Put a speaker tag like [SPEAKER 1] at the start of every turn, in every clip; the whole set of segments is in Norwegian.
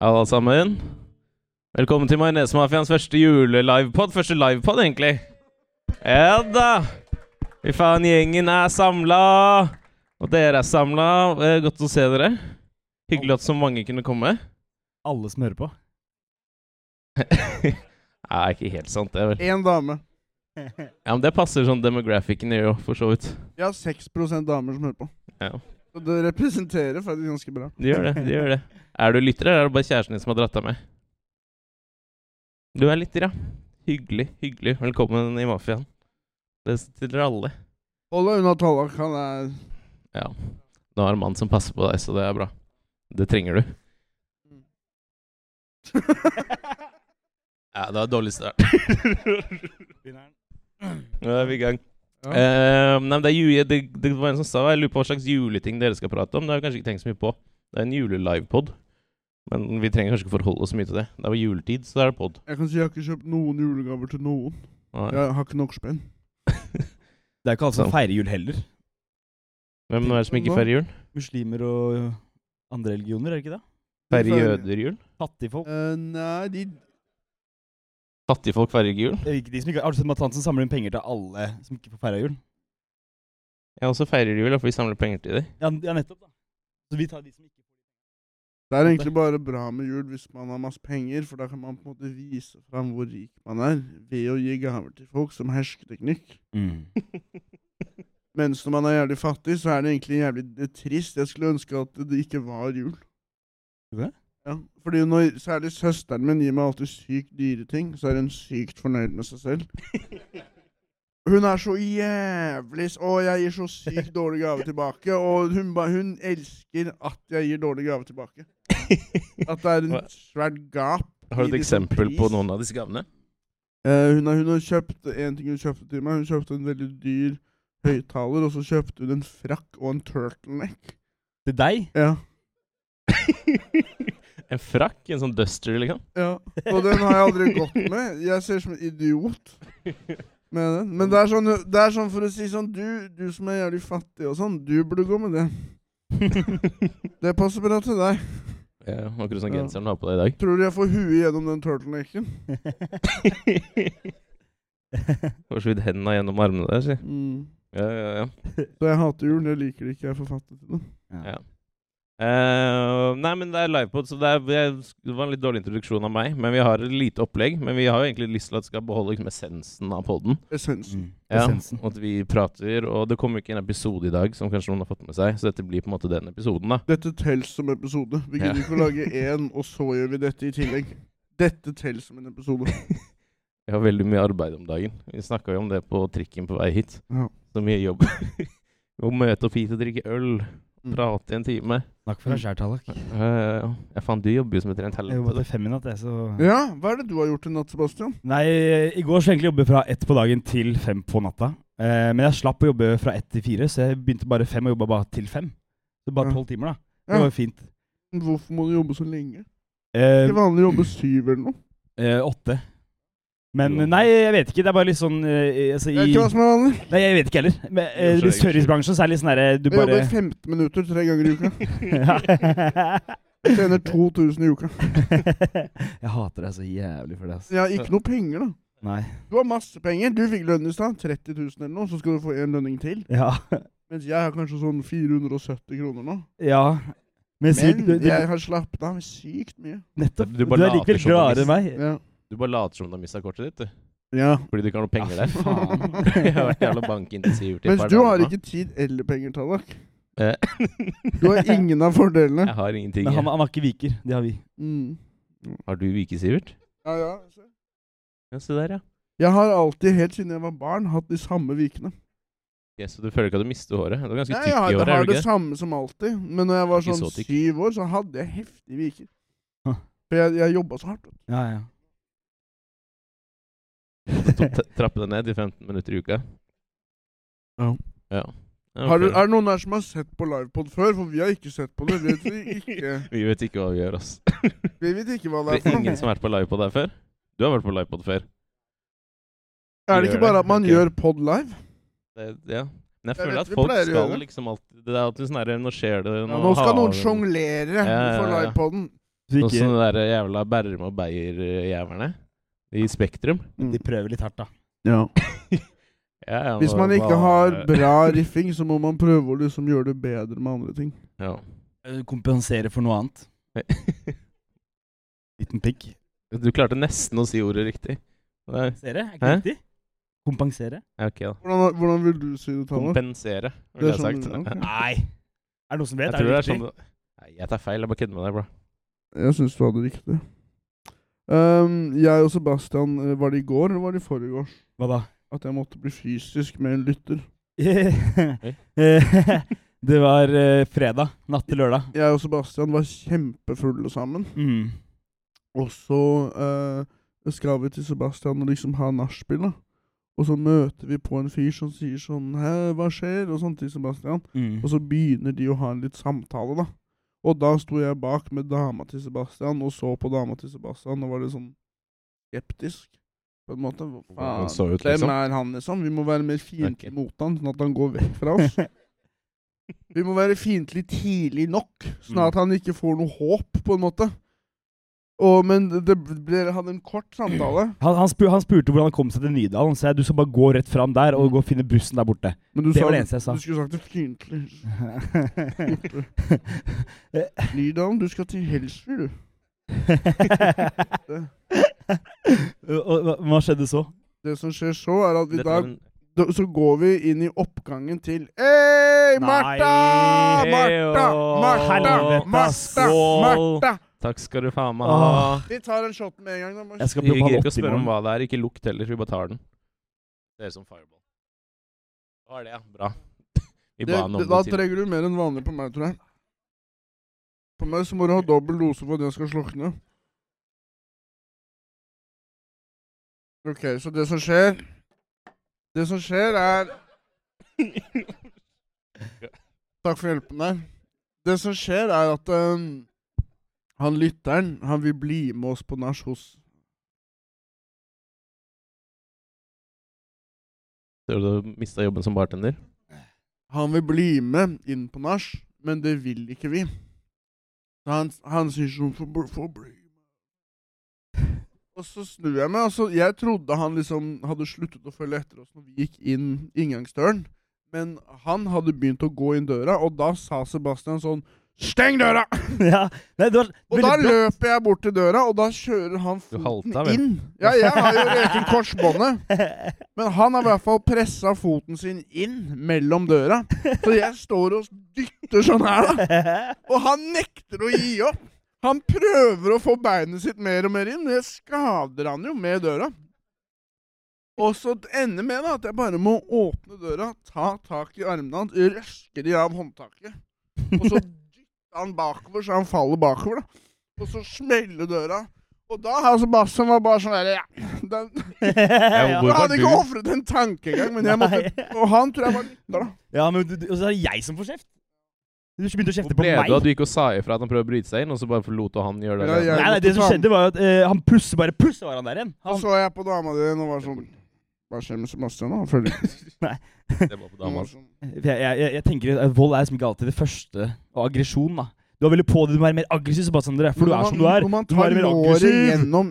[SPEAKER 1] alle sammen. Velkommen til Majonesmafiaens første julelivepod. Første livepod, egentlig. Ja da! Fy faen, gjengen er samla! Og dere er samla. Eh, Godt å se dere. Hyggelig at så mange kunne komme.
[SPEAKER 2] Alle som hører på.
[SPEAKER 1] Nei, ikke helt sant, det, vel.
[SPEAKER 3] Én dame.
[SPEAKER 1] Ja, Men det passer sånn demographicen gjør, jo, for så vidt.
[SPEAKER 3] Vi har 6 damer som hører på.
[SPEAKER 1] Ja.
[SPEAKER 3] Så det representerer faktisk ganske bra.
[SPEAKER 1] De gjør det. de gjør det. Er du lytter, eller er det bare kjæresten din som har dratt deg med? Du er lytter, ja. Hyggelig, hyggelig. Velkommen i mafiaen. Det til dere alle.
[SPEAKER 3] Hold deg unna Tallak. Han er
[SPEAKER 1] Ja. Nå har en mann som passer på deg, så det er bra. Det trenger du. Ja, det var en dårlig start. Nå er vi i gang.
[SPEAKER 3] Ja.
[SPEAKER 1] Eh, nei, men det, er ju- det, det var en som sa Jeg lurer på hva slags juleting dere skal prate om. Det har vi kanskje ikke tenkt så mye på. Det er en julelivepod. Men vi trenger kanskje ikke forholde oss så mye til det. Det er jo juletid, så da er det pod.
[SPEAKER 3] Jeg kan si jeg har ikke kjøpt noen julegaver til noen.
[SPEAKER 1] Nei.
[SPEAKER 3] Jeg har ikke nok spenn.
[SPEAKER 2] Det er ikke alle som
[SPEAKER 1] Sant.
[SPEAKER 2] feirer jul heller.
[SPEAKER 1] Hvem er det som ikke feirer jul?
[SPEAKER 2] Muslimer og ø, andre religioner, er det ikke det?
[SPEAKER 1] Feirer jøder jul?
[SPEAKER 2] Fattigfolk.
[SPEAKER 3] Eh, nei, de
[SPEAKER 1] Fattigfolk feirer ikke jul?
[SPEAKER 2] Det er ikke de som ikke, har du sett Mads Hansen samler inn penger til alle som ikke får feira jul?
[SPEAKER 1] Ja, og så feirer de jul, da, for vi samler penger til dem.
[SPEAKER 2] Ja, n- ja, nettopp, da. Så vi tar de som ikke
[SPEAKER 3] Det er egentlig bare bra med jul hvis man har masse penger, for da kan man på en måte vise fram hvor rik man er ved å gi gaver til folk som hersketeknikk.
[SPEAKER 1] Mm.
[SPEAKER 2] får.
[SPEAKER 3] Mens når man er jævlig fattig, så er det egentlig jævlig det er trist. Jeg skulle ønske at det ikke var jul.
[SPEAKER 2] Hva?
[SPEAKER 3] Ja, fordi når særlig søsteren min gir meg alltid sykt dyre ting, så er hun sykt fornøyd med seg selv. Hun er så jævlig s- Å, jeg gir så sykt dårlig gave tilbake. Og hun, ba, hun elsker at jeg gir dårlig gave tilbake. At det er
[SPEAKER 1] Hva?
[SPEAKER 3] en svært gap.
[SPEAKER 1] Har du
[SPEAKER 3] i
[SPEAKER 1] et
[SPEAKER 3] liksom
[SPEAKER 1] eksempel på
[SPEAKER 3] pris.
[SPEAKER 1] noen av disse gavene?
[SPEAKER 3] Eh, hun, har, hun har kjøpt en ting hun kjøpte til meg. Hun kjøpte en veldig dyr høyttaler, og så kjøpte hun en frakk og en turtleneck.
[SPEAKER 2] Til deg?
[SPEAKER 3] Ja.
[SPEAKER 1] en frakk? En sånn duster, liksom?
[SPEAKER 3] ja. Og den har jeg aldri gått med. Jeg ser ut som en idiot med den. Men det er sånn, det er sånn for å si sånn du, du som er jævlig fattig og sånn, du burde gå med det. Det passer bra til deg.
[SPEAKER 1] ja, akkurat sånn
[SPEAKER 3] Ja.
[SPEAKER 1] genseren du har på deg i dag.
[SPEAKER 3] Tror du jeg får huet gjennom den turtlenecken?
[SPEAKER 1] Får så vidt henda gjennom armene der, si.
[SPEAKER 3] Mm.
[SPEAKER 1] Ja, ja, ja.
[SPEAKER 3] Så jeg hater jul. Jeg liker det ikke. Jeg er for fattig til det.
[SPEAKER 1] Ja. Eh, nei, men det er livepod, så det, er, jeg- det var en litt dårlig introduksjon av meg. Men vi har et lite opplegg. Men vi har jo egentlig lyst til at det skal beholde liksom, essensen av poden.
[SPEAKER 3] Essensen.
[SPEAKER 2] Mm.
[SPEAKER 1] Ja,
[SPEAKER 2] Essensen.
[SPEAKER 1] og at vi prater. Og det kommer jo ikke en episode i dag, som kanskje noen har fått med seg. Så dette blir på en måte den episoden, da.
[SPEAKER 3] Dette tels som episode. Vi
[SPEAKER 1] Ja.
[SPEAKER 3] gidder ikke å lage én, og så gjør vi dette i tillegg. Dette tels som en episode.
[SPEAKER 1] Jeg har veldig mye arbeid om dagen. Vi snakka jo om det på trikken på vei hit.
[SPEAKER 3] Ja.
[SPEAKER 1] Så mye jobb. Å møte opp hit og drikke øl.
[SPEAKER 3] Mm.
[SPEAKER 1] Prate i en time.
[SPEAKER 2] Snakk
[SPEAKER 1] Mm.
[SPEAKER 2] for deg sjæl, Tallak.
[SPEAKER 1] Uh, ja, faen, du jobber jo som et rent
[SPEAKER 2] Jeg jobba
[SPEAKER 1] helvete.
[SPEAKER 2] til fem i natt, jeg, så
[SPEAKER 3] Ja, hva er det du har gjort i natt, Sebastian?
[SPEAKER 2] Nei, i går skulle jeg egentlig jobbe fra ett på dagen til fem på natta. Eh, men jeg slapp å jobbe fra ett til fire, så jeg begynte bare fem og jobba bare til fem. Så bare
[SPEAKER 3] Ja.
[SPEAKER 2] tolv timer, da.
[SPEAKER 3] Ja.
[SPEAKER 2] Det var jo fint.
[SPEAKER 3] Hvorfor må du jobbe så lenge? Det
[SPEAKER 2] Eh,
[SPEAKER 3] er vanlig å jobbe syv eller noe.
[SPEAKER 2] eh, åtte. Men
[SPEAKER 1] Jo.
[SPEAKER 2] nei, jeg vet ikke. Det er bare litt sånn eh, altså,
[SPEAKER 3] Det
[SPEAKER 2] i,
[SPEAKER 3] er ikke hva som er vanlig.
[SPEAKER 2] Nei, jeg vet ikke heller. Men,
[SPEAKER 1] Jo, så
[SPEAKER 2] eh,
[SPEAKER 1] er det
[SPEAKER 2] I
[SPEAKER 1] ikke
[SPEAKER 2] servicebransjen så er det litt sånn derre Du
[SPEAKER 3] Jeg
[SPEAKER 2] bare
[SPEAKER 3] jobber 15 minutter tre ganger i uka. Jeg
[SPEAKER 2] Jeg
[SPEAKER 3] Tjener 2000 i uka.
[SPEAKER 2] hater deg så jævlig for det, altså.
[SPEAKER 3] Jeg har ikke noe penger, da.
[SPEAKER 2] Nei.
[SPEAKER 3] Du har masse penger. Du fikk lønn i stad. 30 000 eller noe. Så skal du få én lønning til.
[SPEAKER 2] Ja.
[SPEAKER 3] Mens jeg har kanskje sånn 470 kroner nå.
[SPEAKER 2] ja. Men, sier
[SPEAKER 3] Men
[SPEAKER 2] du, du,
[SPEAKER 3] jeg har slappet av sykt mye.
[SPEAKER 2] nettopp.
[SPEAKER 1] Du
[SPEAKER 2] Du,
[SPEAKER 1] bare
[SPEAKER 2] er
[SPEAKER 1] later
[SPEAKER 2] likevel
[SPEAKER 1] som
[SPEAKER 2] gladere enn meg.
[SPEAKER 3] Ja.
[SPEAKER 1] Du bare later som du har mista kortet ditt, du.
[SPEAKER 3] ja.
[SPEAKER 1] Fordi du ikke har noe penger
[SPEAKER 2] Ja,
[SPEAKER 1] der.
[SPEAKER 2] fy faen.
[SPEAKER 1] Jeg har vært jævla bankintensivt i et
[SPEAKER 3] Mens
[SPEAKER 1] par
[SPEAKER 3] du har
[SPEAKER 1] dager nå.
[SPEAKER 3] ikke tid eller penger, Tallak.
[SPEAKER 1] Eh.
[SPEAKER 3] Du har ingen av fordelene.
[SPEAKER 1] Jeg har ingenting.
[SPEAKER 2] Men han,
[SPEAKER 1] jeg.
[SPEAKER 2] han har ikke viker. Det har vi.
[SPEAKER 3] Mm.
[SPEAKER 1] Har du vike, Sivert?
[SPEAKER 3] Ja, ja. se.
[SPEAKER 1] Ja, se der, ja.
[SPEAKER 3] Jeg har alltid, helt siden jeg var barn, hatt de samme vikene.
[SPEAKER 1] Ok, så du føler ikke at du mister håret? Du er ganske
[SPEAKER 3] Nei,
[SPEAKER 1] tykk
[SPEAKER 3] jeg har,
[SPEAKER 1] i
[SPEAKER 3] jeg
[SPEAKER 1] håret,
[SPEAKER 3] har
[SPEAKER 1] er du
[SPEAKER 3] det
[SPEAKER 1] ikke det?
[SPEAKER 3] samme som alltid, men når jeg var
[SPEAKER 1] Ikke
[SPEAKER 3] sånn
[SPEAKER 1] så tykk.
[SPEAKER 3] syv år, så hadde jeg heftige viker.
[SPEAKER 2] Huh.
[SPEAKER 3] For jeg, jeg jobba så hardt.
[SPEAKER 2] Ja, ja.
[SPEAKER 1] Så t- Trappe det ned til 15 minutter i uka?
[SPEAKER 3] Ja.
[SPEAKER 1] ja. Ja,
[SPEAKER 3] Har du,
[SPEAKER 1] ok.
[SPEAKER 3] er det noen her som har sett på livepod før? For vi har ikke sett på det. Vi vet ikke,
[SPEAKER 1] Vi vet ikke hva vi gjør, ass.
[SPEAKER 3] vi vet ikke hva
[SPEAKER 1] Det
[SPEAKER 3] det er
[SPEAKER 1] er
[SPEAKER 3] for
[SPEAKER 1] ingen
[SPEAKER 3] noe.
[SPEAKER 1] som har vært på livepod her før? Du har vært på livepod før.
[SPEAKER 3] Er det
[SPEAKER 1] gjør
[SPEAKER 3] ikke bare
[SPEAKER 1] det.
[SPEAKER 3] at man
[SPEAKER 1] Ok.
[SPEAKER 3] gjør pod live?
[SPEAKER 1] Det, ja. Men jeg
[SPEAKER 3] Jeg
[SPEAKER 1] føler
[SPEAKER 3] vet
[SPEAKER 1] at
[SPEAKER 3] vi
[SPEAKER 1] folk
[SPEAKER 3] pleier å
[SPEAKER 1] skal
[SPEAKER 3] gjøre det.
[SPEAKER 1] liksom alltid Det er alltid sånn herre Nå skjer det
[SPEAKER 3] Ja, nå skal
[SPEAKER 1] har
[SPEAKER 3] noen
[SPEAKER 1] vi-
[SPEAKER 3] sjonglere
[SPEAKER 1] ja, ja,
[SPEAKER 3] for
[SPEAKER 1] ja.
[SPEAKER 3] livepoden.
[SPEAKER 2] Så
[SPEAKER 1] Sånn
[SPEAKER 2] ikke,
[SPEAKER 1] som de der jævla Bærum og Beyer-jævlene i Spektrum.
[SPEAKER 2] de prøver litt hardt, da.
[SPEAKER 3] Ja.
[SPEAKER 1] Ja, ja,
[SPEAKER 3] Mm. Hvis
[SPEAKER 1] hva-
[SPEAKER 3] man ikke
[SPEAKER 1] hva-
[SPEAKER 3] har bra riffing, så må man prøve å liksom gjøre det bedre med andre ting.
[SPEAKER 1] ja.
[SPEAKER 2] Eh, Kompensere for noe annet. Liten pikk.
[SPEAKER 1] Du klarte nesten å si ordet riktig. Nei,
[SPEAKER 2] Kompensere? Er ikke
[SPEAKER 1] Hæ?
[SPEAKER 2] riktig? Kompensere?
[SPEAKER 1] ja, ok da.
[SPEAKER 3] Hvordan, hvordan vil du si det, Tanner?
[SPEAKER 1] Kompensere, ville
[SPEAKER 3] Det er
[SPEAKER 1] jeg sagt.
[SPEAKER 3] sånn- ok.
[SPEAKER 2] Nei! Er det noen som vet?
[SPEAKER 1] Jeg tror det er
[SPEAKER 2] riktig?
[SPEAKER 1] sånn Nei, jeg tar feil. Jeg bare kødder med deg, bro.
[SPEAKER 3] Jeg syns du hadde riktig. Ehm, jeg og Sebastian, eh, var det i går eller var det i forgårs?
[SPEAKER 1] sånn-
[SPEAKER 2] Hva da?
[SPEAKER 3] At jeg måtte bli fysisk med en lytter.
[SPEAKER 2] Eh, det var eh, fredag. Natt til lørdag.
[SPEAKER 3] Jeg og Sebastian var kjempefulle sammen.
[SPEAKER 2] Mm.
[SPEAKER 3] Og så eh, skal vi til Sebastian og liksom ha nachspiel, da. Og så møter vi på en fyr som sier sånn Hæ, hva skjer? Og sånn til Sebastian.
[SPEAKER 2] Mm.
[SPEAKER 3] Og så begynner de å ha en litt samtale, da. Og da sto jeg bak med dama til Sebastian og så på dama til Sebastian og var litt sånn skeptisk. På en måte. Hva
[SPEAKER 1] Hvordan
[SPEAKER 3] faen?
[SPEAKER 1] så ut,
[SPEAKER 3] Hvem
[SPEAKER 1] liksom?
[SPEAKER 3] er han, liksom? Vi må være mer fiendtlig
[SPEAKER 1] Ok.
[SPEAKER 3] mot han, sånn at han går vekk fra oss. Vi må være fiendtlig tidlig nok, sånn
[SPEAKER 1] Mm.
[SPEAKER 3] at han ikke får noe håp, på en måte. Og, men det ble, hadde en kort samtale.
[SPEAKER 2] Han, han, spu, han spurte hvordan han kom seg til Nydalen. Så jeg du skal bare gå rett fram der og gå og finne bussen der borte.
[SPEAKER 3] Men du
[SPEAKER 2] Det
[SPEAKER 3] sa-
[SPEAKER 2] var det eneste jeg sa.
[SPEAKER 3] Du skulle sagt det fiendtlig. Nydalen, du skal til Helsfyr, du.
[SPEAKER 2] Og- og hva- Hva skjedde så?
[SPEAKER 3] Det som skjer så, er at vi
[SPEAKER 1] Dette
[SPEAKER 3] da,
[SPEAKER 1] var en-
[SPEAKER 3] da Så går vi inn i oppgangen til Hei, Martha!
[SPEAKER 2] Nei.
[SPEAKER 3] Martha! Martha!
[SPEAKER 2] Helvete,
[SPEAKER 3] Martha!
[SPEAKER 1] skål!
[SPEAKER 3] Martha!
[SPEAKER 1] Takk skal du faen meg ha.
[SPEAKER 3] Vi tar en shot med en gang. da. Mars.
[SPEAKER 2] Jeg skal
[SPEAKER 1] Vi
[SPEAKER 2] prøve
[SPEAKER 1] gidder
[SPEAKER 2] å
[SPEAKER 1] ikke å
[SPEAKER 2] ha
[SPEAKER 1] spørre om
[SPEAKER 2] den
[SPEAKER 1] hva det er. Ikke lukt heller. Vi bare tar den. Det er som fireball. Hva er det, ja? Bra. Vi
[SPEAKER 3] Det,
[SPEAKER 1] ba han om
[SPEAKER 3] det,
[SPEAKER 1] det
[SPEAKER 3] da
[SPEAKER 1] tidligere.
[SPEAKER 3] trenger du mer enn vanlig på meg, tror jeg. På meg så må du ha dobbel dose for at jeg skal slukne. Ok, så det som skjer Det som skjer, er Takk for hjelpen der. Det som skjer, er at øhm, han lytteren han vil bli med oss på nach hos
[SPEAKER 1] Tror du du mista jobben som bartender?
[SPEAKER 3] Han vil bli med inn på nach, men det vil ikke vi. Så han, han sier sånn for, bl- for bli med. Og så snur jeg meg. Altså, jeg trodde han liksom hadde sluttet å følge etter oss når vi gikk inn inngangsdøren. Men han hadde begynt å gå inn døra, og da sa Sebastian sånn Steng døra!
[SPEAKER 2] ja. Nei, det var
[SPEAKER 3] Og
[SPEAKER 2] veldig
[SPEAKER 3] da
[SPEAKER 2] bra.
[SPEAKER 3] løper jeg bort til døra, og da kjører han
[SPEAKER 1] Du
[SPEAKER 3] foten
[SPEAKER 1] halta, vel?
[SPEAKER 3] inn. Ja, jeg har jo reket korsbåndet. Men han har i hvert fall pressa foten sin inn mellom døra. Så jeg står og dytter sånn her, da. Og han nekter å gi opp. Han prøver å få beinet sitt mer og mer inn, men jeg skader han jo med døra. Og så ender med da, at jeg bare må åpne døra, ta tak i armene hans, røske de av håndtaket. Og så dytter han bakover, så han faller bakover. da. Og så smeller døra. Og da har Sebastian var bare sånn der, ja, den,
[SPEAKER 1] Ja,
[SPEAKER 3] jeg
[SPEAKER 1] Hvor var
[SPEAKER 3] hadde ikke
[SPEAKER 1] du?
[SPEAKER 3] ofret en tanke engang, men jeg måtte
[SPEAKER 2] Nei.
[SPEAKER 3] Og han tror jeg var lytter, da.
[SPEAKER 2] Ja, men du, du, og så er det jeg som får kjeft. Du begynte å kjefte
[SPEAKER 1] Hvor
[SPEAKER 2] på
[SPEAKER 1] ble
[SPEAKER 2] meg.
[SPEAKER 1] du av? Du gikk og sa ifra at han prøvde å bryte seg inn, og så bare lot du han gjøre det?
[SPEAKER 3] Ja,
[SPEAKER 1] alene?
[SPEAKER 3] jeg-
[SPEAKER 2] Nei, nei, det som
[SPEAKER 3] måtte ta Altså- den.
[SPEAKER 2] skjedde, var jo at eh, han plutselig bare Plutselig var han der igjen.
[SPEAKER 3] Så
[SPEAKER 2] Han,
[SPEAKER 3] så jeg på dama di og var sånn Hva skjer med Sebastian nå? Han følger ikke
[SPEAKER 1] Det var på altså.
[SPEAKER 3] med,
[SPEAKER 1] dama.
[SPEAKER 3] sånn.
[SPEAKER 2] jeg, jeg, jeg, jeg tenker at Vold er som ikke alltid det første. Og aggresjon, da. Du har veldig på det, du må være mer aggressiv, Sebastian. Dere, for du er
[SPEAKER 3] Når man-
[SPEAKER 2] som du er.
[SPEAKER 3] Når man
[SPEAKER 2] Du må
[SPEAKER 3] tar
[SPEAKER 2] være mer
[SPEAKER 3] låret
[SPEAKER 2] aggressiv.
[SPEAKER 3] gjennom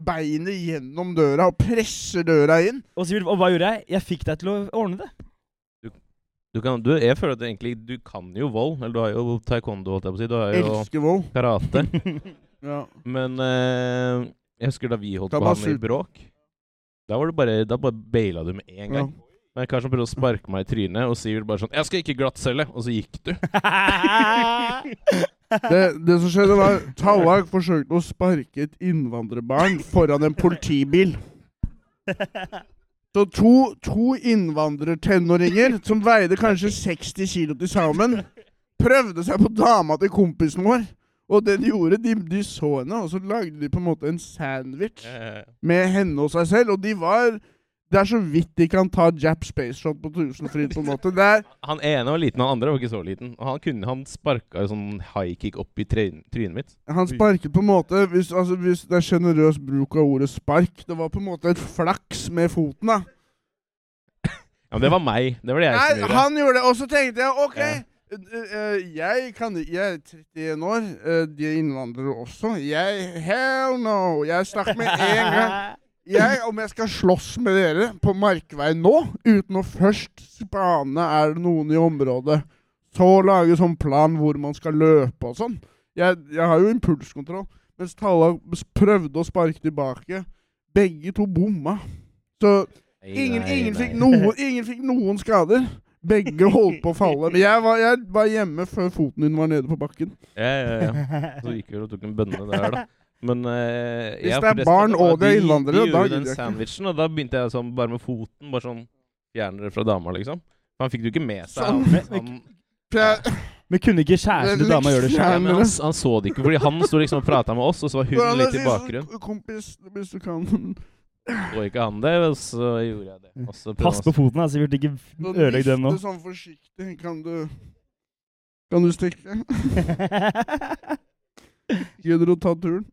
[SPEAKER 3] beinet gjennom døra og presser døra inn
[SPEAKER 2] Og, Sivert, og hva gjorde jeg? Jeg fikk deg til å ordne det.
[SPEAKER 1] Du kan, du, jeg føler at du egentlig Du kan jo vold. Eller du har jo taekwondo, holdt jeg på å si. Du har jo
[SPEAKER 3] Elsker vold.
[SPEAKER 1] karate.
[SPEAKER 3] Ja.
[SPEAKER 1] Men eh, jeg husker da vi holdt
[SPEAKER 3] Da
[SPEAKER 1] på
[SPEAKER 3] bare
[SPEAKER 1] han i
[SPEAKER 3] sulten.
[SPEAKER 1] bråk. Da var det bare Da bare baila du med en gang. Men en kar som prøvde å sparke meg i trynet, og Sivert bare sånn 'Jeg skal ikke glattcelle!' Og så gikk du.
[SPEAKER 3] Det, det som skjedde, var Tallak forsøkte å sparke et innvandrerbarn foran en politibil. Så to, to innvandrertenåringer som veide kanskje 60 kilo til sammen, prøvde seg på dama til kompisen vår. Og det de gjorde, de, de så henne, og så lagde de på en måte en sandwich med henne og seg selv. Og de var Det er så vidt de kan ta Jap Space Shot på Tusenfryd, på en måte. Det er
[SPEAKER 1] Han ene var liten, han andre var ikke så liten. Og han kunne Han sparka jo sånn high kick opp i tryn- trynet mitt.
[SPEAKER 3] Han sparket på en måte Hvis, altså, hvis det er sjenerøs bruk av ordet spark Det var på en måte et flaks med foten, da.
[SPEAKER 1] Ja, men det var meg. Det var det jeg som
[SPEAKER 3] Nei,
[SPEAKER 1] gjorde.
[SPEAKER 3] han gjorde det, og så tenkte jeg OK,
[SPEAKER 1] Ja.
[SPEAKER 3] eh, jeg kan Jeg er 31 år. eh, De er innvandrere også. Jeg Hell no! Jeg snakker med en gang. Jeg, om jeg skal slåss med dere på Markveien nå, uten å først spane er det noen i området, så lage sånn plan hvor man skal løpe og sånn Jeg, jeg har jo impulskontroll. Mens Talla s- prøvde å sparke tilbake. Begge to bomma. Så ingen, ingen, Fikk noen, ingen fikk noen skader. Begge holdt på å falle. Men jeg var, jeg var hjemme før foten din var nede på bakken.
[SPEAKER 1] Ja, ja, ja. Så gikk vi og tok en bønne der, da. Men eh,
[SPEAKER 3] Hvis
[SPEAKER 1] jeg
[SPEAKER 3] det er
[SPEAKER 1] forresten,
[SPEAKER 3] barn og
[SPEAKER 1] da,
[SPEAKER 3] det er innvandrere,
[SPEAKER 1] de, de
[SPEAKER 3] da
[SPEAKER 1] gjorde
[SPEAKER 3] gidder
[SPEAKER 1] den
[SPEAKER 3] jeg ikke.
[SPEAKER 1] sandwichen, og da begynte jeg sånn bare med foten. Bare sånn Fjerne det fra dama, liksom. Han fikk det jo ikke med seg.
[SPEAKER 3] Sånn.
[SPEAKER 1] Han, han,
[SPEAKER 3] For jeg,
[SPEAKER 2] Men kunne ikke kjæresten til dama gjøre det
[SPEAKER 1] ja,
[SPEAKER 2] sjøl?
[SPEAKER 1] men han, han så det ikke, fordi han sto liksom og prata med oss, og så var hun litt i
[SPEAKER 3] sånn
[SPEAKER 1] bakgrunnen.
[SPEAKER 3] Kompis, hvis du kan
[SPEAKER 1] Så ikke han det, og så gjorde jeg det. Og så prøvde
[SPEAKER 2] Pass på
[SPEAKER 1] han-
[SPEAKER 2] foten, da. Sikkert ikke
[SPEAKER 3] Nå
[SPEAKER 2] ødelegg den nå.
[SPEAKER 3] vifte sånn forsiktig. Kan du Kan du stikke? Gidder du å ta turen?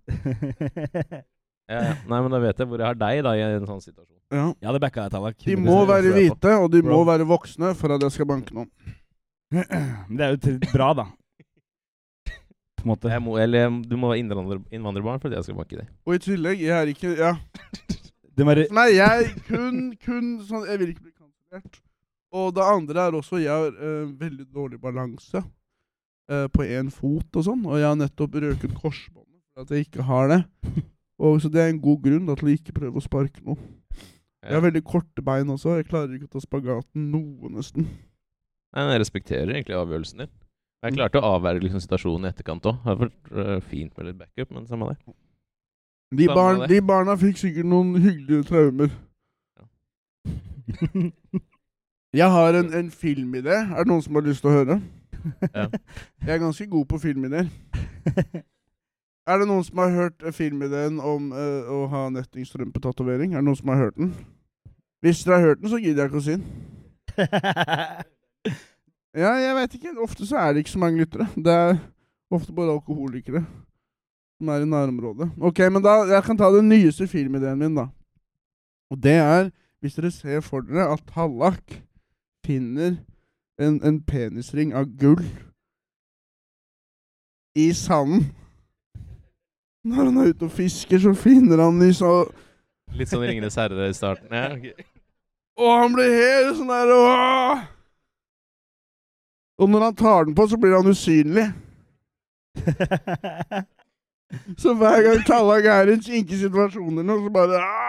[SPEAKER 1] ja, ja. Nei, men da vet jeg hvor jeg har deg, da, i en sånn situasjon.
[SPEAKER 3] Ja.
[SPEAKER 2] Jeg hadde backa deg, Tallak.
[SPEAKER 3] De må være hvite, og de må
[SPEAKER 2] Bro.
[SPEAKER 3] være voksne for at jeg skal banke noen.
[SPEAKER 2] Men det er jo til- bra, da. På en måte.
[SPEAKER 1] Jeg må, eller jeg- du må være innvandrer, innvandrerbarn for at jeg skal banke deg.
[SPEAKER 3] Og i tillegg, jeg er ikke Ja.
[SPEAKER 2] Det må være
[SPEAKER 3] Nei, jeg kun, kun sånn Jeg vil ikke bli kansellert. Og det andre er også jeg har eh, veldig dårlig balanse eh, på én fot og sånn, og jeg har nettopp røket korsbåndet for at jeg ikke har det. Og Så det er en god grunn da, til å ikke prøve å sparke noe. Jeg har veldig korte bein også. Jeg klarer ikke å ta spagaten noe, nesten.
[SPEAKER 1] Nei, men jeg respekterer egentlig avgjørelsen din.
[SPEAKER 2] Mm.
[SPEAKER 1] Jeg klarte å avverge liksom, situasjonen i etterkant òg. Hadde vært øh, fint med litt backup, men samme det.
[SPEAKER 3] De,
[SPEAKER 1] Samme
[SPEAKER 3] barn,
[SPEAKER 1] det.
[SPEAKER 3] de barna fikk sikkert noen hyggelige traumer. Jeg har en, en filmidé. Er det noen som har lyst til å høre?
[SPEAKER 1] Ja.
[SPEAKER 3] Jeg er ganske god på filmidéer. Er det noen som har hørt eh, filmideen om eh, å ha nettingstrømpetatovering? Er det noen som har hørt den? Hvis dere har hørt den, så gidder jeg ikke å si den. Ja, jeg veit ikke. Ofte så er det ikke så mange lyttere. Det er ofte bare alkoholikere som er i nærområdet. Ok, men da, jeg kan ta den nyeste filmideen min, da. Og det er, hvis dere ser for dere at Hallak finner en, en penisring av gull i sanden Når han er ute og fisker, så finner han den i så
[SPEAKER 1] Litt sånn Ringenes herre i starten. Ja, ok.
[SPEAKER 3] Og han blir helt sånn der åh! Og når han tar den på, så blir han usynlig. Så hver gang Tallak er i kinkige situasjoner nå, så bare «Ah!»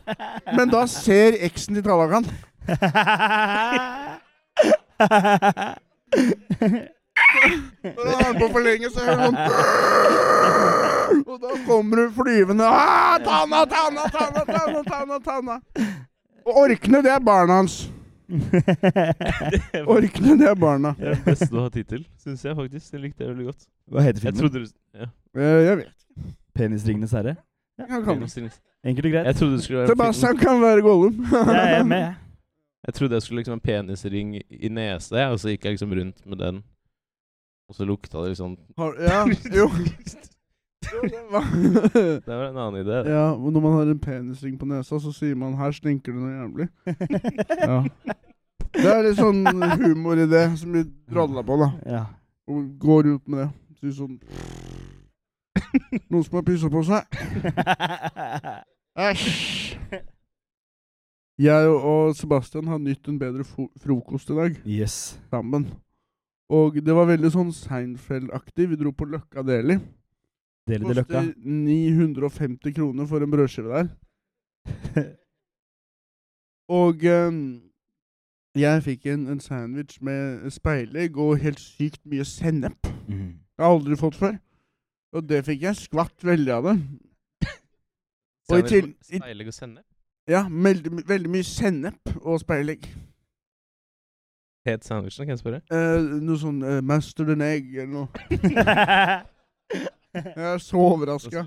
[SPEAKER 3] Men da ser eksen til Tallak han. Når han har den på for lenge, så hører han «Ah!» Og da kommer hun flyvende «Ah, Tanna, Tanna, Tanna, Tanna, Tanna, Tanna. Og orkene, det er barna hans. Orkene, det er barna.
[SPEAKER 1] Det er det beste du har tid til, syns jeg faktisk. Jeg likte det veldig godt.
[SPEAKER 2] Hva heter
[SPEAKER 1] Jeg
[SPEAKER 2] filmen?
[SPEAKER 1] trodde du ja,
[SPEAKER 3] Eh, Jeg vet.
[SPEAKER 2] Penisringenes herre?
[SPEAKER 3] Jeg kan.
[SPEAKER 1] Ringenes Ringenes-
[SPEAKER 2] Enkelt og greit.
[SPEAKER 1] Jeg trodde det skulle være en film.
[SPEAKER 3] Sebastian kan være Gollum.
[SPEAKER 2] Jeg er med.
[SPEAKER 1] Jeg trodde jeg skulle liksom ha en penisring i nesa, jeg, og så gikk jeg liksom rundt med den. Og så lukta det liksom
[SPEAKER 3] Har, ja, jo. Jo, det var-
[SPEAKER 1] Det var en annen idé. det.
[SPEAKER 3] Ja, og når man har en penisring på nesa, så sier man 'her stinker det noe jævlig'. Ja. Det er litt sånn humoridé som vi drodla på, da.
[SPEAKER 2] Ja.
[SPEAKER 3] Og går ut med det. Sier sånn Noen som har pissa på seg? Æsj! Jeg og- og Sebastian har nytt en bedre fo frokost i dag,
[SPEAKER 2] Yes.
[SPEAKER 3] sammen. Og det var veldig sånn Seinfeld-aktig. Vi dro på Løkka Deli.
[SPEAKER 2] Del i det løkka.
[SPEAKER 3] Koster 950 kroner for en brødskive der. Og ehm, jeg fikk en, en sandwich med speilegg og helt sykt mye sennep.
[SPEAKER 2] Mm.
[SPEAKER 3] Jeg har aldri fått før. Og det fikk jeg skvatt veldig av det. Og i til- i-
[SPEAKER 1] Speilegg og sennep?
[SPEAKER 3] Ja, veldig, my- veldig mye sennep og speilegg.
[SPEAKER 1] Het sandwichen, kan jeg spørre?
[SPEAKER 3] Eh, noe sånn eh, mustard and egg eller noe. Jeg er så overraska.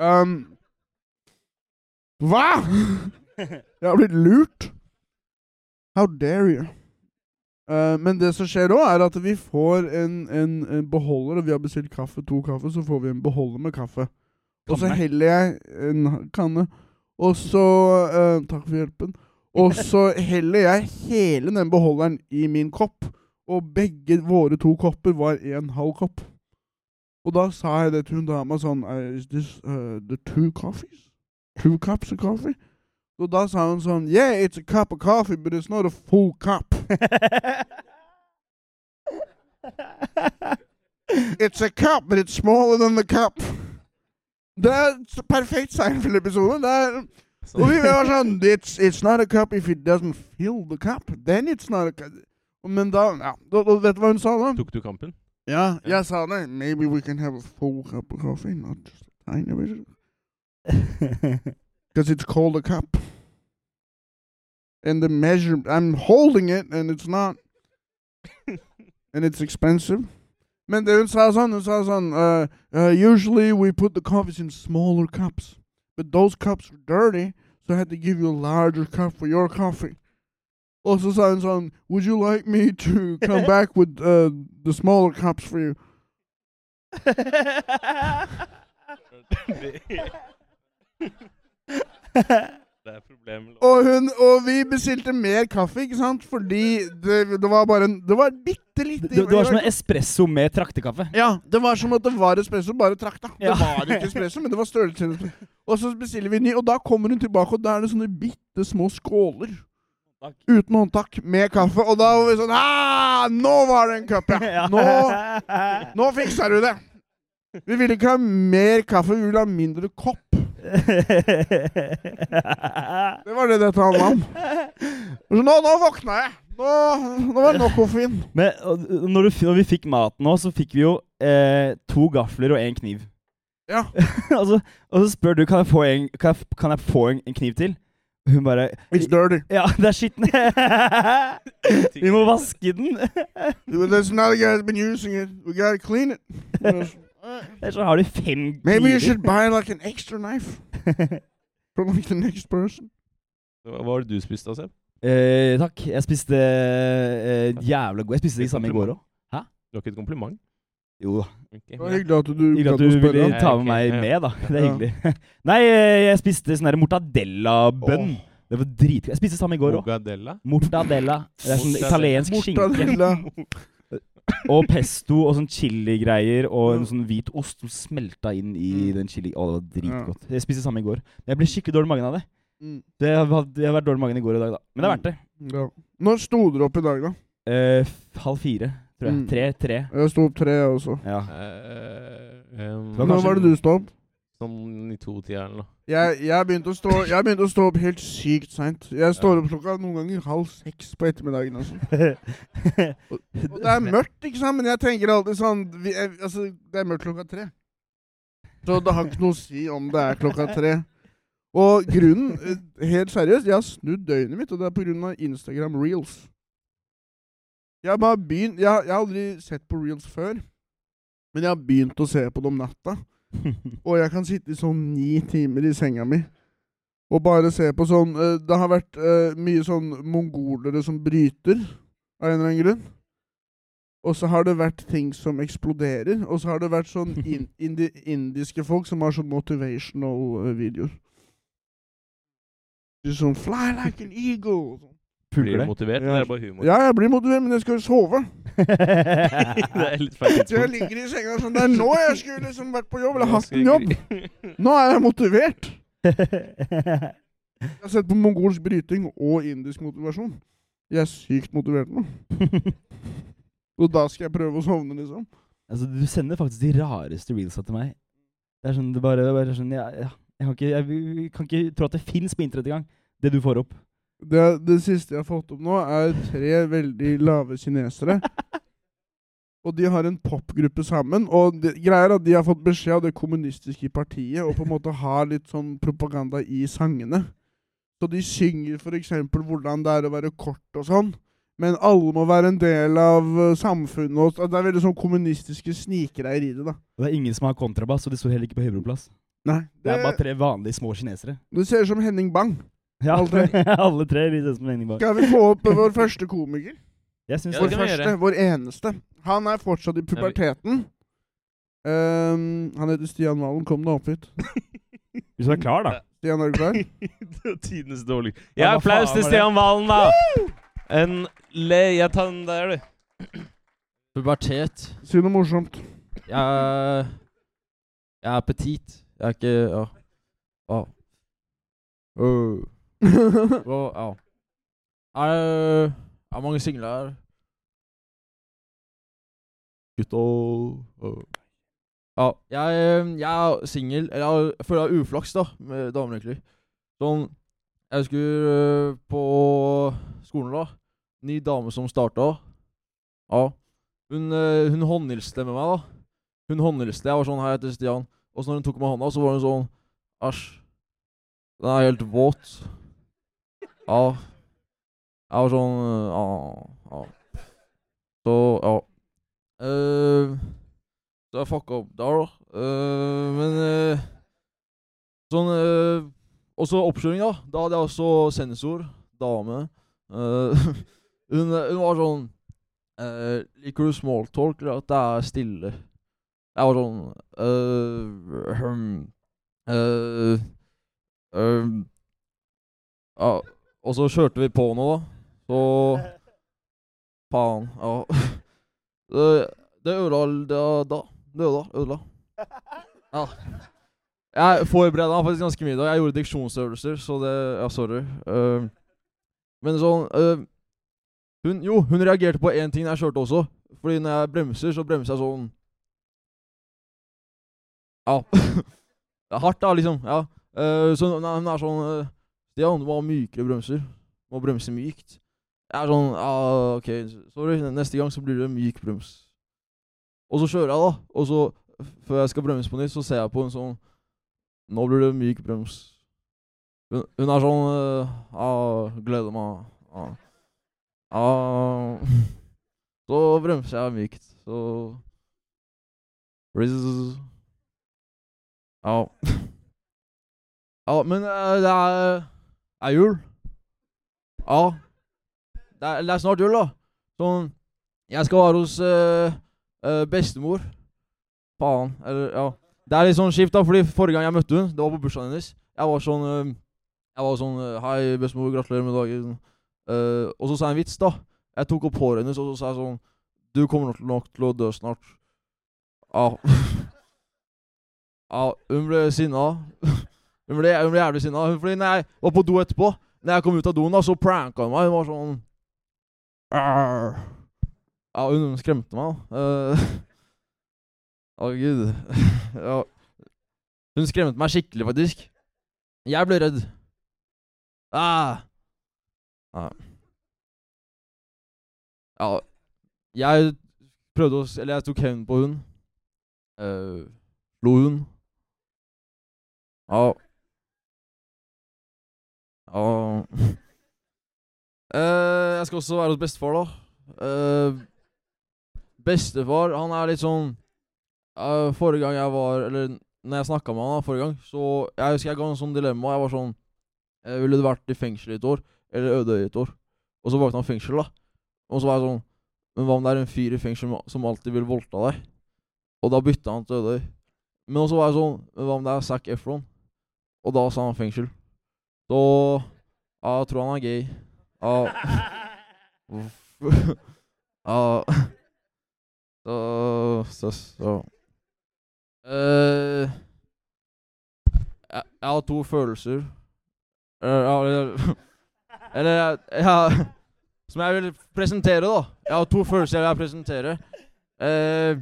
[SPEAKER 3] Um, hva?! Jeg har blitt lurt. How dare you? Eh, men det som skjer òg, er at vi får en, en, en beholder. Og vi har bestilt kaffe, to kaffe, så får vi en beholder med kaffe. Og så
[SPEAKER 2] Kanne.
[SPEAKER 3] heller jeg en kanne. Og så eh, Takk for hjelpen. Og så heller jeg hele den beholderen i min kopp. Og begge våre to kopper var en halv kopp. Og da sa jeg det til hun dama sånn "Uh, Is this uh, the two coffees? Two cups of coffee? Og da sa hun sånn Yeah, it's a cup of coffee, but it's not a full cup. It's a cup, but it's smaller than the cup. Det er s- perfekt Seinfeld-episode. Det er- Og vi var sånn it's, it's not a cup if it doesn't fill the cup. Then it's not a cup. Men da ja. da- da- Vet du hva hun sa da?
[SPEAKER 1] Tok du kampen?
[SPEAKER 3] Ja, jeg sa det. Maybe we can have a full cup of coffee, not just a tiny bit. Because it's called a cup. And the measure, I'm holding it, and it's not. and it's expensive. Men det hun sa sånn, hun sa sånn uh, uh, Usually we put the coffees in smaller cups. But those cups were dirty, so I had to give you a larger cup for your coffee. Og så sa hun sånn Would you like me to come back with uh, the smaller cups for you?
[SPEAKER 1] Det er problemet.
[SPEAKER 3] Og, hun, og vi bestilte mer kaffe, ikke sant? Fordi det, det var bare en Det var et bitte lite
[SPEAKER 2] Det, det var som en sånn espresso med traktekaffe.
[SPEAKER 3] Ja, det var som at det var espresso, bare trakta.
[SPEAKER 2] Ja.
[SPEAKER 3] Det var ikke espresso, men det var størrelsen. Og så bestiller vi ny, og da kommer hun tilbake, og da er det sånne bitte små skåler.
[SPEAKER 2] Håndtak.
[SPEAKER 3] Uten håndtak, med kaffe. Og da var vi sånn ah, Nå var det en cup, ja! Nå, nå fiksa du det! Vi ville ikke ha mer kaffe, vi ville ha mindre kopp. Det var det dette handla om. Og Så nå, nå våkna jeg! Nå, nå var det nok koffein.
[SPEAKER 2] Men og, når, du, f- når vi fikk maten nå, så fikk vi jo eh, to gafler og én kniv.
[SPEAKER 3] Ja.
[SPEAKER 2] og, så, og så spør du kan jeg få en, kan jeg, f- kan jeg få en, en kniv til. Og Hun bare
[SPEAKER 3] It's dirty.
[SPEAKER 2] Ja, det er skitten. vi må vaske den.
[SPEAKER 3] There's another guy that's been using it. We gotta clean it.
[SPEAKER 2] Ellers så har du fem
[SPEAKER 3] Maybe
[SPEAKER 2] kniver.
[SPEAKER 3] you should buy like an extra knife from like the next person.
[SPEAKER 1] Hva hva var det du spiste, Asep?
[SPEAKER 2] Eh, takk. Jeg spiste eh, jævla god Jeg spiste de samme i går òg.
[SPEAKER 1] Det var ikke et kompliment.
[SPEAKER 2] Jo da.
[SPEAKER 1] Ok,
[SPEAKER 3] Det
[SPEAKER 1] men
[SPEAKER 3] var
[SPEAKER 1] jeg-
[SPEAKER 3] hyggelig at du
[SPEAKER 2] Hyggelig at
[SPEAKER 3] gadd å
[SPEAKER 2] du
[SPEAKER 3] spørre
[SPEAKER 2] ville
[SPEAKER 3] om.
[SPEAKER 2] ta med
[SPEAKER 1] Ja,
[SPEAKER 2] meg
[SPEAKER 1] ok,
[SPEAKER 2] med, da. Det er
[SPEAKER 3] Ja.
[SPEAKER 2] hyggelig. Nei, eh, jeg spiste sånn der mortadella-bønn. Det var dritgodt. Jeg spiste samme i går òg.
[SPEAKER 1] Mogadella?
[SPEAKER 2] Mortadella. Det er sånn
[SPEAKER 1] Mortadella.
[SPEAKER 2] italiensk skinke.
[SPEAKER 3] Mortadella.
[SPEAKER 2] Og pesto og sånn chiligreier og en
[SPEAKER 3] Ja.
[SPEAKER 2] sånn hvit ost som smelta inn i
[SPEAKER 3] Mm.
[SPEAKER 2] den chili. Å, det var dritgodt. Jeg spiste samme i går. Men jeg ble skikkelig dårlig i magen av det.
[SPEAKER 3] Mm,
[SPEAKER 2] Det har, hatt- jeg har vært dårlig i magen i går og i dag, da. Men det er verdt det.
[SPEAKER 3] ja. Når sto dere opp i dag, da?
[SPEAKER 2] Eh, f- halv fire, tror jeg.
[SPEAKER 3] Mm.
[SPEAKER 2] Tre. Tre.
[SPEAKER 3] Jeg sto opp tre, jeg også.
[SPEAKER 2] Ja.
[SPEAKER 1] Eh, um,
[SPEAKER 2] var
[SPEAKER 3] Når
[SPEAKER 2] kanskje-
[SPEAKER 3] var det du sto opp?
[SPEAKER 1] Sånn i to-tida eller noe.
[SPEAKER 3] Jeg, jeg, begynte å stå, jeg begynte å stå opp helt sykt seint. Jeg står opp klokka noen ganger halv seks på ettermiddagen. Altså. Og det er mørkt, ikke sant? Men jeg tenker alltid sånn vi, eh, altså, Det er mørkt klokka tre. Så det har ikke noe å si om det er klokka tre. Og grunnen, eh, helt seriøst, jeg har snudd døgnet mitt, og det er pga. Instagram reels. Jeg har bare begynt jeg, har- jeg har aldri sett på reels før, men jeg har begynt å se på det om natta. Og jeg kan sitte i sånn ni timer i senga mi og bare se på sånn eh, Det har vært eh, mye sånn mongolere som bryter, av en eller annen grunn. Og så har det vært ting som eksploderer. Og så har det vært sånn in indi indiske folk som har sånn eh, motivational-videoer. Sånn 'Fly like an eagle'.
[SPEAKER 1] Blir
[SPEAKER 2] Pugler
[SPEAKER 1] du motivert, eller er det bare humor?
[SPEAKER 3] Ja, jeg blir motivert, men jeg skal jo sove.
[SPEAKER 1] det er
[SPEAKER 2] det.
[SPEAKER 1] litt feil
[SPEAKER 3] Så jeg
[SPEAKER 1] tidspunkt.
[SPEAKER 3] ligger i senga sånn. Det er nå jeg skulle liksom vært på jobb, eller hatt en
[SPEAKER 1] Nå
[SPEAKER 3] jobb.
[SPEAKER 1] skal jeg gri-
[SPEAKER 3] Nå er jeg motivert. Jeg har sett på mongolsk bryting og indisk motivasjon. Jeg er sykt motivert nå. Og da skal jeg prøve å sovne, liksom.
[SPEAKER 2] altså, du sender faktisk de rareste reelsa til meg. Det er sånn, det bare, det bare er sånn ja, ja. Jeg, kan ikke, jeg, kan ikke tro at det fins på internett engang, det du får opp.
[SPEAKER 3] Det, det siste jeg har fått opp nå, er tre veldig lave kinesere. Og de har en popgruppe sammen. Og det, greia er at de har fått beskjed av det kommunistiske partiet og på en måte har litt sånn propaganda i sangene. Så de synger f.eks. hvordan det er å være kort og sånn. Men alle må være en del av eh, samfunnet. Og, så- det er veldig sånn kommunistiske snikreier i det, da.
[SPEAKER 2] Og det er ingen som har kontrabass, og de står heller ikke på Høybroplass.
[SPEAKER 3] Nei,
[SPEAKER 2] Det
[SPEAKER 3] det,
[SPEAKER 2] er bare tre vanlige små kinesere.
[SPEAKER 3] det ser ut som Henning Bang.
[SPEAKER 2] Ja,
[SPEAKER 3] Alle
[SPEAKER 2] alle
[SPEAKER 3] tre.
[SPEAKER 2] tre. alle tre de ser ut som Henning Bang.
[SPEAKER 3] Skal vi få opp eh, vår første komiker?
[SPEAKER 2] Jeg syns
[SPEAKER 1] Ja,
[SPEAKER 3] Vår
[SPEAKER 1] det
[SPEAKER 2] det.
[SPEAKER 1] kan vi
[SPEAKER 3] første,
[SPEAKER 1] gjøre.
[SPEAKER 3] vår eneste. Han er fortsatt i puberteten. Ehm, han heter Stian Valen. Kom deg opp hit.
[SPEAKER 2] Hvis du er klar, da.
[SPEAKER 3] Stian, er du klar?
[SPEAKER 1] Det var Tidenes dårlig.
[SPEAKER 2] Ja,
[SPEAKER 1] Ja,
[SPEAKER 2] hva
[SPEAKER 1] applaus
[SPEAKER 2] faen
[SPEAKER 1] til
[SPEAKER 2] var det?
[SPEAKER 1] Stian Valen, da! En le... Jeg tar den der, du.
[SPEAKER 4] Pubertet.
[SPEAKER 3] Si noe morsomt.
[SPEAKER 4] Jeg er, jeg er petit. Jeg er ikke Ja. ja. Øh. Hva- ja. Er det er det mange single her? Gutta øh. Ja. Jeg, øhm, jeg er singel. Eller jeg har- jeg føler jeg har uflaks, da, med damer, egentlig. Sånn Jeg husker øh, på skolen, da. Ny dame som starta. Ja. Hun, øh, hun håndhilste med meg, da. Hun håndhilste. Jeg var sånn Hei, jeg heter Stian. Og så når hun tok meg i hånda, så var hun sånn Æsj. Den er helt våt. Ja. Jeg var sånn Ja. ja. Så, ja. Uh, så jeg fucka opp der, da. Eh, men eh, sånn eh, Også oppkjøring, da. Da hadde jeg også sensor. Dame. Eh, hun, hun var sånn eh, Liker du smalltalk eller at det er stille? Jeg var sånn eh, hm, eh, ehm, ja, Og så kjørte vi på nå, da. Så Faen. Ja. Det, det ødela da, da. Det ødela. ødela. Ja. Jeg forberedte meg faktisk ganske mye. da Jeg gjorde diksjonsøvelser, så det Ja, sorry. Eh, men sånn eh, hun, Jo, hun reagerte på én ting jeg kjørte også. Fordi når jeg bremser, så bremser jeg sånn Ja. det er hardt, da, liksom. Ja. Eh, så hun, hun er sånn eh, Stian, du må ha mykere bremser. Du må bremse mykt. Jeg er sånn Ja, OK, sorry. Neste gang så blir det myk brems. Og så kjører jeg, da. Og så, f- før jeg skal bremse på nytt, så ser jeg på en sånn Nå blir det myk brems. Hun, hun er sånn eh, Ja, gleder meg. Ja. ja. Så bremser jeg mykt. Så Rizz. Ja. Ja, men eh, det er, det er jul. Ja. Det er, det er snart jul, da. Sånn Jeg skal være hos eh, eh, bestemor. Faen. Eller, ja. Det er litt sånn skift, da, fordi forrige gang jeg møtte hun, det var på bursdagen hennes. Jeg var sånn eh, Jeg var sånn eh, Hei, bestemor, gratulerer med dagen. Eh, og så sa jeg en vits, da. Jeg tok opp håret hennes, og så sa jeg sånn Du kommer nok, nok til å dø snart. Ja. ja, hun ble sinna. hun, ble, hun ble jævlig sinna. Hun- Fordi når jeg var på do etterpå, når jeg kom ut av doen, da, så pranka hun meg. Hun var sånn Arr. Ja, hun skremte meg, da. Eh, Å, gud. ja. Hun skremte meg skikkelig, faktisk. Jeg ble redd. Ah. Ja. ja. Jeg prøvde å s- Eller jeg tok hevn på hun. Eh, Slo hun. Ja. Ja Eh, Jeg skal også være hos bestefar, da. Eh, bestefar, han er litt sånn eh, Forrige gang jeg var Eller når jeg snakka med han da, forrige gang, så Jeg husker jeg ga han sånn dilemma. Jeg var sånn Eh, Ville du vært i fengsel i et år, eller øde i et år? Og så valgte han fengsel, da. Og så var jeg sånn Men hva om det er en fyr i fengsel ma- som alltid vil voldta deg? Og da bytta han til Ødøy. Men også var jeg sånn Men hva om det er Zac Efron? Og da sa han fengsel. Så Ja, jeg tror han er gay. Ja. Uff. Ja Så Så, så. Eh, jeg, jeg har to følelser. Eh, ja, Eller, eller jeg, jeg har- Som jeg vil presentere, da. Jeg har to følelser jeg vil presentere. Eh,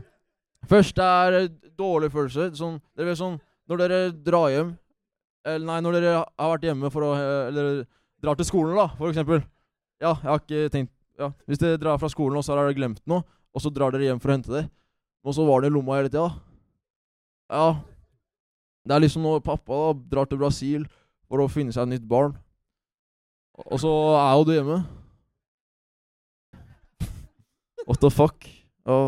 [SPEAKER 4] først er eh, dårlig følelse. Sånn, det er sånn når dere drar hjem Eller nei, når dere har vært hjemme for å eh, Eller drar til skolen, da, for eksempel. Ja, jeg har ikke tenkt ja. Hvis dere drar fra skolen, og så har dere glemt noe, og så drar dere hjem for å hente det, og så var det i lomma hele tida. Ja. Det er liksom når pappa da drar til Brasil for å finne seg et nytt barn. Og så er jo du hjemme. What the fuck? Ja.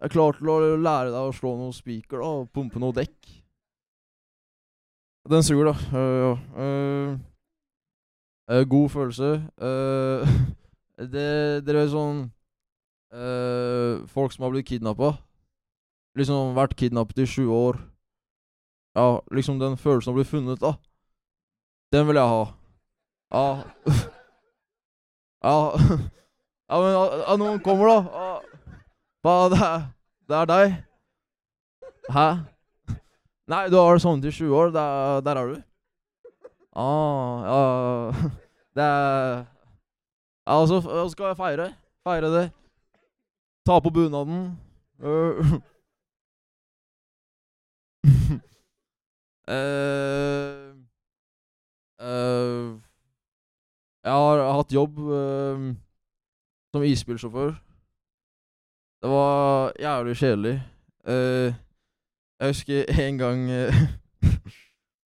[SPEAKER 4] Jeg er klar til å lære deg å slå noen spiker da, og pumpe noe dekk. Den suger, da. Øh, ja. Øh, øh, god følelse. Øh, det, dere vet sånn øh, Folk som har blitt kidnappa. Liksom vært kidnappet i 20 år. Ja, liksom den følelsen av å bli funnet, da. Den vil jeg ha. Ja. Ja, ja men at at noen kommer, da. Ja. Hva, det er, det er deg. Hæ? Nei, du har sånn til 20 år. Der, der er du. Ah, ja Det er Ja, altså, f- og skal jeg feire. Feire det. Ta på bunaden. Øh. Eh, eh, jeg har hatt jobb eh, som isbilsjåfør. Det var jævlig kjedelig. Eh, jeg husker en gang eh,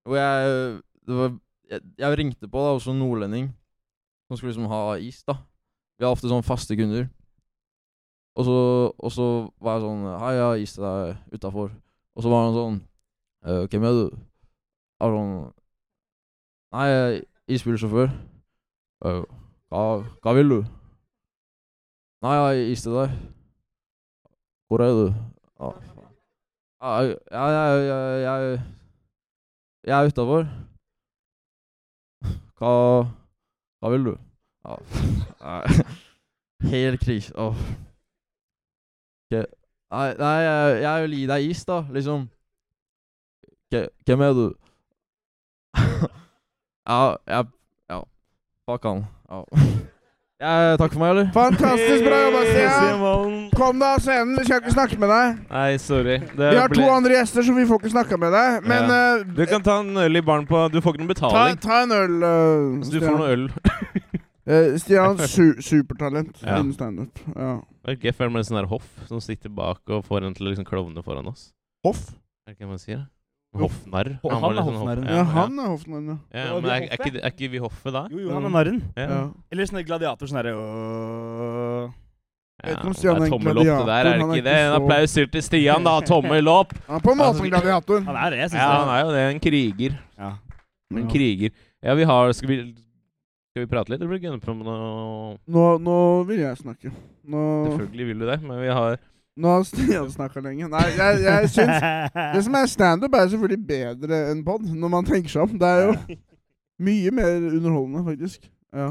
[SPEAKER 4] hvor jeg det var, jeg, jeg ringte på da, hos en nordlending som skulle liksom ha is. da. Vi har ofte sånne faste kunder. Og så, og så var jeg sånn Hei, jeg har is til deg utafor. Og så var han sånn «Eh, Hvem er du? Jeg var sånn Nei, jeg er isbilsjåfør. «Eh, hva, hva vil du? Nei, jeg har is til deg. Hvor er du? «Ja, faen. «Ja, Jeg Jeg, jeg, jeg, jeg er utafor. Hva Hva vil du? Ja. Nei. Helt krise. Åh. Ok. Nei, nei jeg, jeg vil gi deg is, da, liksom. «Ok, Hvem er du? ja, jeg Ja. Fuck han. Ja. Jeg, takk for meg, eller?
[SPEAKER 3] Fantastisk bra jobba, Stian.
[SPEAKER 1] Simon.
[SPEAKER 3] Kom deg av scenen, vi skal ikke snakke med deg.
[SPEAKER 1] Nei, sorry. Det
[SPEAKER 3] Vi har to
[SPEAKER 1] ble-
[SPEAKER 3] andre gjester, så vi får ikke snakka med deg. Men eh,
[SPEAKER 1] Du kan ta en øl i baren på Du får ikke noen
[SPEAKER 3] ta,
[SPEAKER 1] betaling.
[SPEAKER 3] ta en øl, eh,
[SPEAKER 1] så du får
[SPEAKER 3] Stian.
[SPEAKER 1] noe øl.
[SPEAKER 3] Eh, Stian, su supertalent
[SPEAKER 1] Ja.
[SPEAKER 3] innen standup. Ja.
[SPEAKER 1] Er ikke FM en sånn der hoff som sitter bak og får en til å liksom klovne foran oss?
[SPEAKER 3] Hoff?
[SPEAKER 1] Er det ikke det man sier?
[SPEAKER 2] Jo.
[SPEAKER 1] Hoffnarr.
[SPEAKER 2] Han
[SPEAKER 1] var
[SPEAKER 2] er
[SPEAKER 1] litt sånn
[SPEAKER 2] hoffnarren.
[SPEAKER 1] hoff-
[SPEAKER 3] Ja, han er hoffnarren, ja.
[SPEAKER 1] Ja,
[SPEAKER 2] Ja,
[SPEAKER 1] men
[SPEAKER 2] vi
[SPEAKER 1] er,
[SPEAKER 2] er
[SPEAKER 1] er,
[SPEAKER 2] hoffet.
[SPEAKER 1] ikke, er ikke vi hoffet da?
[SPEAKER 2] Jo, jo, han er narren.
[SPEAKER 1] Ja.
[SPEAKER 3] ja.
[SPEAKER 2] Eller sånn gladiator sånn derre øh.
[SPEAKER 3] vet ikke om
[SPEAKER 1] Ja,
[SPEAKER 3] Stian
[SPEAKER 1] det
[SPEAKER 3] er
[SPEAKER 1] er
[SPEAKER 3] en
[SPEAKER 1] tommel opp, det der. Er
[SPEAKER 3] gladiator,
[SPEAKER 1] det
[SPEAKER 3] han er
[SPEAKER 1] ikke det? En
[SPEAKER 3] ikke så-
[SPEAKER 1] applaus til til Stian, da. Tommel opp.
[SPEAKER 3] Han er på en måte en gladiator.
[SPEAKER 2] Han er det, jeg syns
[SPEAKER 1] Ja, han er jo det. En kriger.
[SPEAKER 2] det. Ja.
[SPEAKER 1] En
[SPEAKER 3] Ja.
[SPEAKER 1] kriger. Ja, vi har Skal vi, skal vi prate litt? Eller blir det gønne på med noe
[SPEAKER 3] Nå, nå vil jeg snakke. Nå,
[SPEAKER 1] Selvfølgelig vil du det, men vi har
[SPEAKER 3] nå har Stian snakka lenge. Nei, jeg, jeg syns Det som er standup, er selvfølgelig bedre enn pod, når man tenker seg om. Det er jo mye mer underholdende, faktisk. Ja.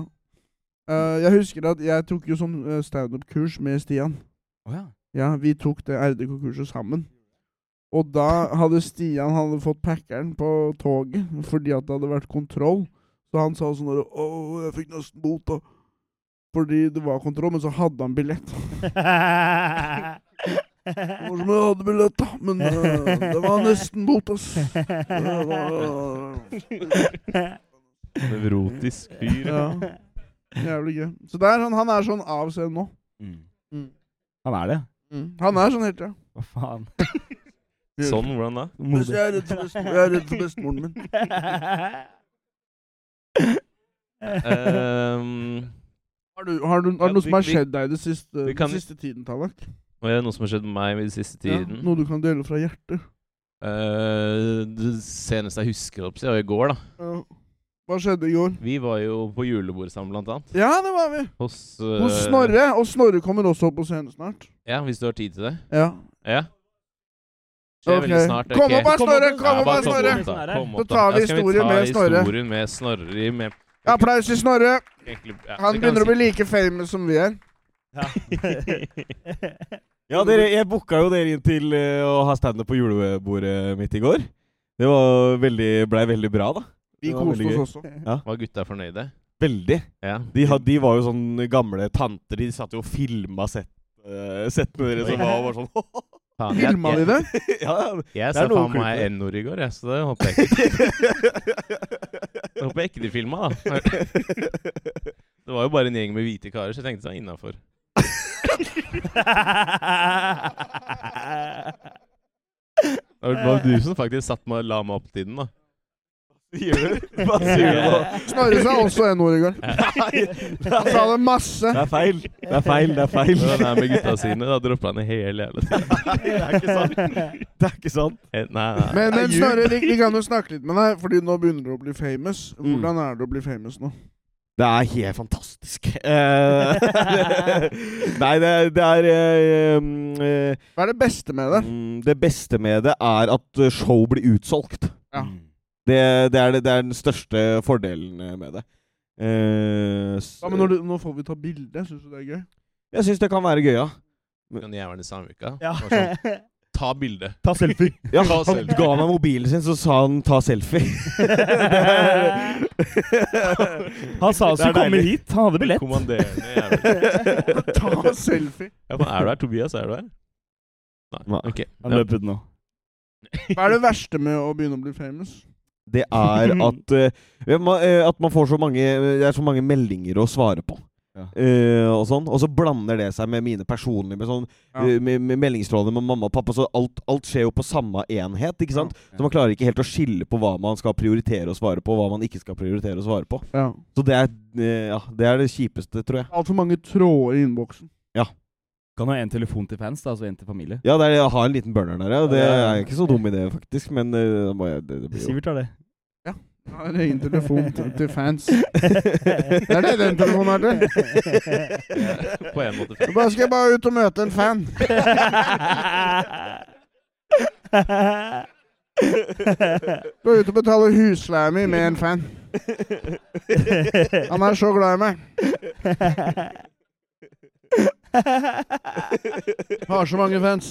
[SPEAKER 3] Eh, jeg husker at jeg tok jo sånn eh, standup-kurs med Stian.
[SPEAKER 2] Å ja.
[SPEAKER 3] Ja, Vi tok det RDK-kurset sammen. Og da hadde Stian hadde fått packeren på toget fordi at det hadde vært kontroll. Så han sa sånn der, Å, jeg fikk nesten bot, da. Fordi det var kontroll, men så hadde han billett. Det var som jeg hadde billett, da, men eh, det var nesten bot, ass. Det var,
[SPEAKER 1] Nevrotisk fyr.
[SPEAKER 3] Ja. eh, Jævlig gøy. Så der, han, han er sånn av seg nå.
[SPEAKER 2] Mm.
[SPEAKER 3] Mm.
[SPEAKER 2] Han er det.
[SPEAKER 3] Han er sånn helt, ja.
[SPEAKER 2] Hva faen.
[SPEAKER 1] Sånn, hvordan da?
[SPEAKER 3] Jeg er redd for, best, jeg er redd for bestemoren min.
[SPEAKER 1] Ehm,
[SPEAKER 3] Har du, har du, har
[SPEAKER 1] Ja,
[SPEAKER 3] du noe som
[SPEAKER 1] vi-
[SPEAKER 3] har
[SPEAKER 1] vi-
[SPEAKER 3] skjedd deg det siste,
[SPEAKER 1] vi
[SPEAKER 3] den
[SPEAKER 1] kan-
[SPEAKER 3] siste tiden, Tallak?
[SPEAKER 1] Og det er noe som har skjedd med meg i den siste tiden.
[SPEAKER 3] noe du kan dele fra hjertet.
[SPEAKER 1] Eh, det seneste jeg husker, opp, var i går. da
[SPEAKER 3] Ja. Hva skjedde i går?
[SPEAKER 1] Vi var jo på julebord sammen, blant annet.
[SPEAKER 3] Ja, det var vi!
[SPEAKER 1] Hos,
[SPEAKER 3] Hos
[SPEAKER 1] eh,
[SPEAKER 3] Snorre. Og Snorre kommer også opp på scenen snart.
[SPEAKER 1] Ja, Hvis du har tid til det.
[SPEAKER 3] Ja.
[SPEAKER 1] Ja. Skjer
[SPEAKER 3] Ok.
[SPEAKER 1] veldig snart.
[SPEAKER 3] Kom opp her,
[SPEAKER 2] Kom
[SPEAKER 3] Snorre!
[SPEAKER 2] opp,
[SPEAKER 3] Kom
[SPEAKER 1] Ja,
[SPEAKER 3] opp
[SPEAKER 1] bare
[SPEAKER 3] her,
[SPEAKER 1] kom
[SPEAKER 3] Snorre!
[SPEAKER 1] opp, da. Kom
[SPEAKER 3] Så
[SPEAKER 1] opp, da.
[SPEAKER 3] tar vi
[SPEAKER 1] Ja, skal vi
[SPEAKER 3] historien
[SPEAKER 1] ta
[SPEAKER 3] med Snorre.
[SPEAKER 1] historien med Snorre. Med
[SPEAKER 3] Applaus til Snorre!
[SPEAKER 1] egentlig, ja,
[SPEAKER 3] Han
[SPEAKER 1] det kan
[SPEAKER 3] begynner å
[SPEAKER 1] vi
[SPEAKER 3] bli like famous som vi er.
[SPEAKER 5] Ja, dere, jeg booka jo dere inn til eh, å ha standup på julebordet mitt i går. Det var veldig, blei veldig bra, da.
[SPEAKER 3] Vi
[SPEAKER 5] Det var
[SPEAKER 3] koste
[SPEAKER 5] veldig
[SPEAKER 3] oss også.
[SPEAKER 1] si. Var gutta fornøyde?
[SPEAKER 5] Veldig.
[SPEAKER 1] Ja.
[SPEAKER 5] De, had, de var jo sånn gamle tanter. De satt jo og filma sett, eh, settene deres og var bare sånn
[SPEAKER 1] Faen, jeg-
[SPEAKER 3] Filma de det?
[SPEAKER 5] Ja,
[SPEAKER 1] Jeg
[SPEAKER 5] Det
[SPEAKER 1] sa
[SPEAKER 5] er noe
[SPEAKER 1] faen meg
[SPEAKER 5] klipp.
[SPEAKER 1] N-ord i går, jeg, så det håper jeg ikke. Jeg håper jeg ikke de filma, da. Det var jo bare en gjeng med hvite karer, så jeg tenkte det var innafor. Det var du som faktisk satt meg og la meg opp til den, da.
[SPEAKER 5] Gjør du? Hva sier du nå?
[SPEAKER 3] Snorre sa også en ord i går.
[SPEAKER 5] Nei,
[SPEAKER 3] Han sa det masse.
[SPEAKER 5] det er feil. Det er feil. Det er feil.
[SPEAKER 1] Det var der med gutta sine, da droppa han i hele jævla tiden.
[SPEAKER 5] Det er ikke sant. Det er ikke sant.
[SPEAKER 1] Eh, Nei, nei.
[SPEAKER 3] Men, men
[SPEAKER 5] Nei,
[SPEAKER 3] Snorre, vi, vi kan jo snakke litt med deg, Fordi nå begynner du å bli famous. Hvordan er det å bli famous nå?
[SPEAKER 5] Det er helt fantastisk. Eh, Nei, det, er- det er eh, um, eh,
[SPEAKER 3] Hva er det beste med det?
[SPEAKER 5] mm, Det beste med det er at eh, show blir utsolgt.
[SPEAKER 3] Ja.
[SPEAKER 1] Mm.
[SPEAKER 5] Det, det, er, det, det er den største fordelen med det. Eh, s-
[SPEAKER 3] Ja, men når du, nå får vi ta bilde. Syns du det er gøy?
[SPEAKER 5] Jeg syns det kan være gøy, ja.
[SPEAKER 1] Den jævelen i samme uka.
[SPEAKER 2] Ja.
[SPEAKER 1] Det var Sånn, ta bilde.
[SPEAKER 2] Ta selfie.
[SPEAKER 5] Ja,
[SPEAKER 1] Ta
[SPEAKER 5] han
[SPEAKER 1] selfie.
[SPEAKER 5] ga meg mobilen sin, så sa han 'ta selfie'.
[SPEAKER 2] Han sa
[SPEAKER 5] Det
[SPEAKER 2] også
[SPEAKER 5] er
[SPEAKER 2] 'du kommer
[SPEAKER 5] deilig.
[SPEAKER 2] hit'. Han hadde billett.
[SPEAKER 1] Kommanderende jævel.
[SPEAKER 3] Ta selfie.
[SPEAKER 1] Ja, men er du her, Tobias? Er du her? Nei.
[SPEAKER 5] Nei.
[SPEAKER 1] Ok.
[SPEAKER 2] Han løp ut nå.
[SPEAKER 3] Hva er det verste med å begynne å bli famous?
[SPEAKER 5] Det er at, eh, man, eh, at man får så mange Det er så mange meldinger å svare på.
[SPEAKER 2] Ja.
[SPEAKER 5] Eh, og sånn Og så blander det seg med mine personlige med sånn,
[SPEAKER 3] Ja.
[SPEAKER 5] eh, med, med meldingstråder med mamma og pappa. Så alt, alt skjer jo på samme enhet. Ikke sant? Så man klarer ikke helt å skille på hva man skal prioritere å svare på, og hva man ikke skal prioritere å svare på.
[SPEAKER 3] Ja.
[SPEAKER 5] Så det er, eh, ja, det, er det kjipeste, tror jeg.
[SPEAKER 3] Altfor mange tråder i innboksen.
[SPEAKER 2] Kan ha en telefon til fans, da, altså en til familie.
[SPEAKER 5] Ja, det er, jeg har en liten burner der, ja. Det
[SPEAKER 2] Ja.
[SPEAKER 5] er ikke så dum idé, faktisk. Men eh, da må jeg- det, det blir jo
[SPEAKER 2] Sivert har det.
[SPEAKER 3] Jeg har en egen telefon til, til fans. Det er det den telefonen er til.
[SPEAKER 1] På en måte.
[SPEAKER 3] Da skal jeg bare ut og møte en fan. Du er ute og betaler husleia mi med en fan. Han er så glad i meg. Har så mange fans.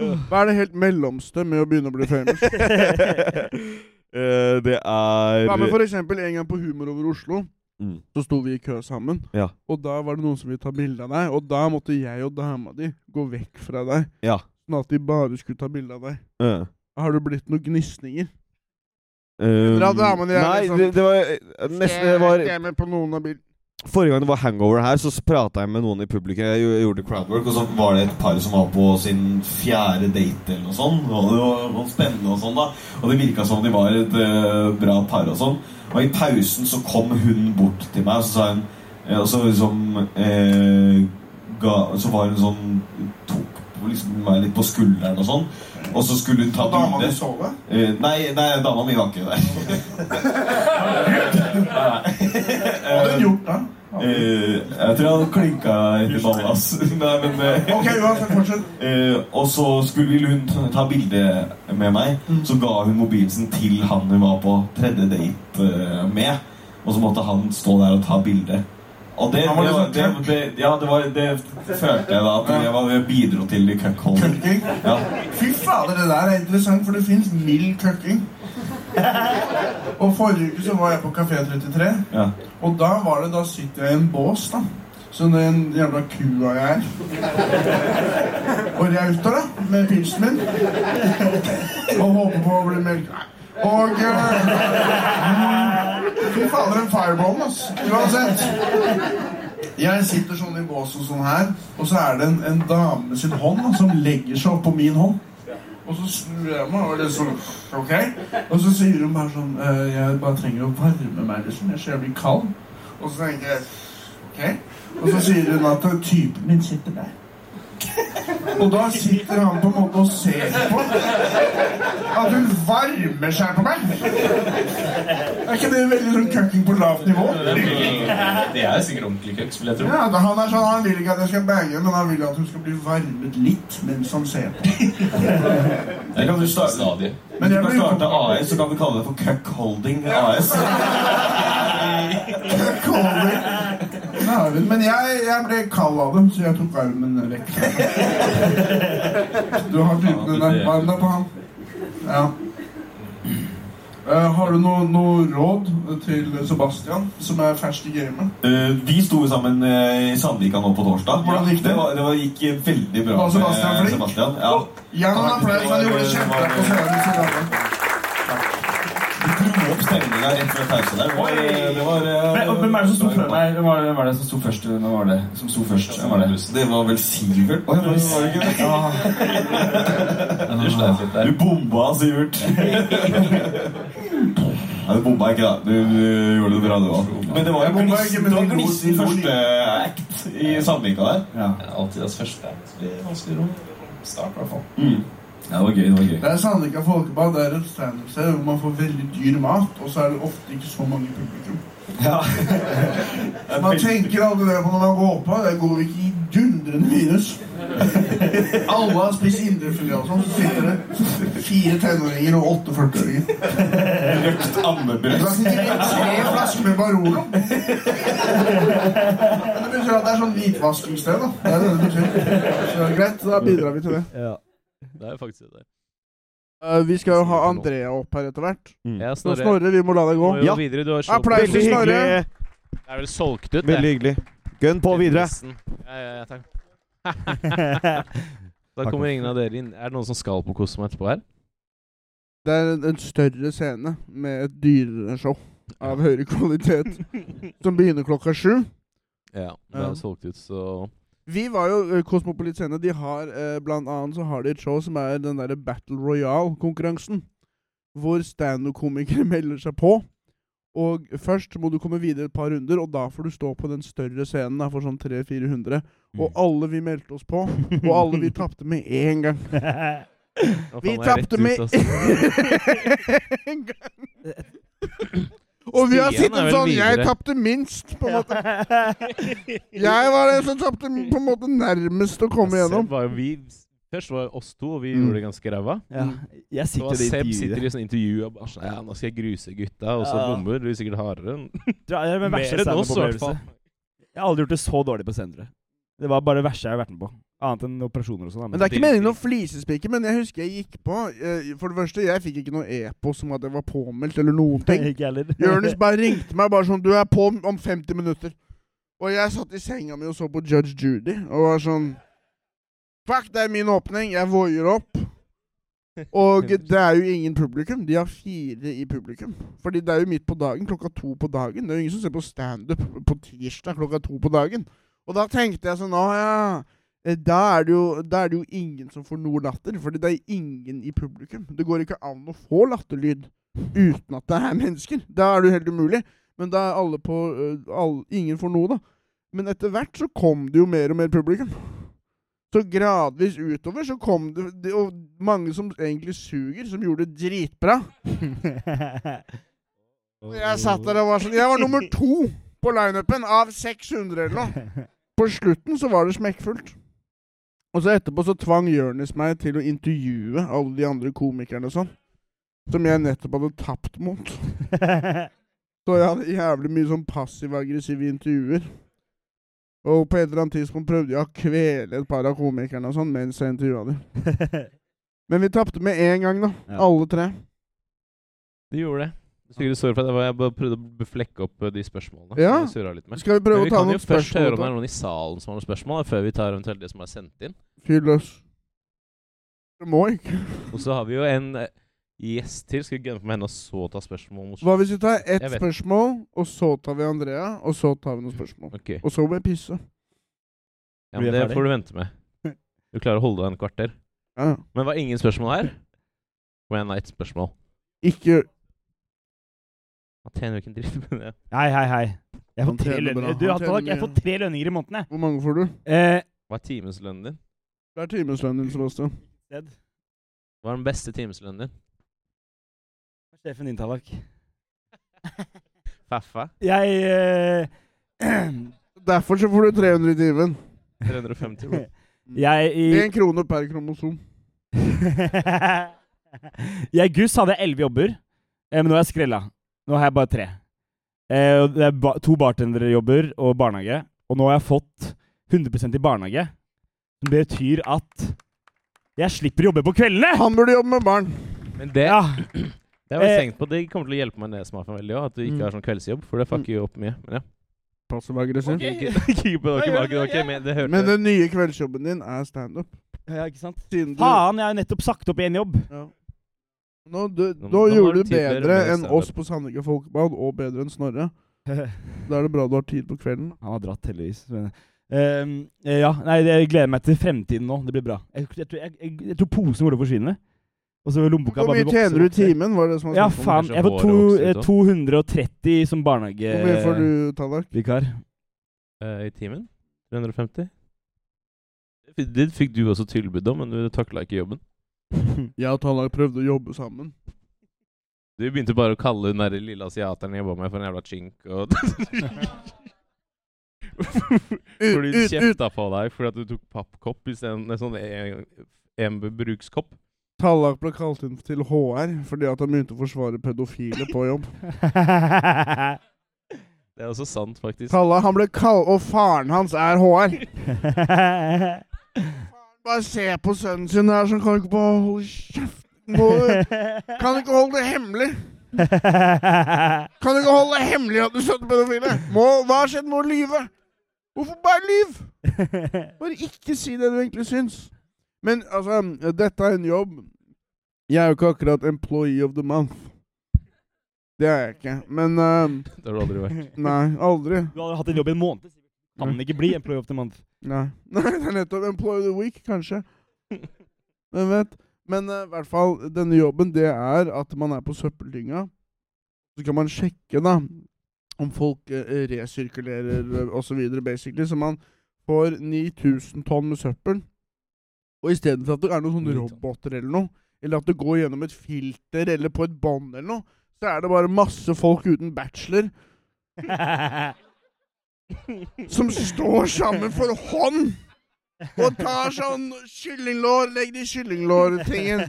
[SPEAKER 3] Hva er det helt mellomste med å begynne å bli famous?
[SPEAKER 5] Eh, Det er
[SPEAKER 3] Hva med for eksempel en gang på Humor over Oslo?
[SPEAKER 5] Mm.
[SPEAKER 3] Så sto vi i kø sammen,
[SPEAKER 5] Ja.
[SPEAKER 3] og da var det noen som ville ta bilde av deg. Og da måtte jeg og dama di gå vekk fra deg,
[SPEAKER 5] Ja.
[SPEAKER 3] sånn at de bare skulle ta bilde av deg.
[SPEAKER 5] eh.
[SPEAKER 3] Har det blitt noen gnisninger?
[SPEAKER 5] Um,
[SPEAKER 3] Dra damen din,
[SPEAKER 5] Nei,
[SPEAKER 3] liksom.
[SPEAKER 5] det, det var eh, nesten det var,
[SPEAKER 3] Jeg er med på noen av bildene.
[SPEAKER 5] Forrige gang det var hangover her, så prata jeg med noen i publikum. Jeg gjo- gjorde crowdwork, og så var det et par som var på sin fjerde date eller noe sånt. Og det var det var spennende og sånn, da. Og det virka som de var et eh, bra par og sånn. Og i pausen så kom hun bort til meg, og så sa hun eh, Og så liksom eh, ga, Så var hun sånn Tok på liksom meg litt på skulderen og sånn. Og så skulle hun ta bilde.
[SPEAKER 3] sove?
[SPEAKER 5] Eh, nei, nei, dama mi var ikke der. Hva hadde hun gjort da? Eh, jeg tror jeg hadde klinka etter ballen hans. Nei, men eh,
[SPEAKER 3] uansett, fortsett.
[SPEAKER 5] eh, Og så skulle ville hun ta- ta bilde med meg.
[SPEAKER 3] Mm.
[SPEAKER 5] Så ga hun mobilen sin til han hun var på tredje date eh, med. Og så måtte han stå der og ta bilde. Og det, det,
[SPEAKER 3] Han var
[SPEAKER 5] var-
[SPEAKER 3] liksom
[SPEAKER 5] det, det, ja, det, var, det følte jeg da at det var, det bidro til cuckholding. Ja.
[SPEAKER 3] Fy fader, det der er interessant, for det fins mild køkking. Og forrige uke så var jeg på Kafé 33,
[SPEAKER 5] Ja.
[SPEAKER 3] og da var det, da sitter jeg i en bås, da. Som den jævla kua jeg er. Og rauter, da, med pilsen min. Og håper på å bli meldt. Og eh, Fy fader, en firebomb, ass. Uansett. Jeg sitter sånn i båsen sånn her, og så er det en, en dame med sin hånd da, som legger seg oppå min hånd. Og så snur jeg meg, og det er sånn, ok? Og så sier hun bare sånn, «Eh, jeg bare trenger å varme meg, liksom. Jeg ser jeg blir kald. Og så tenker jeg, ok? Og så sier hun at «Eh, typen min sitter der. Og da sitter han på en måte og ser på at hun varmer seg på meg. Er ikke det veldig sånn køkking på lavt nivå?
[SPEAKER 6] Det er sikkert ordentlig køks, vil jeg tro.
[SPEAKER 3] Ja, da, han er sånn, han vil ikke at jeg skal bange, men han vil at hun skal bli varmet litt mens han ser på.
[SPEAKER 6] Det kan du starte stadig.
[SPEAKER 3] Men jeg
[SPEAKER 5] Hvis
[SPEAKER 3] blir
[SPEAKER 5] du kan starte AS, så kan vi kalle det for cuckholding AS.
[SPEAKER 3] Kåler. Ja, vel, Men jeg, jeg ble kald av dem, så jeg tok armen vekk. Du har typen en armbarm da på han. Ja. Eh, har du noe, noe råd til Sebastian, som er fersk i gamet?
[SPEAKER 5] Eh, vi sto jo sammen eh, i Sandvika nå på torsdag.
[SPEAKER 3] Hvordan gikk det?
[SPEAKER 5] Det, var, det var, gikk eh, veldig bra
[SPEAKER 3] Var Sebastian
[SPEAKER 5] med
[SPEAKER 3] flink?
[SPEAKER 5] Sebastian. Ja.
[SPEAKER 3] Gi ham en applaus, han gjorde det kjempebra på scenen. så bra.
[SPEAKER 5] Vi dro opp stemninga rett før pause der. Det var, eh, det var, eh,
[SPEAKER 7] Hvem er det som sto
[SPEAKER 5] bra
[SPEAKER 7] før?
[SPEAKER 5] jobba.
[SPEAKER 7] Nei, hvem var det, hvem var det som sto først? Hvem var det som sto først? Hvem var det?
[SPEAKER 5] Det var vel Sivert? Oi, var det- var det ikke det?
[SPEAKER 6] Det er sleit litt der.
[SPEAKER 5] Du bomba, Sivert. Nei, du bomba ikke, da. Du, du gjorde det bra, du òg. Men det var jo
[SPEAKER 3] Jeg bomba ikke,
[SPEAKER 5] gnisten
[SPEAKER 3] men
[SPEAKER 5] det var
[SPEAKER 3] vi lo-
[SPEAKER 5] gnisten
[SPEAKER 3] vi lo
[SPEAKER 5] første act i Sandvika der.
[SPEAKER 6] Alltid det første. Det blir vanskelig rom. Start, i hvert fall.
[SPEAKER 5] Ja, det var gøy. det var gøy
[SPEAKER 3] Det er Sandvika Folkebad, det er et standup-sted hvor man får veldig dyr mat, og så er det ofte ikke så mange publikum. Man tenker aldri det på når man går på. Det går ikke i dundrende minus. Alle har spist indrefilet og sånn, så sitter det fire tenåringer og åtte 40-åringer.
[SPEAKER 5] Røkt ammebrød.
[SPEAKER 3] Da sitter det tre flasker med Barolo. Men det betyr at det er sånn hvitvaskingssted, da. Det er det det betyr. Så greit, da bidrar vi til det.
[SPEAKER 1] Det er faktisk det.
[SPEAKER 3] Eh, vi skal jo ha Andrea opp her etter hvert.
[SPEAKER 5] Mm.
[SPEAKER 1] Ja,
[SPEAKER 3] Så
[SPEAKER 1] Snorre.
[SPEAKER 3] Snorre, vi må la deg
[SPEAKER 1] Du
[SPEAKER 3] gå.
[SPEAKER 1] må jo
[SPEAKER 5] Ja.
[SPEAKER 1] videre. Du har solgt
[SPEAKER 3] Applaus
[SPEAKER 1] ut.
[SPEAKER 3] til Snorre.
[SPEAKER 1] Det er vel solgt ut, det.
[SPEAKER 5] Veldig hyggelig. Gønn på videre.
[SPEAKER 1] Ja, ja, ja, takk. da kommer ingen av dere inn. Er det noen som skal på Kosmo etterpå her?
[SPEAKER 3] Det er en- en større scene med et dyrere show av høyere kvalitet som begynner klokka sju.
[SPEAKER 1] Ja. Det
[SPEAKER 3] Ja.
[SPEAKER 1] er solgt ut, så
[SPEAKER 3] Vi var jo eh, Kosmopolit scene. De har eh, blant annet så har de et show som er den derre Battle Royale-konkurransen. Hvor standup-komikere melder seg på. Og først må du komme videre et par runder, og da får du stå på den større scenen da, for sånn 300-400. Og alle vi meldte oss på, og alle vi tapte med én gang.
[SPEAKER 1] Å, faen,
[SPEAKER 3] Vi
[SPEAKER 1] jeg er rett
[SPEAKER 3] tapte
[SPEAKER 1] ut, altså.
[SPEAKER 3] med
[SPEAKER 1] ass.
[SPEAKER 3] én gang. Og vi
[SPEAKER 1] Stian
[SPEAKER 3] har
[SPEAKER 1] er
[SPEAKER 3] sittet
[SPEAKER 1] vel
[SPEAKER 3] sånn Jeg
[SPEAKER 1] videre.
[SPEAKER 3] tapte minst, på en måte. Jeg var den som tapte på en måte nærmest å komme
[SPEAKER 1] Seb
[SPEAKER 3] igjennom.
[SPEAKER 1] Var jo vi, først var det oss to, og vi
[SPEAKER 2] Mm.
[SPEAKER 1] gjorde det ganske ræva.
[SPEAKER 2] Ja. Jeg
[SPEAKER 1] Så
[SPEAKER 2] sitter i det
[SPEAKER 1] Seb sitter
[SPEAKER 2] intervjuet.
[SPEAKER 1] i sånn intervju og bare sånn, Ja, nå skal jeg gruse gutta, og så
[SPEAKER 2] Ja.
[SPEAKER 1] bommer du sikkert hardere. enn-
[SPEAKER 2] Dra- Det er min verste
[SPEAKER 1] Mer enn oss, i hvert
[SPEAKER 2] standup-opplevelse.
[SPEAKER 1] fall.
[SPEAKER 2] Jeg har aldri gjort det så dårlig på senteret. Det var bare det verste jeg har vært med på. Annet enn operasjoner og sånn. da,
[SPEAKER 3] Men det er ikke meningen å flisespikke, men jeg husker jeg gikk på eh, For det første, jeg fikk ikke noe epos om at jeg var påmeldt, eller noen ting.
[SPEAKER 2] Ikke jeg heller.
[SPEAKER 3] Jonis bare ringte meg bare sånn Du er på om 50 minutter. Og jeg satt i senga mi og så på Judge Judy og var sånn Fuck, det er min åpning. Jeg voier opp. Og det er jo ingen publikum. De har fire i publikum. Fordi det er jo midt på dagen. Klokka to på dagen. Det er jo ingen som ser på standup på tirsdag klokka to på dagen. Og da tenkte jeg sånn Å ja. eh, Da er, det jo, da er det jo ingen som får noe latter, fordi det er ingen i publikum. Det går ikke an å få latterlyd uten at det er mennesker. Da er det jo helt umulig. Men da er alle på øh, alle, Ingen får noe, da. Men etter hvert så kom det jo mer og mer publikum. Så gradvis utover så kom det, det Og mange som egentlig suger, som gjorde det dritbra. Og jeg satt der og var sånn Jeg var nummer to på lineupen av 600 eller noe. På slutten så var det smekkfullt. Og så etterpå så tvang Jonis meg til å intervjue alle de andre komikerne og sånn. Som jeg nettopp hadde tapt mot. Så jeg hadde jævlig mye sånn passiv-aggressive intervjuer. Og på et eller annet tidspunkt prøvde jeg å kvele et par av komikerne og sånn mens jeg intervjua dem. Men vi tapte med én gang, da.
[SPEAKER 2] Ja.
[SPEAKER 3] Alle tre.
[SPEAKER 1] Du gjorde det. Sikkert sorry for at jeg var- jeg bare prøvde å beflekke opp eh, de spørsmålene.
[SPEAKER 3] Ja.
[SPEAKER 1] som jeg surret litt med.
[SPEAKER 3] Skal vi
[SPEAKER 1] Men
[SPEAKER 3] prøve
[SPEAKER 1] vi
[SPEAKER 3] å ta
[SPEAKER 1] kan jo
[SPEAKER 3] noen
[SPEAKER 1] først høre
[SPEAKER 3] spørsmål?
[SPEAKER 1] om det er
[SPEAKER 3] da?
[SPEAKER 1] noen i salen som har noen spørsmål, da, før vi tar eventuelt det som er sendt inn.
[SPEAKER 3] Fyr løs. Det må ikke.
[SPEAKER 1] Og så har vi jo en eh, gjest til. Skal vi gunne på med henne og så ta spørsmål? mot-
[SPEAKER 3] Hva hvis vi tar ett
[SPEAKER 1] Jeg vet.
[SPEAKER 3] spørsmål, og så tar vi Andrea, og så tar vi noen spørsmål?
[SPEAKER 1] Ok,
[SPEAKER 3] Og så må jeg pisse.
[SPEAKER 1] ja, men
[SPEAKER 2] Blir jeg
[SPEAKER 1] Det
[SPEAKER 2] ferdig?
[SPEAKER 1] får du vente med. Du klarer å holde deg en kvarter.
[SPEAKER 3] Ja.
[SPEAKER 1] Men var ingen spørsmål her? Kom igjen, nei, et spørsmål.
[SPEAKER 3] Ikke
[SPEAKER 1] Man tjener jo ikke en dritt med det.
[SPEAKER 2] Hei, hei, hei. Jeg
[SPEAKER 3] Han
[SPEAKER 2] får tre
[SPEAKER 3] tjener bra.
[SPEAKER 2] lønninger. Du,
[SPEAKER 3] Han
[SPEAKER 2] Hatalak,
[SPEAKER 3] tjener
[SPEAKER 2] jeg får
[SPEAKER 3] mye.
[SPEAKER 2] tre lønninger i måneden, jeg.
[SPEAKER 3] Hvor mange får du?
[SPEAKER 2] Eh,
[SPEAKER 1] Hva er timeslønnen din?
[SPEAKER 3] Det er timeslønnen din, Sebastian.
[SPEAKER 1] Hva er den beste timeslønnen din?
[SPEAKER 2] sjefen din, Tallak.
[SPEAKER 1] Faffa?
[SPEAKER 2] Jeg eh,
[SPEAKER 3] Derfor så får du 300 i timen.
[SPEAKER 1] 350 kroner.
[SPEAKER 2] Jeg i
[SPEAKER 3] Én krone per kromosom.
[SPEAKER 2] Jeg i Guss hadde jeg elleve jobber, eh, men nå er jeg skrella. Nå har jeg bare tre. Eh, og det er ba to bartenderjobber og barnehage. Og nå har jeg fått 100 i barnehage. Som betyr at jeg slipper å jobbe på kveldene!
[SPEAKER 3] Han burde jobbe med barn.
[SPEAKER 1] Men det,
[SPEAKER 2] Ja,
[SPEAKER 1] det har jeg
[SPEAKER 2] Eh.
[SPEAKER 1] tenkt på. Det kommer til å hjelpe meg ned smaken veldig òg, at du
[SPEAKER 3] Mm.
[SPEAKER 1] ikke har sånn kveldsjobb, for det fucker jo opp mye. Men ja.
[SPEAKER 3] Passiv-aggressiv.
[SPEAKER 1] Ikke- ikke- det var ikke bak- det var ikke med- det hørte
[SPEAKER 3] Men
[SPEAKER 1] jeg.
[SPEAKER 3] den nye kveldsjobben din er standup.
[SPEAKER 2] ja ikke sant?
[SPEAKER 3] Siden du
[SPEAKER 2] Faen, jeg har jo nettopp sagt opp én jobb.
[SPEAKER 3] ja. Nå, du,
[SPEAKER 1] Nå-
[SPEAKER 3] nå
[SPEAKER 1] nå har
[SPEAKER 3] gjorde
[SPEAKER 1] du
[SPEAKER 3] du
[SPEAKER 1] tid til å gjøre
[SPEAKER 3] bedre
[SPEAKER 1] mer
[SPEAKER 3] enn
[SPEAKER 1] standup.
[SPEAKER 3] oss på Sandvika Folkebad, og bedre enn Snorre. Da er det bra du har tid på kvelden.
[SPEAKER 2] Han har dratt, heldigvis. Men, Ehm, eh, ja, nei, jeg gleder meg til fremtiden nå. Det blir bra. Jeg, jeg, tror- jeg, jeg, jeg tror posen kommer til å forsvinne. Og så vil lommeboka
[SPEAKER 3] Hvor
[SPEAKER 2] bare
[SPEAKER 3] mye
[SPEAKER 2] vokse og
[SPEAKER 3] tjener du i
[SPEAKER 2] vokse.
[SPEAKER 3] timen? Var det som var sånn?
[SPEAKER 2] Ja,
[SPEAKER 3] snakk om?
[SPEAKER 2] faen.
[SPEAKER 1] kanskje
[SPEAKER 2] Jeg får
[SPEAKER 1] håret
[SPEAKER 2] to,
[SPEAKER 1] vokser ut
[SPEAKER 2] eh,
[SPEAKER 1] også.
[SPEAKER 2] 230 som
[SPEAKER 3] Hvor mye får du, Tallak?
[SPEAKER 2] barnehagevikar.
[SPEAKER 1] Eh, I timen? 350? F- Det fikk du også tilbud om, men du takla ikke jobben.
[SPEAKER 3] Jeg og Tallak prøvde å jobbe sammen.
[SPEAKER 1] Du begynte bare å kalle hun derre lille asiateren jeg jobba med, for en jævla chink og
[SPEAKER 3] Ut,
[SPEAKER 1] Fordi du
[SPEAKER 3] ut, ut!
[SPEAKER 1] kjefta på deg fordi at du tok pappkopp istedenfor sånn en- en brukskopp.
[SPEAKER 3] Tallak ble kalt inn til HR fordi at han begynte å forsvare pedofile på jobb.
[SPEAKER 1] Det er også sant, faktisk.
[SPEAKER 3] Kalle, han ble kall... Og faren hans er HR. Bare se på sønnen sin her, så kan du ikke bare holde kjeft. Må du... Kan du ikke holde det hemmelig? Kan du ikke holde det hemmelig at du støtter pedofile? Må... Hva har skjedd? Må du lyve? Hvorfor bare lyv? Bare ikke si det du egentlig syns. Men altså, dette er en jobb. Jeg er jo ikke akkurat employee of the month. Det er jeg ikke. Men eh,
[SPEAKER 1] Det har du aldri vært.
[SPEAKER 3] Nei, aldri.
[SPEAKER 2] Du hadde hatt en jobb i en måned. Sivert. Kan ikke bli employee of the month.
[SPEAKER 3] Nei. Nei, det er nettopp Employee of the Week, kanskje. Hvem vet? Men eh, i hvert fall, denne jobben, det er at man er på søppeldynga. Så kan man sjekke, da, om folk eh, resirkulerer osv., basically. Så man får 9000 tonn med søppel. Og istedenfor at det er noen sånne
[SPEAKER 1] 9 tonn.
[SPEAKER 3] roboter eller noe, eller at det går gjennom et filter eller på et bånd eller noe, så er det bare masse folk uten bachelor som står sammen for hånd og tar sånn kyllinglår, legg det i kyllinglårtingen.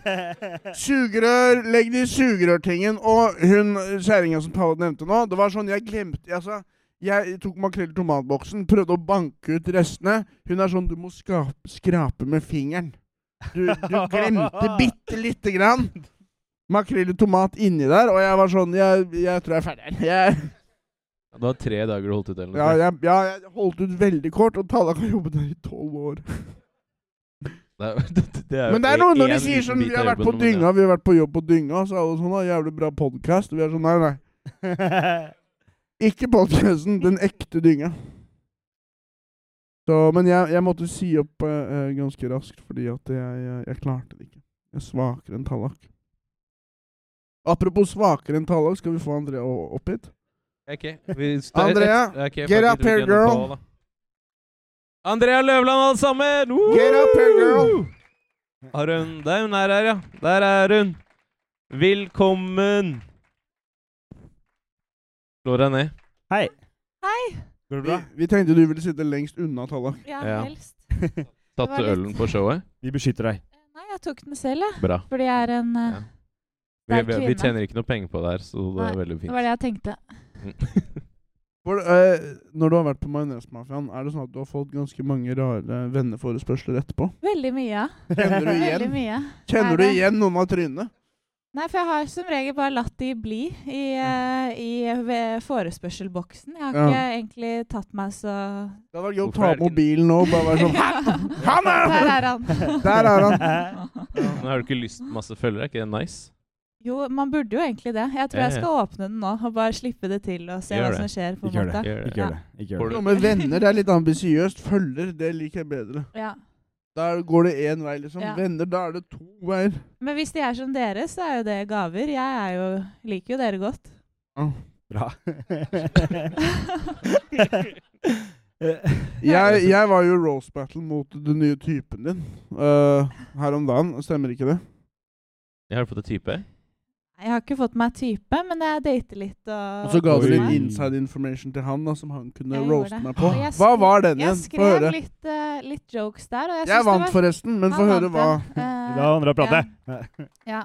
[SPEAKER 3] Sugerør, legg det i sugerørtingen. Og hun kjerringa som Palle nevnte nå, det var sånn jeg glemte altså, Jeg tok makrell i tomatboksen, prøvde å banke ut restene. Hun er sånn du må skap, skrape med fingeren. Du, du glemte bitte lite grann makrell i tomat inni der, og jeg var sånn Jeg, jeg tror jeg er ferdig her. Jeg
[SPEAKER 1] Det var tre dager du holdt ut. eller noe
[SPEAKER 3] ja, jeg, ja, jeg holdt ut veldig kort, og Tallak har jobbet der i tolv år.
[SPEAKER 1] sånt. Det er- det er jo
[SPEAKER 3] Men det er noe når de
[SPEAKER 1] en
[SPEAKER 3] sier
[SPEAKER 1] liten
[SPEAKER 3] sånn
[SPEAKER 1] bit
[SPEAKER 3] Vi har
[SPEAKER 1] av
[SPEAKER 3] vært på
[SPEAKER 1] jobben, men ja.
[SPEAKER 3] dynga, vi har vært på jobb på dynga, så er alle sånn «Ah, Jævlig bra podkast. Vi er sånn Nei, nei. Ikke podkasten, den ekte dynga. Så, men jeg, jeg måtte si opp eh, eh, ganske raskt, fordi at jeg, jeg, jeg klarte det ikke. Jeg er svakere enn Tallak. Apropos svakere enn Tallak, skal vi få Andrea o- opp hit?
[SPEAKER 1] Ok, vi- det er-
[SPEAKER 3] Andrea,
[SPEAKER 1] ok, fuck,
[SPEAKER 3] get
[SPEAKER 1] vi
[SPEAKER 3] up
[SPEAKER 1] trykker
[SPEAKER 3] here,
[SPEAKER 1] igjen
[SPEAKER 3] girl.
[SPEAKER 1] på, da. Andrea Løvland, alle sammen! Woo!
[SPEAKER 3] Get up here, girl!
[SPEAKER 1] Har hun Der hun er her, ja. Der er hun. Velkommen. Slår deg ned.
[SPEAKER 2] Hei.
[SPEAKER 8] Hei!
[SPEAKER 2] Går det
[SPEAKER 3] Vi,
[SPEAKER 2] bra?
[SPEAKER 3] vi tenkte du ville sitte lengst unna Tallak.
[SPEAKER 8] Ja,
[SPEAKER 1] Ja.
[SPEAKER 8] helst.
[SPEAKER 1] Tatt
[SPEAKER 8] Det var litt-
[SPEAKER 1] ølen på showet?
[SPEAKER 2] Vi beskytter deg.
[SPEAKER 8] Nei, jeg tok den selv, jeg.
[SPEAKER 1] Bra.
[SPEAKER 8] Fordi jeg er en eh,
[SPEAKER 1] Ja. Vi,
[SPEAKER 8] Det er
[SPEAKER 1] vi, vi
[SPEAKER 8] kvinne.
[SPEAKER 1] tjener ikke noe penger på det her, så det er veldig
[SPEAKER 8] Det var
[SPEAKER 1] fint.
[SPEAKER 8] det jeg tenkte.
[SPEAKER 3] For, eh, når du har vært på Majonesmafiaen, er det sånn at du har fått ganske mange rare venneforespørsler etterpå?
[SPEAKER 8] Veldig mye.
[SPEAKER 3] Kjenner du
[SPEAKER 8] Veldig
[SPEAKER 3] igjen,
[SPEAKER 8] mye.
[SPEAKER 3] Kjenner du
[SPEAKER 8] Er det-
[SPEAKER 3] igjen noen av trynene?
[SPEAKER 8] Nei, for jeg har som regel bare latt de bli i, eh, i ved forespørselboksen. Jeg har
[SPEAKER 3] Ja.
[SPEAKER 8] ikke egentlig tatt meg så
[SPEAKER 3] Det hadde vært gøy å
[SPEAKER 1] Hvorfor er
[SPEAKER 3] ta opp
[SPEAKER 1] det ikke-
[SPEAKER 3] mobilen nå og bare være sånn Han
[SPEAKER 8] Der
[SPEAKER 3] er
[SPEAKER 8] er han!
[SPEAKER 3] Der er han!
[SPEAKER 1] Men har du ikke lyst på masse følgere? Er ikke det nice?
[SPEAKER 8] Jo, man burde jo egentlig det. Jeg tror
[SPEAKER 1] Ja,
[SPEAKER 8] jeg skal åpne den nå og bare slippe det til og se
[SPEAKER 1] Gjør
[SPEAKER 8] hva
[SPEAKER 1] det.
[SPEAKER 8] som skjer. på en
[SPEAKER 2] Ikke gjør
[SPEAKER 8] måte.
[SPEAKER 1] Gjør det.
[SPEAKER 2] Ikke gjør det. Ikke gjør det.
[SPEAKER 3] Noe med venner det er litt ambisiøst. Følger, det liker jeg bedre.
[SPEAKER 8] Ja.
[SPEAKER 3] Der går det én vei, liksom.
[SPEAKER 8] Ja.
[SPEAKER 3] Venner, da er det to veier.
[SPEAKER 8] Men hvis de er som dere, så er jo det gaver. Jeg er jo, liker jo dere godt.
[SPEAKER 2] Bra.
[SPEAKER 3] Jeg, jeg var jo i Rose Battle mot den nye typen din eh, her om dagen. Stemmer ikke det?
[SPEAKER 1] Jeg har fått en type.
[SPEAKER 8] Jeg har ikke fått meg type, men jeg dater litt. Og,
[SPEAKER 3] Og så ga du
[SPEAKER 2] Oi.
[SPEAKER 3] litt inside information til han da, som han kunne
[SPEAKER 8] Jeg gjorde
[SPEAKER 3] roaste
[SPEAKER 8] det.
[SPEAKER 3] meg på.
[SPEAKER 8] Og jeg
[SPEAKER 3] Hva
[SPEAKER 8] skrev-
[SPEAKER 3] var den
[SPEAKER 8] Jeg
[SPEAKER 3] igjen? Få
[SPEAKER 8] skrev
[SPEAKER 3] høre.
[SPEAKER 8] litt, eh, litt jokes der. Og jeg, synes
[SPEAKER 3] Jeg vant
[SPEAKER 8] det var,
[SPEAKER 3] forresten, men få
[SPEAKER 8] Han
[SPEAKER 3] høre
[SPEAKER 8] vant
[SPEAKER 3] hva.
[SPEAKER 8] den. Eh,
[SPEAKER 2] La andre prate.
[SPEAKER 8] Ja.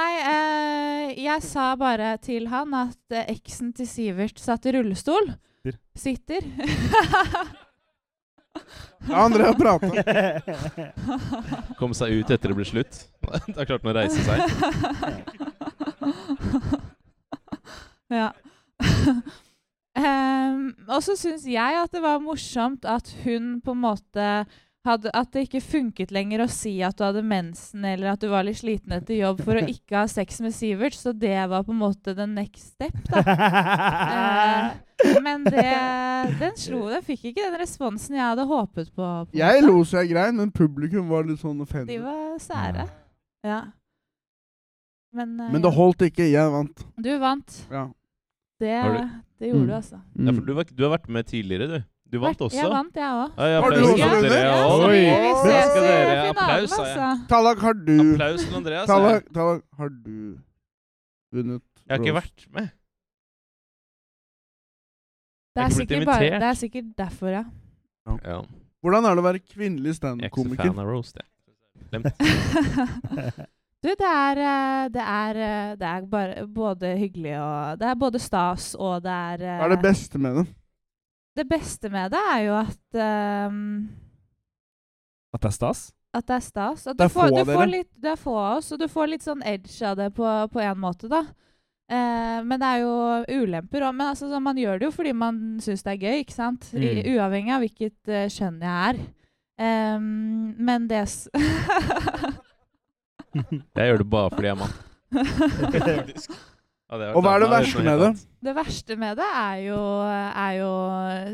[SPEAKER 8] Nei, eh, jeg sa bare til han at eh, eksen til Sivert satt i rullestol. Sitter.
[SPEAKER 3] Ja, Andrea prata.
[SPEAKER 1] Kom seg ut etter det ble slutt. Da klarte han å reise seg.
[SPEAKER 8] ja. Em, og så syns jeg at det var morsomt at hun på en måte hadde, At det ikke funket lenger å si at du hadde mensen eller at du var litt sliten etter jobb for å ikke ha sex med Sivert, så det var på en måte the next step, da. Eh, men det, den slo Den fikk ikke den responsen jeg hadde håpet på. på en
[SPEAKER 3] Jeg
[SPEAKER 8] måte.
[SPEAKER 3] lo så jeg grein, men publikum var litt sånn
[SPEAKER 8] De
[SPEAKER 3] offended.
[SPEAKER 8] var sære. Ja. Men, eh,
[SPEAKER 3] Men det
[SPEAKER 8] ja.
[SPEAKER 3] holdt ikke. Jeg vant.
[SPEAKER 8] du vant.
[SPEAKER 3] Ja.
[SPEAKER 8] Det,
[SPEAKER 1] Har du-
[SPEAKER 8] det gjorde du,
[SPEAKER 3] Mm.
[SPEAKER 8] altså.
[SPEAKER 1] Ja, for du, var, du har vært med tidligere, du. Du vant også.
[SPEAKER 8] Jeg vant, jeg òg.
[SPEAKER 1] Ja, ja,
[SPEAKER 3] Har du
[SPEAKER 1] applaus
[SPEAKER 3] også
[SPEAKER 1] til
[SPEAKER 3] vunnet?
[SPEAKER 1] Andrea
[SPEAKER 8] Ja,
[SPEAKER 1] også.
[SPEAKER 8] så
[SPEAKER 2] Oi.
[SPEAKER 8] vi, vi
[SPEAKER 3] Bra
[SPEAKER 8] ses
[SPEAKER 1] skal
[SPEAKER 8] i
[SPEAKER 1] dere.
[SPEAKER 8] finalen,
[SPEAKER 1] Applaus, sa jeg.
[SPEAKER 8] altså.
[SPEAKER 3] Tallak, Mm. har du
[SPEAKER 1] Applaus til Andrea. sa jeg.
[SPEAKER 3] Tallak, Tallak, har du vunnet?
[SPEAKER 1] Jeg har ikke
[SPEAKER 3] Rose?
[SPEAKER 1] vært med.
[SPEAKER 8] Det
[SPEAKER 1] Jeg
[SPEAKER 8] er,
[SPEAKER 1] er ikke blitt
[SPEAKER 8] sikkert bare,
[SPEAKER 1] invitert.
[SPEAKER 8] det er sikkert derfor, ja.
[SPEAKER 1] Ja.
[SPEAKER 3] Hvordan er det å være kvinnelig
[SPEAKER 1] Jeg er ikke så
[SPEAKER 3] standup-komiker?
[SPEAKER 1] fan av roast, jeg.
[SPEAKER 8] Du, det er, eh, det er, eh, det er bare, både hyggelig og Det er både stas og det er eh,
[SPEAKER 3] Hva er det beste med det?
[SPEAKER 8] det beste med det er jo at ehm,
[SPEAKER 2] At det er stas?
[SPEAKER 8] at det er stas.
[SPEAKER 2] Det
[SPEAKER 8] At du
[SPEAKER 2] er få
[SPEAKER 8] får,
[SPEAKER 2] av
[SPEAKER 8] du får
[SPEAKER 2] dere.
[SPEAKER 8] litt, det er få av oss, og du får litt sånn edge av det på, på en måte, da. Eh, men det er jo ulemper òg. Men altså, sånn, man gjør det jo fordi man syns det er gøy, ikke sant? I,
[SPEAKER 2] Mm.
[SPEAKER 8] uavhengig av hvilket eh, kjønn jeg er. Ehm, men det s
[SPEAKER 1] Jeg gjør det bare fordi jeg er mann. Ja, det har vært
[SPEAKER 3] Og hva er det
[SPEAKER 1] annet,
[SPEAKER 3] verste
[SPEAKER 1] noe
[SPEAKER 3] med
[SPEAKER 1] helt
[SPEAKER 3] det?
[SPEAKER 1] annet.
[SPEAKER 8] Det verste med det er jo, er jo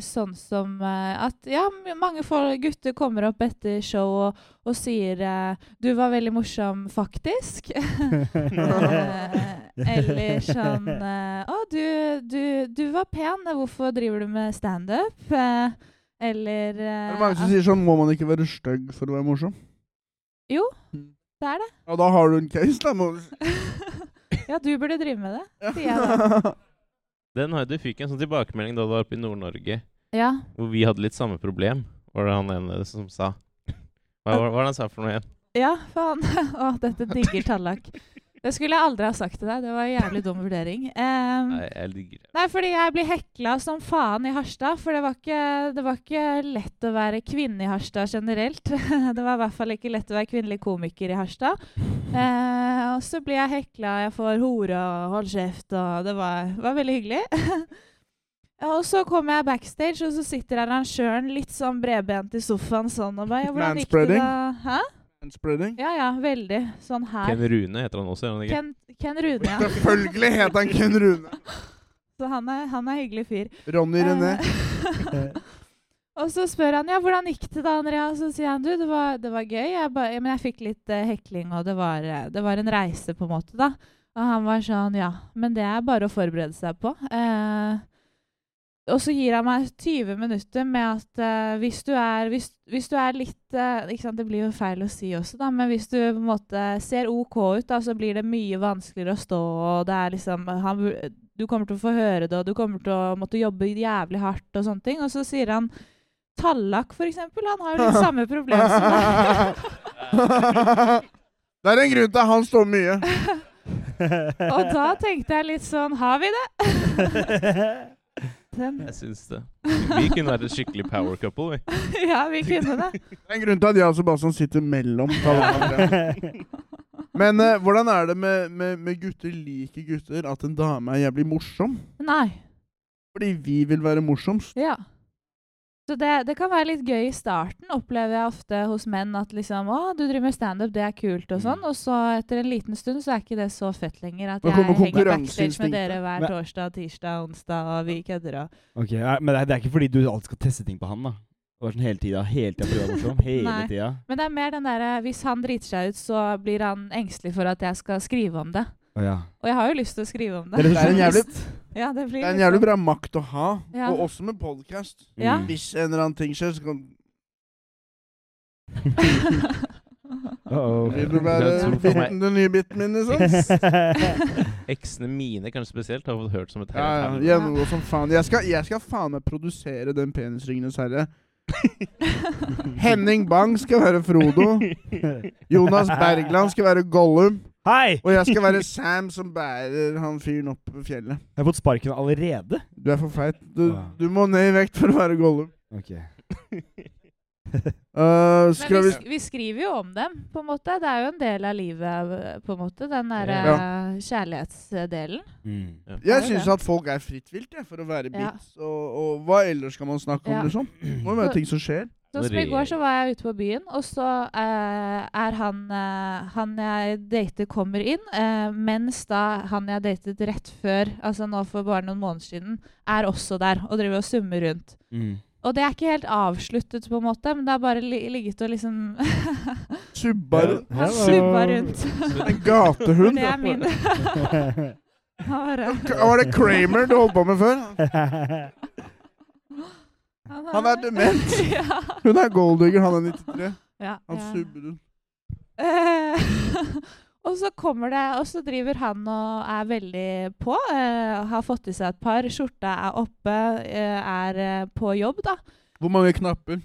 [SPEAKER 8] sånn som eh, at ja, m- mange folk, gutter kommer opp etter show og, og sier eh, 'Du var veldig morsom, faktisk'. Eh, Eller sånn eh, 'Å, du, du, du var pen. eh, Hvorfor driver du med standup?' Eh, Eller
[SPEAKER 3] Er
[SPEAKER 8] eh,
[SPEAKER 3] det mange som
[SPEAKER 8] at-
[SPEAKER 3] sier sånn Må man ikke være stygg for å være morsom?
[SPEAKER 8] Jo, det er det.
[SPEAKER 3] Ja, da har du en case, da. Må...
[SPEAKER 8] Ja, du burde drive med det, sier jeg da.
[SPEAKER 3] Hva
[SPEAKER 1] Den har, du fikk en sånn tilbakemelding da du var oppe i Nord-Norge,
[SPEAKER 8] Ja.
[SPEAKER 1] hvor vi hadde litt samme problem. Var det han ene som sa Hva var hva var det han sa for noe igjen?
[SPEAKER 8] Ja, faen. Å, dette digger Tallak. Det skulle jeg aldri ha sagt til deg. Det var en jævlig dum vurdering. Ehm,
[SPEAKER 1] Nei, jeg digger det.
[SPEAKER 8] nei, fordi jeg blir hekla som faen i Harstad. For det var, ikke, det var ikke lett å være kvinne i Harstad generelt. Det var i hvert fall ikke lett å være kvinnelig komiker i Harstad. Eh, og så blir jeg hekla, jeg får hore og hold kjeft, og det var, var veldig hyggelig. Og så kommer jeg backstage, og så sitter arrangøren litt sånn bredbent i sofaen sånn og bare ja, 'Hvordan gikk det, da?'
[SPEAKER 3] Manspreading?
[SPEAKER 8] Hæ?
[SPEAKER 3] Spreading?
[SPEAKER 8] Ja, ja, veldig. Sånn her.
[SPEAKER 1] Ken Rune heter han også, gjør han ikke?
[SPEAKER 8] Ken, Ken Rune, ja.
[SPEAKER 3] Selvfølgelig het han Ken Rune.
[SPEAKER 8] Så han er, han er hyggelig fyr.
[SPEAKER 3] Ronny René.
[SPEAKER 8] Eh, og så spør han ja, hvordan gikk det da, Andrea? Og så sier han du, det var, det var gøy, jeg ba, ja, men jeg fikk litt eh, hekling, og det var, eh, det var en reise, på en måte, da. Og han var sånn ja, men det er bare å forberede seg på. Eh, og så gir han meg 20 minutter med at eh, hvis, du er, hvis, hvis du er litt eh, ikke sant, Det blir jo feil å si også, da, men hvis du på en måte ser OK ut, da, så blir det mye vanskeligere å stå, og det er liksom han, vur- Du kommer til å få høre det, og du kommer til å måtte jobbe jævlig hardt og sånne ting. Og så sier han Tallak, for eksempel. Han har jo litt samme problem som deg.
[SPEAKER 3] det er en grunn til at han står mye.
[SPEAKER 8] og da tenkte jeg litt sånn Har vi det? Den,
[SPEAKER 1] Jeg syns det. Vi kunne vært et skikkelig power couple, vi.
[SPEAKER 8] ja, vi kunne det.
[SPEAKER 3] Det er en grunn til at jeg og Sebastian sitter mellom. tallene. Men eh, hvordan er det med, med, med gutter liker gutter at en dame er jævlig morsom?
[SPEAKER 8] Nei.
[SPEAKER 3] Fordi vi vil være morsomst.
[SPEAKER 8] Ja. Så det, det kan være litt gøy i starten, opplever jeg ofte hos menn. At liksom 'Å, du driver med standup, det er kult',
[SPEAKER 3] Mm.
[SPEAKER 8] og sånn. Og så etter en liten stund så er ikke det så fett lenger. At
[SPEAKER 3] Da
[SPEAKER 8] jeg
[SPEAKER 3] kommer
[SPEAKER 8] henger backstage
[SPEAKER 3] konkurranseinstinktet.
[SPEAKER 8] med dere hver
[SPEAKER 2] Men-
[SPEAKER 8] torsdag, tirsdag, onsdag, og vi kødder og
[SPEAKER 2] Ok, nei, Men det er, det er ikke fordi du alltid skal teste ting på han, da. Det var sånn hele tida. Hele tida prøve å være morsom. Hele
[SPEAKER 8] Nei.
[SPEAKER 2] tida.
[SPEAKER 8] Men det er mer den derre Hvis han driter seg ut, så blir han engstelig for at jeg skal skrive om det.
[SPEAKER 2] Å ja.
[SPEAKER 8] Og jeg har jo lyst til å skrive om
[SPEAKER 2] Det er,
[SPEAKER 8] det.
[SPEAKER 3] Det er en jævlig,
[SPEAKER 8] Ja, det blir
[SPEAKER 3] det er en
[SPEAKER 8] litt
[SPEAKER 3] jævlig
[SPEAKER 8] sånn-
[SPEAKER 3] bra makt å ha,
[SPEAKER 8] Ja.
[SPEAKER 3] og også med podkast.
[SPEAKER 8] Ja.
[SPEAKER 2] Mm.
[SPEAKER 3] Hvis en eller annen ting skjer, så kan Mm.
[SPEAKER 2] Uh-oh.
[SPEAKER 3] vil du
[SPEAKER 1] Jeg
[SPEAKER 3] være
[SPEAKER 1] tror for meg-
[SPEAKER 3] biten, den nye biten min, liksom.
[SPEAKER 1] Eksene mine kanskje spesielt har fått hørt som et
[SPEAKER 3] Ja, ja,
[SPEAKER 1] helvete.
[SPEAKER 3] gjennomgå som faen. Jeg skal, jeg skal faen meg produsere den penisringenes herre. Henning Bang skal være Frodo. Jonas Bergland skal være Gollum.
[SPEAKER 2] Hei!
[SPEAKER 3] Og jeg skal være Sam som bærer han fyren opp på fjellet.
[SPEAKER 2] Jeg har fått sparken allerede.
[SPEAKER 3] Du er for feit. Du, du må ned i vekt for å være Gollum.
[SPEAKER 2] Ok.
[SPEAKER 3] Øh,
[SPEAKER 8] Men
[SPEAKER 3] skal
[SPEAKER 8] vi,
[SPEAKER 3] vi
[SPEAKER 8] sk- vi skriver jo om dem, på en måte. Det er jo en del av livet, på en måte. Den der
[SPEAKER 1] Ja.
[SPEAKER 8] eh, kjærlighetsdelen.
[SPEAKER 2] Mm.
[SPEAKER 3] Jeg syns at folk er fritt vilt, jeg, for å være
[SPEAKER 8] Ja.
[SPEAKER 3] bits. Og, og hva ellers skal man snakke om,
[SPEAKER 8] Ja.
[SPEAKER 3] liksom? Det må jo være ting som skjer.
[SPEAKER 8] Sånn som i går så var jeg ute på byen, og så eh, er han, eh, han jeg dater, kommer inn. eh, mens da han jeg datet rett før, altså nå for bare noen måneder siden, er også der og driver og summer rundt.
[SPEAKER 2] Mm.
[SPEAKER 8] Og det er ikke helt avsluttet, på en måte, men det har bare li ligget og liksom
[SPEAKER 3] Subaru.
[SPEAKER 2] Ja,
[SPEAKER 8] Han subba
[SPEAKER 2] ja.
[SPEAKER 8] rundt.
[SPEAKER 3] En gatehund.
[SPEAKER 8] Det er min. Han bare,
[SPEAKER 3] Var det Kramer du holdt på med før? Han er dement.
[SPEAKER 8] ja.
[SPEAKER 3] Hun er golddigger, han er 93.
[SPEAKER 8] ja,
[SPEAKER 3] Han
[SPEAKER 8] ja.
[SPEAKER 3] subber hun.
[SPEAKER 8] Eh, og så kommer det, og så driver han og er veldig på. eh, har fått i seg et par. Skjorta er oppe, eh, er eh, på jobb, da.
[SPEAKER 3] Hvor mange knapper?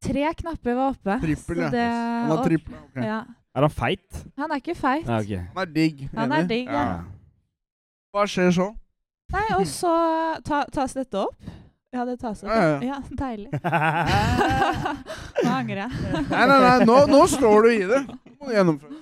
[SPEAKER 8] Tre knapper var oppe.
[SPEAKER 3] Trippel, ja.
[SPEAKER 8] så det,
[SPEAKER 3] Han har
[SPEAKER 8] og,
[SPEAKER 3] trippel. ok.
[SPEAKER 8] ja.
[SPEAKER 2] Er han feit?
[SPEAKER 8] Han er ikke feit.
[SPEAKER 2] Nei, ok.
[SPEAKER 3] Han er digg.
[SPEAKER 8] Han er
[SPEAKER 3] enig?
[SPEAKER 8] digg. Ja.
[SPEAKER 3] Hva skjer så?
[SPEAKER 8] Nei, og så ta, tas dette opp. Ja, det tas opp.
[SPEAKER 3] Ja, ja.
[SPEAKER 8] Ja, deilig. Nå angrer jeg.
[SPEAKER 3] Nei, nei, nei, nå, nå slår du i det. Nå må du gjennomføre.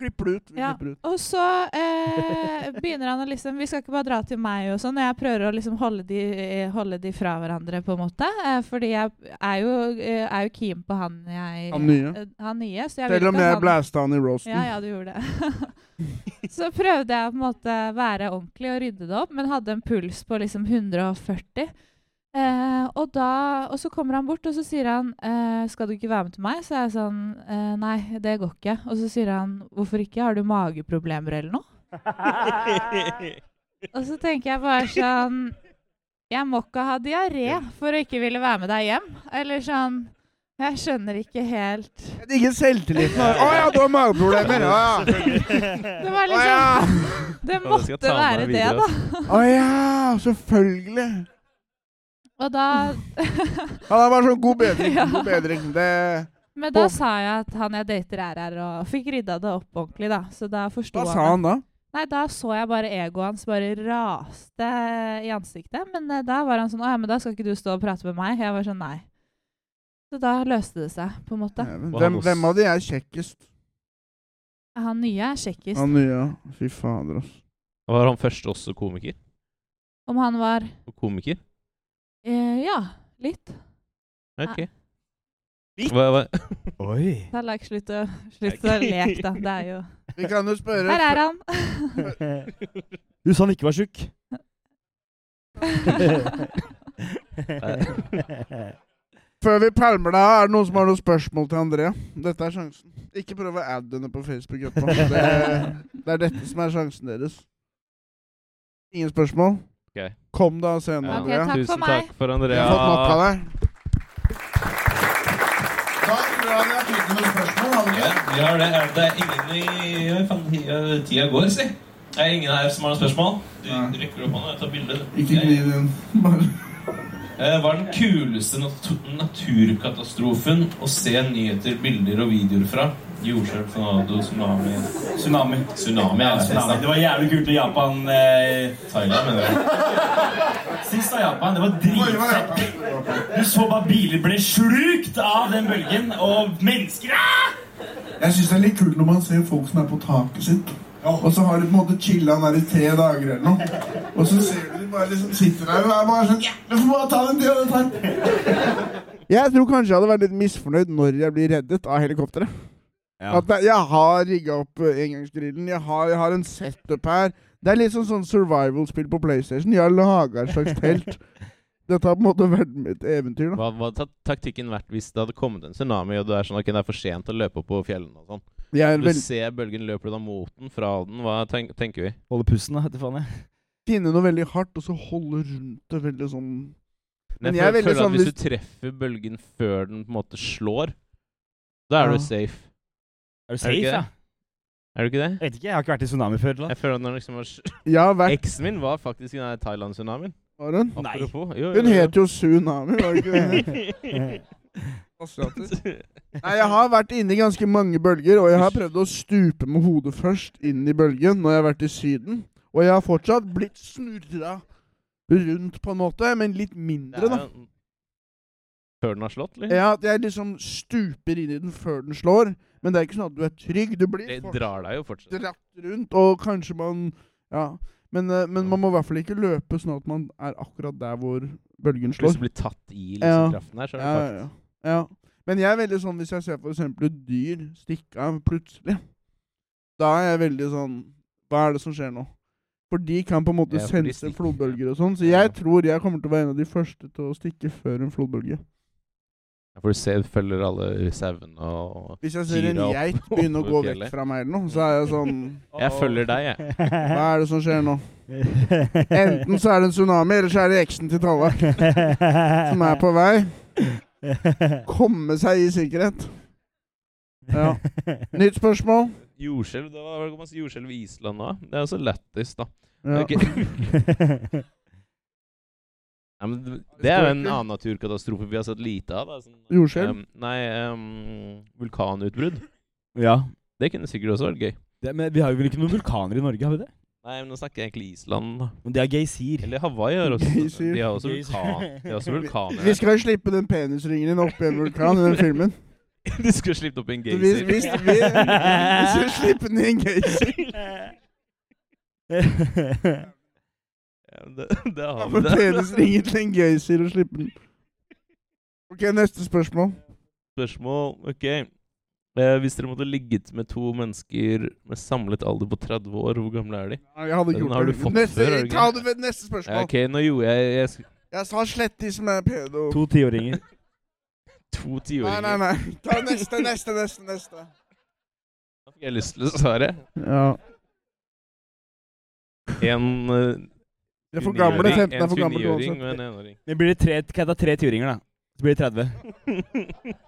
[SPEAKER 3] Klipper det ut. Vi
[SPEAKER 8] Ja.
[SPEAKER 3] klipper det ut.
[SPEAKER 8] Og så eh, begynner han å liksom Vi skal ikke bare dra til meg og sånn. og Jeg prøver å liksom holde de, eh, holde de fra hverandre, på en måte. Eh, fordi jeg er jo, eh, er jo keen på han jeg
[SPEAKER 3] Han nye.
[SPEAKER 8] eh, han nye så jeg vil
[SPEAKER 3] Selv om
[SPEAKER 8] ikke at
[SPEAKER 3] jeg
[SPEAKER 8] han-
[SPEAKER 3] blæsta han i roasten.
[SPEAKER 8] Ja, ja, du gjorde det. så prøvde jeg på en måte være ordentlig og rydde det opp, men hadde en puls på liksom 140. Eh, og, da, og så kommer han bort og så sier han eh, 'Skal du ikke være med til meg?' Så er jeg sånn eh, 'Nei, det går ikke'. Og så sier han 'Hvorfor ikke? Har du mageproblemer eller noe?' og så tenker jeg bare sånn Jeg må ikke ha diaré for å ikke ville være med deg hjem. Eller sånn Jeg skjønner ikke helt
[SPEAKER 3] Jeg digger selvtilliten. Å ja, du har mageproblemer. Å ja.
[SPEAKER 8] Det var
[SPEAKER 3] Å
[SPEAKER 8] liksom
[SPEAKER 3] ja.
[SPEAKER 8] Det
[SPEAKER 1] Ja, det skal jeg ta
[SPEAKER 8] måtte
[SPEAKER 1] med
[SPEAKER 8] være
[SPEAKER 1] meg
[SPEAKER 8] det,
[SPEAKER 1] videre, altså.
[SPEAKER 8] da.
[SPEAKER 3] Å ja, selvfølgelig.
[SPEAKER 8] Og da
[SPEAKER 3] Han er bare sånn god bedring.
[SPEAKER 8] Ja.
[SPEAKER 3] God bedring. Det
[SPEAKER 8] Men da
[SPEAKER 3] Og-
[SPEAKER 8] sa jeg at han jeg dater, er her, og fikk rydda det opp ordentlig, da. Så da forsto
[SPEAKER 3] Hva
[SPEAKER 8] han.
[SPEAKER 3] sa
[SPEAKER 8] det.
[SPEAKER 3] han da?
[SPEAKER 8] Nei, da så jeg bare egoet hans bare raste i ansiktet. Men eh, da var han sånn Å ja, men da skal ikke du stå og prate med meg. Jeg var sånn Nei. Så da løste det seg, på en måte.
[SPEAKER 3] Dæven.
[SPEAKER 1] Og han
[SPEAKER 3] Hvem,
[SPEAKER 1] også.
[SPEAKER 3] hvem av de er kjekkest?
[SPEAKER 8] Han nye er kjekkest.
[SPEAKER 3] Han nye. Fy fader, ass.
[SPEAKER 1] Var han først også komiker?
[SPEAKER 8] Om han var
[SPEAKER 1] Komiker?
[SPEAKER 8] eh, Ja, litt.
[SPEAKER 1] Ok.
[SPEAKER 3] Litt.
[SPEAKER 1] Hva, hva?
[SPEAKER 2] Oi.
[SPEAKER 8] Da like, slutt å, slutt å leke, da. Det er jo
[SPEAKER 3] Vi kan jo spørre
[SPEAKER 8] Her er han!
[SPEAKER 2] Du sa han ikke var tjukk.
[SPEAKER 3] Før vi pælmer deg av, er det noen som har noen spørsmål til Andrea? Dette er sjansen. Ikke prøv å adde henne på Facebook-gruppa. Det, det er dette som er sjansen deres. Ingen spørsmål?
[SPEAKER 1] Ok.
[SPEAKER 3] Kom deg av scenen,
[SPEAKER 1] Ja.
[SPEAKER 8] Ok,
[SPEAKER 3] Andrea.
[SPEAKER 8] takk for
[SPEAKER 1] Tusen
[SPEAKER 8] meg.
[SPEAKER 1] takk for
[SPEAKER 3] Vi har fått nok
[SPEAKER 1] Andrea.
[SPEAKER 3] av deg.
[SPEAKER 5] Da tror jeg vi har tid til noen spørsmål. har vi ikke?
[SPEAKER 6] Ja, vi har det. Er det ingen i Oi, faen, tida- Tida går, si. Er det ingen her som har noen spørsmål? Du
[SPEAKER 3] Nei.
[SPEAKER 6] rekker opp hånda og tar bilde.
[SPEAKER 3] Ikke gni det inn. Bare.
[SPEAKER 6] Eh, Hva er den kuleste nat- naturkatastrofen å se nyheter, bilder og videoer fra? Jordskjelv, tornado, tsunami
[SPEAKER 7] Tsunami.
[SPEAKER 6] Tsunami er det
[SPEAKER 7] Tsunami.
[SPEAKER 6] beste.
[SPEAKER 7] Det var jævlig kult i Japan. Eh,
[SPEAKER 6] Thailand, mener jeg.
[SPEAKER 7] sist av Japan. Det var dritfett. Du så bare biler ble slukt av den bølgen, og mennesker ah!
[SPEAKER 3] Jeg syns det er litt kult når man ser folk som er på taket sitt. Og så har de på en måte chilla der i tre dager eller noe. Og så ser du de bare liksom sitter der og er bare sånn Ja, vi får bare ta den tida det tar. Jeg tror kanskje jeg hadde vært litt misfornøyd når jeg blir reddet av helikopteret.
[SPEAKER 2] Ja.
[SPEAKER 3] At jeg, jeg har rigga opp eh, engangsgrillen, jeg har, jeg har en setup her. Det er litt sånn, sånn survival-spill på PlayStation. Jeg har laga et slags telt. Dette har på en måte vært mitt eventyr. da.
[SPEAKER 1] Hva hadde taktikken vært hvis det hadde kommet en tsunami, og du er sånn ok, det er for sent å løpe opp på fjellene og sånn?
[SPEAKER 3] Jeg er
[SPEAKER 1] Du
[SPEAKER 3] vel-
[SPEAKER 1] ser bølgen, løper du da mot den, fra den? Hva tenk, tenker vi?
[SPEAKER 2] Holde pusten, da. Hette faen, jeg.
[SPEAKER 3] Finne noe veldig hardt, og så holde rundt det veldig sånn Men
[SPEAKER 1] Men jeg,
[SPEAKER 3] jeg er veldig
[SPEAKER 1] føler
[SPEAKER 3] sånn
[SPEAKER 1] at hvis
[SPEAKER 3] hvis-
[SPEAKER 1] du treffer bølgen før den på en måte slår, da er
[SPEAKER 3] Ja.
[SPEAKER 1] du safe.
[SPEAKER 2] Er du
[SPEAKER 1] Er du
[SPEAKER 2] safe,
[SPEAKER 1] ikke
[SPEAKER 2] ja?
[SPEAKER 1] det? Er du ikke det?
[SPEAKER 2] Jeg vet ikke, jeg har ikke vært i tsunami før. eller?
[SPEAKER 1] Jeg føler at når liksom var... s-
[SPEAKER 3] Jeg har vært
[SPEAKER 1] Eksen min var faktisk i den der Thailand-tsunamien.
[SPEAKER 3] Var hun?
[SPEAKER 2] Nei.
[SPEAKER 1] Apropos. Jo,
[SPEAKER 3] Hun het jo Tsunami, var det ikke det? Nei, jeg har vært inne i ganske mange bølger, og jeg har prøvd å stupe med hodet først inn i bølgen når jeg har vært i Syden. Og jeg har fortsatt blitt snurra rundt, på en måte, men litt
[SPEAKER 1] Det er
[SPEAKER 3] mindre, da.
[SPEAKER 1] jo- Før den har slått, eller?
[SPEAKER 3] Ja, at jeg liksom stuper inn i den før den slår, men det er ikke sånn at du er trygg. Du blir
[SPEAKER 1] Det
[SPEAKER 3] fortsatt
[SPEAKER 1] drar deg jo fortsatt.
[SPEAKER 3] dratt rundt, og kanskje man Ja. Men, eh, men man må i hvert fall ikke løpe sånn at man er akkurat der hvor bølgen slår.
[SPEAKER 1] Hvis du blir tatt i
[SPEAKER 3] Ja.
[SPEAKER 1] liksom, kraften her, så er det
[SPEAKER 3] Ja,
[SPEAKER 1] faktisk
[SPEAKER 3] ja, ja. ja. Men jeg er veldig sånn hvis jeg ser for eksempel et dyr stikke av plutselig. Da er jeg veldig sånn Hva er det som skjer nå? For de kan på en måte
[SPEAKER 1] Ja, for de
[SPEAKER 3] sense
[SPEAKER 1] stikker.
[SPEAKER 3] flodbølger og sånn. Så
[SPEAKER 1] Ja.
[SPEAKER 3] jeg tror jeg kommer til å være en av de første til å stikke før en flodbølge.
[SPEAKER 1] Ja, For du ser, følger alle sauene og
[SPEAKER 3] Hvis jeg ser en
[SPEAKER 1] Gira opp
[SPEAKER 3] geit begynne å
[SPEAKER 1] over
[SPEAKER 3] gå
[SPEAKER 1] fjellet.
[SPEAKER 3] vekk fra meg eller noe, så er jeg sånn
[SPEAKER 1] Jeg følger deg, jeg.
[SPEAKER 3] Hva er det som skjer nå? Enten så er det en tsunami, eller så er det eksen til Tallak som er på vei. Komme seg i sikkerhet. Ja. Nytt spørsmål.
[SPEAKER 1] Jordskjelv det var vel masse jordskjelv i Island nå. Det er også lættis, da.
[SPEAKER 3] Ja.
[SPEAKER 1] Ok. Nei, men det- det er jo en annen naturkatastrofe vi har sett lite av. Da. Sånn,
[SPEAKER 3] Jordskjelv?
[SPEAKER 1] em, nei, em, vulkanutbrudd.
[SPEAKER 2] ja.
[SPEAKER 1] Det kunne sikkert også vært gøy.
[SPEAKER 2] Det, men vi har jo vel ikke noen vulkaner i Norge, har vi det?
[SPEAKER 1] Nei, men nå snakker jeg egentlig Island. da.
[SPEAKER 2] Men det er geysir.
[SPEAKER 1] Eller Hawaii har også
[SPEAKER 3] Geysir.
[SPEAKER 1] De har også,
[SPEAKER 2] Geysir.
[SPEAKER 1] vulkan, de har også vulkaner.
[SPEAKER 3] Vi skal jo slippe den penisringen din oppi en vulkan i den filmen.
[SPEAKER 1] de skulle slippe opp i en
[SPEAKER 3] Så Vi,
[SPEAKER 1] geyser.
[SPEAKER 3] vi, vi, vi skal slippe den i en geyser.
[SPEAKER 1] Ja, men Det, det har vi
[SPEAKER 3] Få
[SPEAKER 1] det.
[SPEAKER 3] penisringen til en geyser og slippe den. Ok, neste spørsmål.
[SPEAKER 1] Spørsmål OK. Eh, hvis dere måtte ligget med to mennesker med samlet alder på 30 år, hvor gamle er de?
[SPEAKER 3] Nei, Jeg hadde
[SPEAKER 1] Den
[SPEAKER 3] ikke gjort
[SPEAKER 1] har du
[SPEAKER 3] det.
[SPEAKER 1] fått
[SPEAKER 3] neste,
[SPEAKER 1] før, har du ikke?
[SPEAKER 3] ta det ved neste
[SPEAKER 1] Ja,
[SPEAKER 3] spørsmål.
[SPEAKER 1] OK, nå gjorde jeg, jeg sk-
[SPEAKER 3] Jeg sa slett de som er pedo.
[SPEAKER 2] To tiåringer.
[SPEAKER 1] to
[SPEAKER 3] Nei, nei,
[SPEAKER 1] tiåringer.
[SPEAKER 3] nei. Ta neste, neste, neste. neste.
[SPEAKER 1] Da fikk jeg lyst til å svare.
[SPEAKER 3] Ja.
[SPEAKER 1] En eh,
[SPEAKER 3] De er for gamle.
[SPEAKER 1] 19-åring,
[SPEAKER 3] 15 er for
[SPEAKER 1] en
[SPEAKER 3] gamle til
[SPEAKER 1] 29-åring og en
[SPEAKER 3] uansett.
[SPEAKER 1] enåring.
[SPEAKER 2] Det blir tre, kan jeg ta tre tiåringer, da? Så blir det 30.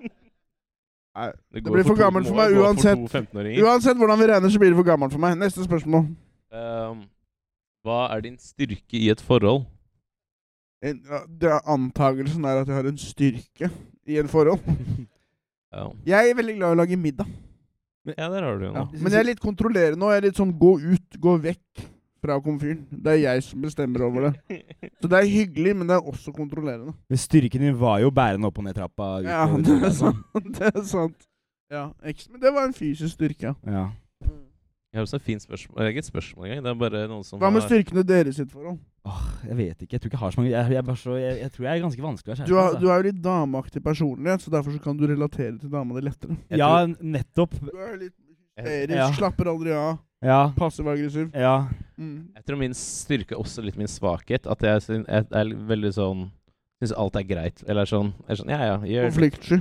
[SPEAKER 3] Nei,
[SPEAKER 1] går
[SPEAKER 3] blir for
[SPEAKER 1] to-
[SPEAKER 3] gammelt
[SPEAKER 1] må
[SPEAKER 3] for meg
[SPEAKER 1] jo gå
[SPEAKER 3] uansett.
[SPEAKER 1] For to 15-åringer.
[SPEAKER 3] Uansett hvordan vi regner, så blir det for gammelt for meg. Neste spørsmål.
[SPEAKER 1] Ehm, hva er din styrke i et forhold?
[SPEAKER 3] En, ja, det er antagelsen er at jeg har en styrke i en forhold.
[SPEAKER 1] Ja,
[SPEAKER 3] Jeg er veldig glad i å lage middag.
[SPEAKER 1] ja der har du jo noe.
[SPEAKER 3] Men jeg er litt kontrollerende og jeg er litt sånn gå ut, gå vekk fra komfyren. Det er jeg som bestemmer over det. Så det er hyggelig, men det er også kontrollerende.
[SPEAKER 2] Men styrken din var jo bærende opp og ned trappa. altså. ut
[SPEAKER 3] Ja,
[SPEAKER 2] og-
[SPEAKER 3] det er sant. Det er sant. Ja, eks- men det var en fysisk styrke. ja.
[SPEAKER 2] Ja.
[SPEAKER 1] Jeg har også et fint spørsmål. Det er ikke et spørsmål engang. Det er bare noen som
[SPEAKER 3] Hva med
[SPEAKER 1] har-
[SPEAKER 3] styrkene deres i sitt forhold?
[SPEAKER 2] Åh, jeg vet ikke. Jeg tror ikke jeg har så mange Jeg, jeg, er bare så, jeg, jeg tror jeg er ganske vanskelig å ha
[SPEAKER 3] Du, har,
[SPEAKER 2] kjæreste. altså.
[SPEAKER 3] du er jo litt dameaktig personlighet, så derfor så kan du relatere til dama di lettere.
[SPEAKER 2] altså. Ja, nettopp.
[SPEAKER 3] Du er litt hysterisk,
[SPEAKER 2] Ja.
[SPEAKER 3] slapper aldri av,
[SPEAKER 2] Ja.
[SPEAKER 3] passiv-aggressiv.
[SPEAKER 2] Ja.
[SPEAKER 3] Mm.
[SPEAKER 1] Jeg tror min styrke er også litt min svakhet. At jeg, syn- jeg er veldig sånn Syns alt er greit. Eller sånn, er sånn Ja, ja, gjør det.
[SPEAKER 3] Konfliktsky.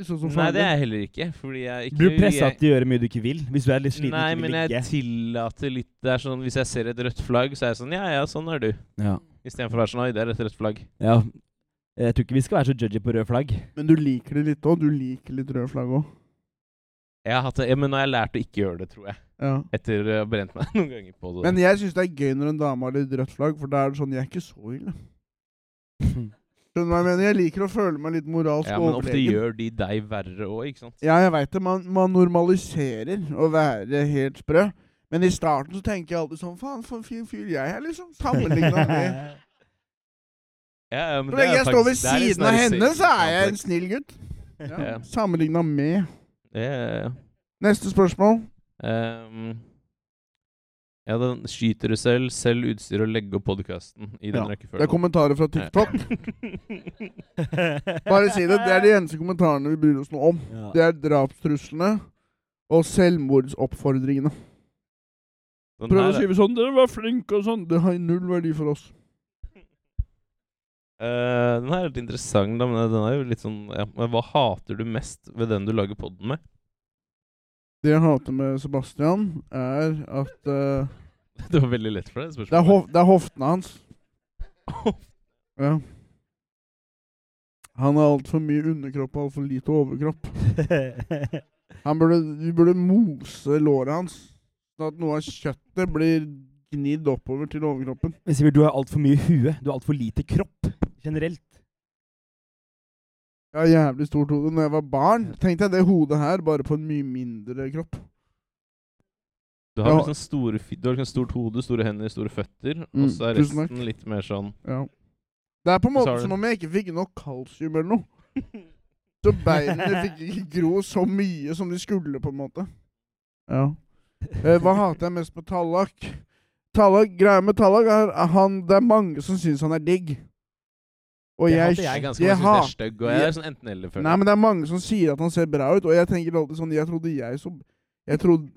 [SPEAKER 3] Litt sånn som
[SPEAKER 1] Nei, det
[SPEAKER 3] faren din.
[SPEAKER 1] er jeg heller ikke. Fordi jeg ikke
[SPEAKER 2] Blir du pressa
[SPEAKER 1] jeg-
[SPEAKER 2] til å gjøre mye du ikke vil? Hvis du er litt sliten
[SPEAKER 1] Nei,
[SPEAKER 2] og ikke
[SPEAKER 1] men
[SPEAKER 2] vil ligge?
[SPEAKER 1] jeg tillater litt Det er sånn Hvis jeg ser et rødt flagg, så er jeg sånn Ja, ja, sånn er du.
[SPEAKER 2] Ja.
[SPEAKER 1] Istedenfor å være sånn Oi, det er et rødt flagg.
[SPEAKER 2] ja. Jeg tror ikke vi skal være så judgy på rød flagg.
[SPEAKER 3] Men du liker det litt òg. Du liker litt røde flagg òg.
[SPEAKER 1] Jeg har hatt det, ja, men nå har jeg lært å ikke gjøre det, tror jeg.
[SPEAKER 3] Ja.
[SPEAKER 1] Etter å ha brent meg noen ganger på det.
[SPEAKER 3] Men jeg syns det er gøy når en dame har litt rødt flagg, for da er det sånn Jeg er ikke så ille. Skjønner du hva jeg mener? Jeg liker å føle meg litt moralsk
[SPEAKER 1] ja, men ofte gjør de deg verre òg, ikke sant?
[SPEAKER 3] Ja, jeg veit det. Man, man normaliserer å være helt sprø. Men i starten så tenker jeg alltid sånn Faen, for en fin fyr jeg er, liksom. Sammenligna med
[SPEAKER 1] Ja, ja, men
[SPEAKER 3] Så
[SPEAKER 1] det
[SPEAKER 3] lenge
[SPEAKER 1] er
[SPEAKER 3] jeg står ved
[SPEAKER 1] faktisk- det er litt
[SPEAKER 3] siden av
[SPEAKER 1] sånn
[SPEAKER 3] henne, så er jeg en
[SPEAKER 1] narcissistisk
[SPEAKER 3] snill gutt. Ja.
[SPEAKER 1] Ja.
[SPEAKER 3] Sammenligna med
[SPEAKER 1] kompleks. Ja, ja, ja.
[SPEAKER 3] Neste spørsmål.
[SPEAKER 1] Ehm, ja, den skyter du selv, selv utstyr og legge opp podkasten i den
[SPEAKER 3] Ja, Det er
[SPEAKER 1] rekkefølgen.
[SPEAKER 3] kommentarer fra TikTok. Bare si det. Det er de eneste kommentarene vi bryr oss noe om.
[SPEAKER 2] Ja.
[SPEAKER 3] Det er drapstruslene og selvmordsoppfordringene.
[SPEAKER 1] Den
[SPEAKER 3] Prøv å
[SPEAKER 1] her er-
[SPEAKER 3] skrive sånn 'Dere var flinke' og sånn. Det har null verdi for oss.
[SPEAKER 1] Eh, den her er litt interessant, da, men den er jo litt sånn ja, Men hva hater du mest ved den du lager podden med?
[SPEAKER 3] Det jeg hater med Sebastian, er at eh,
[SPEAKER 1] Det var veldig lett for deg, det
[SPEAKER 3] det, er hof det er hoftene hans. Ja. Han har altfor mye underkropp og altfor lite overkropp. Han burde, vi burde mose låret hans, sånn at noe av kjøttet blir gnidd oppover til overkroppen.
[SPEAKER 2] Men Sivert, du har altfor mye hue. Du har altfor lite kropp generelt.
[SPEAKER 3] Jeg har jævlig stort hode. Når jeg var barn, tenkte jeg det hodet her, bare på en mye mindre kropp.
[SPEAKER 1] Du har
[SPEAKER 3] Ja.
[SPEAKER 1] liksom store, fi- du har liksom stort hode, store hender, store føtter,
[SPEAKER 3] Mm,
[SPEAKER 1] og så er
[SPEAKER 3] tusen takk.
[SPEAKER 1] resten litt mer sånn
[SPEAKER 3] Ja. Det er på en
[SPEAKER 1] Så
[SPEAKER 3] måte
[SPEAKER 1] har du-
[SPEAKER 3] som om jeg ikke fikk nok kalsium eller noe. Så beinene fikk ikke gro så mye som de skulle, på en måte. Ja. Eh, hva hater jeg mest med Tallak? Tallak, Greia med Tallak er at han, det er mange som syns han er digg. Og
[SPEAKER 2] Det
[SPEAKER 3] jeg,
[SPEAKER 2] hater
[SPEAKER 1] Jeg er
[SPEAKER 2] jeg
[SPEAKER 1] ganske
[SPEAKER 3] jeg
[SPEAKER 1] jeg
[SPEAKER 3] hat-
[SPEAKER 1] synes det er stygg, og jeg er sånn enten-eller-føler
[SPEAKER 3] Nei, men det er mange som sier at han ser bra ut, og jeg tenker alltid sånn Jeg trodde jeg så Jeg trodde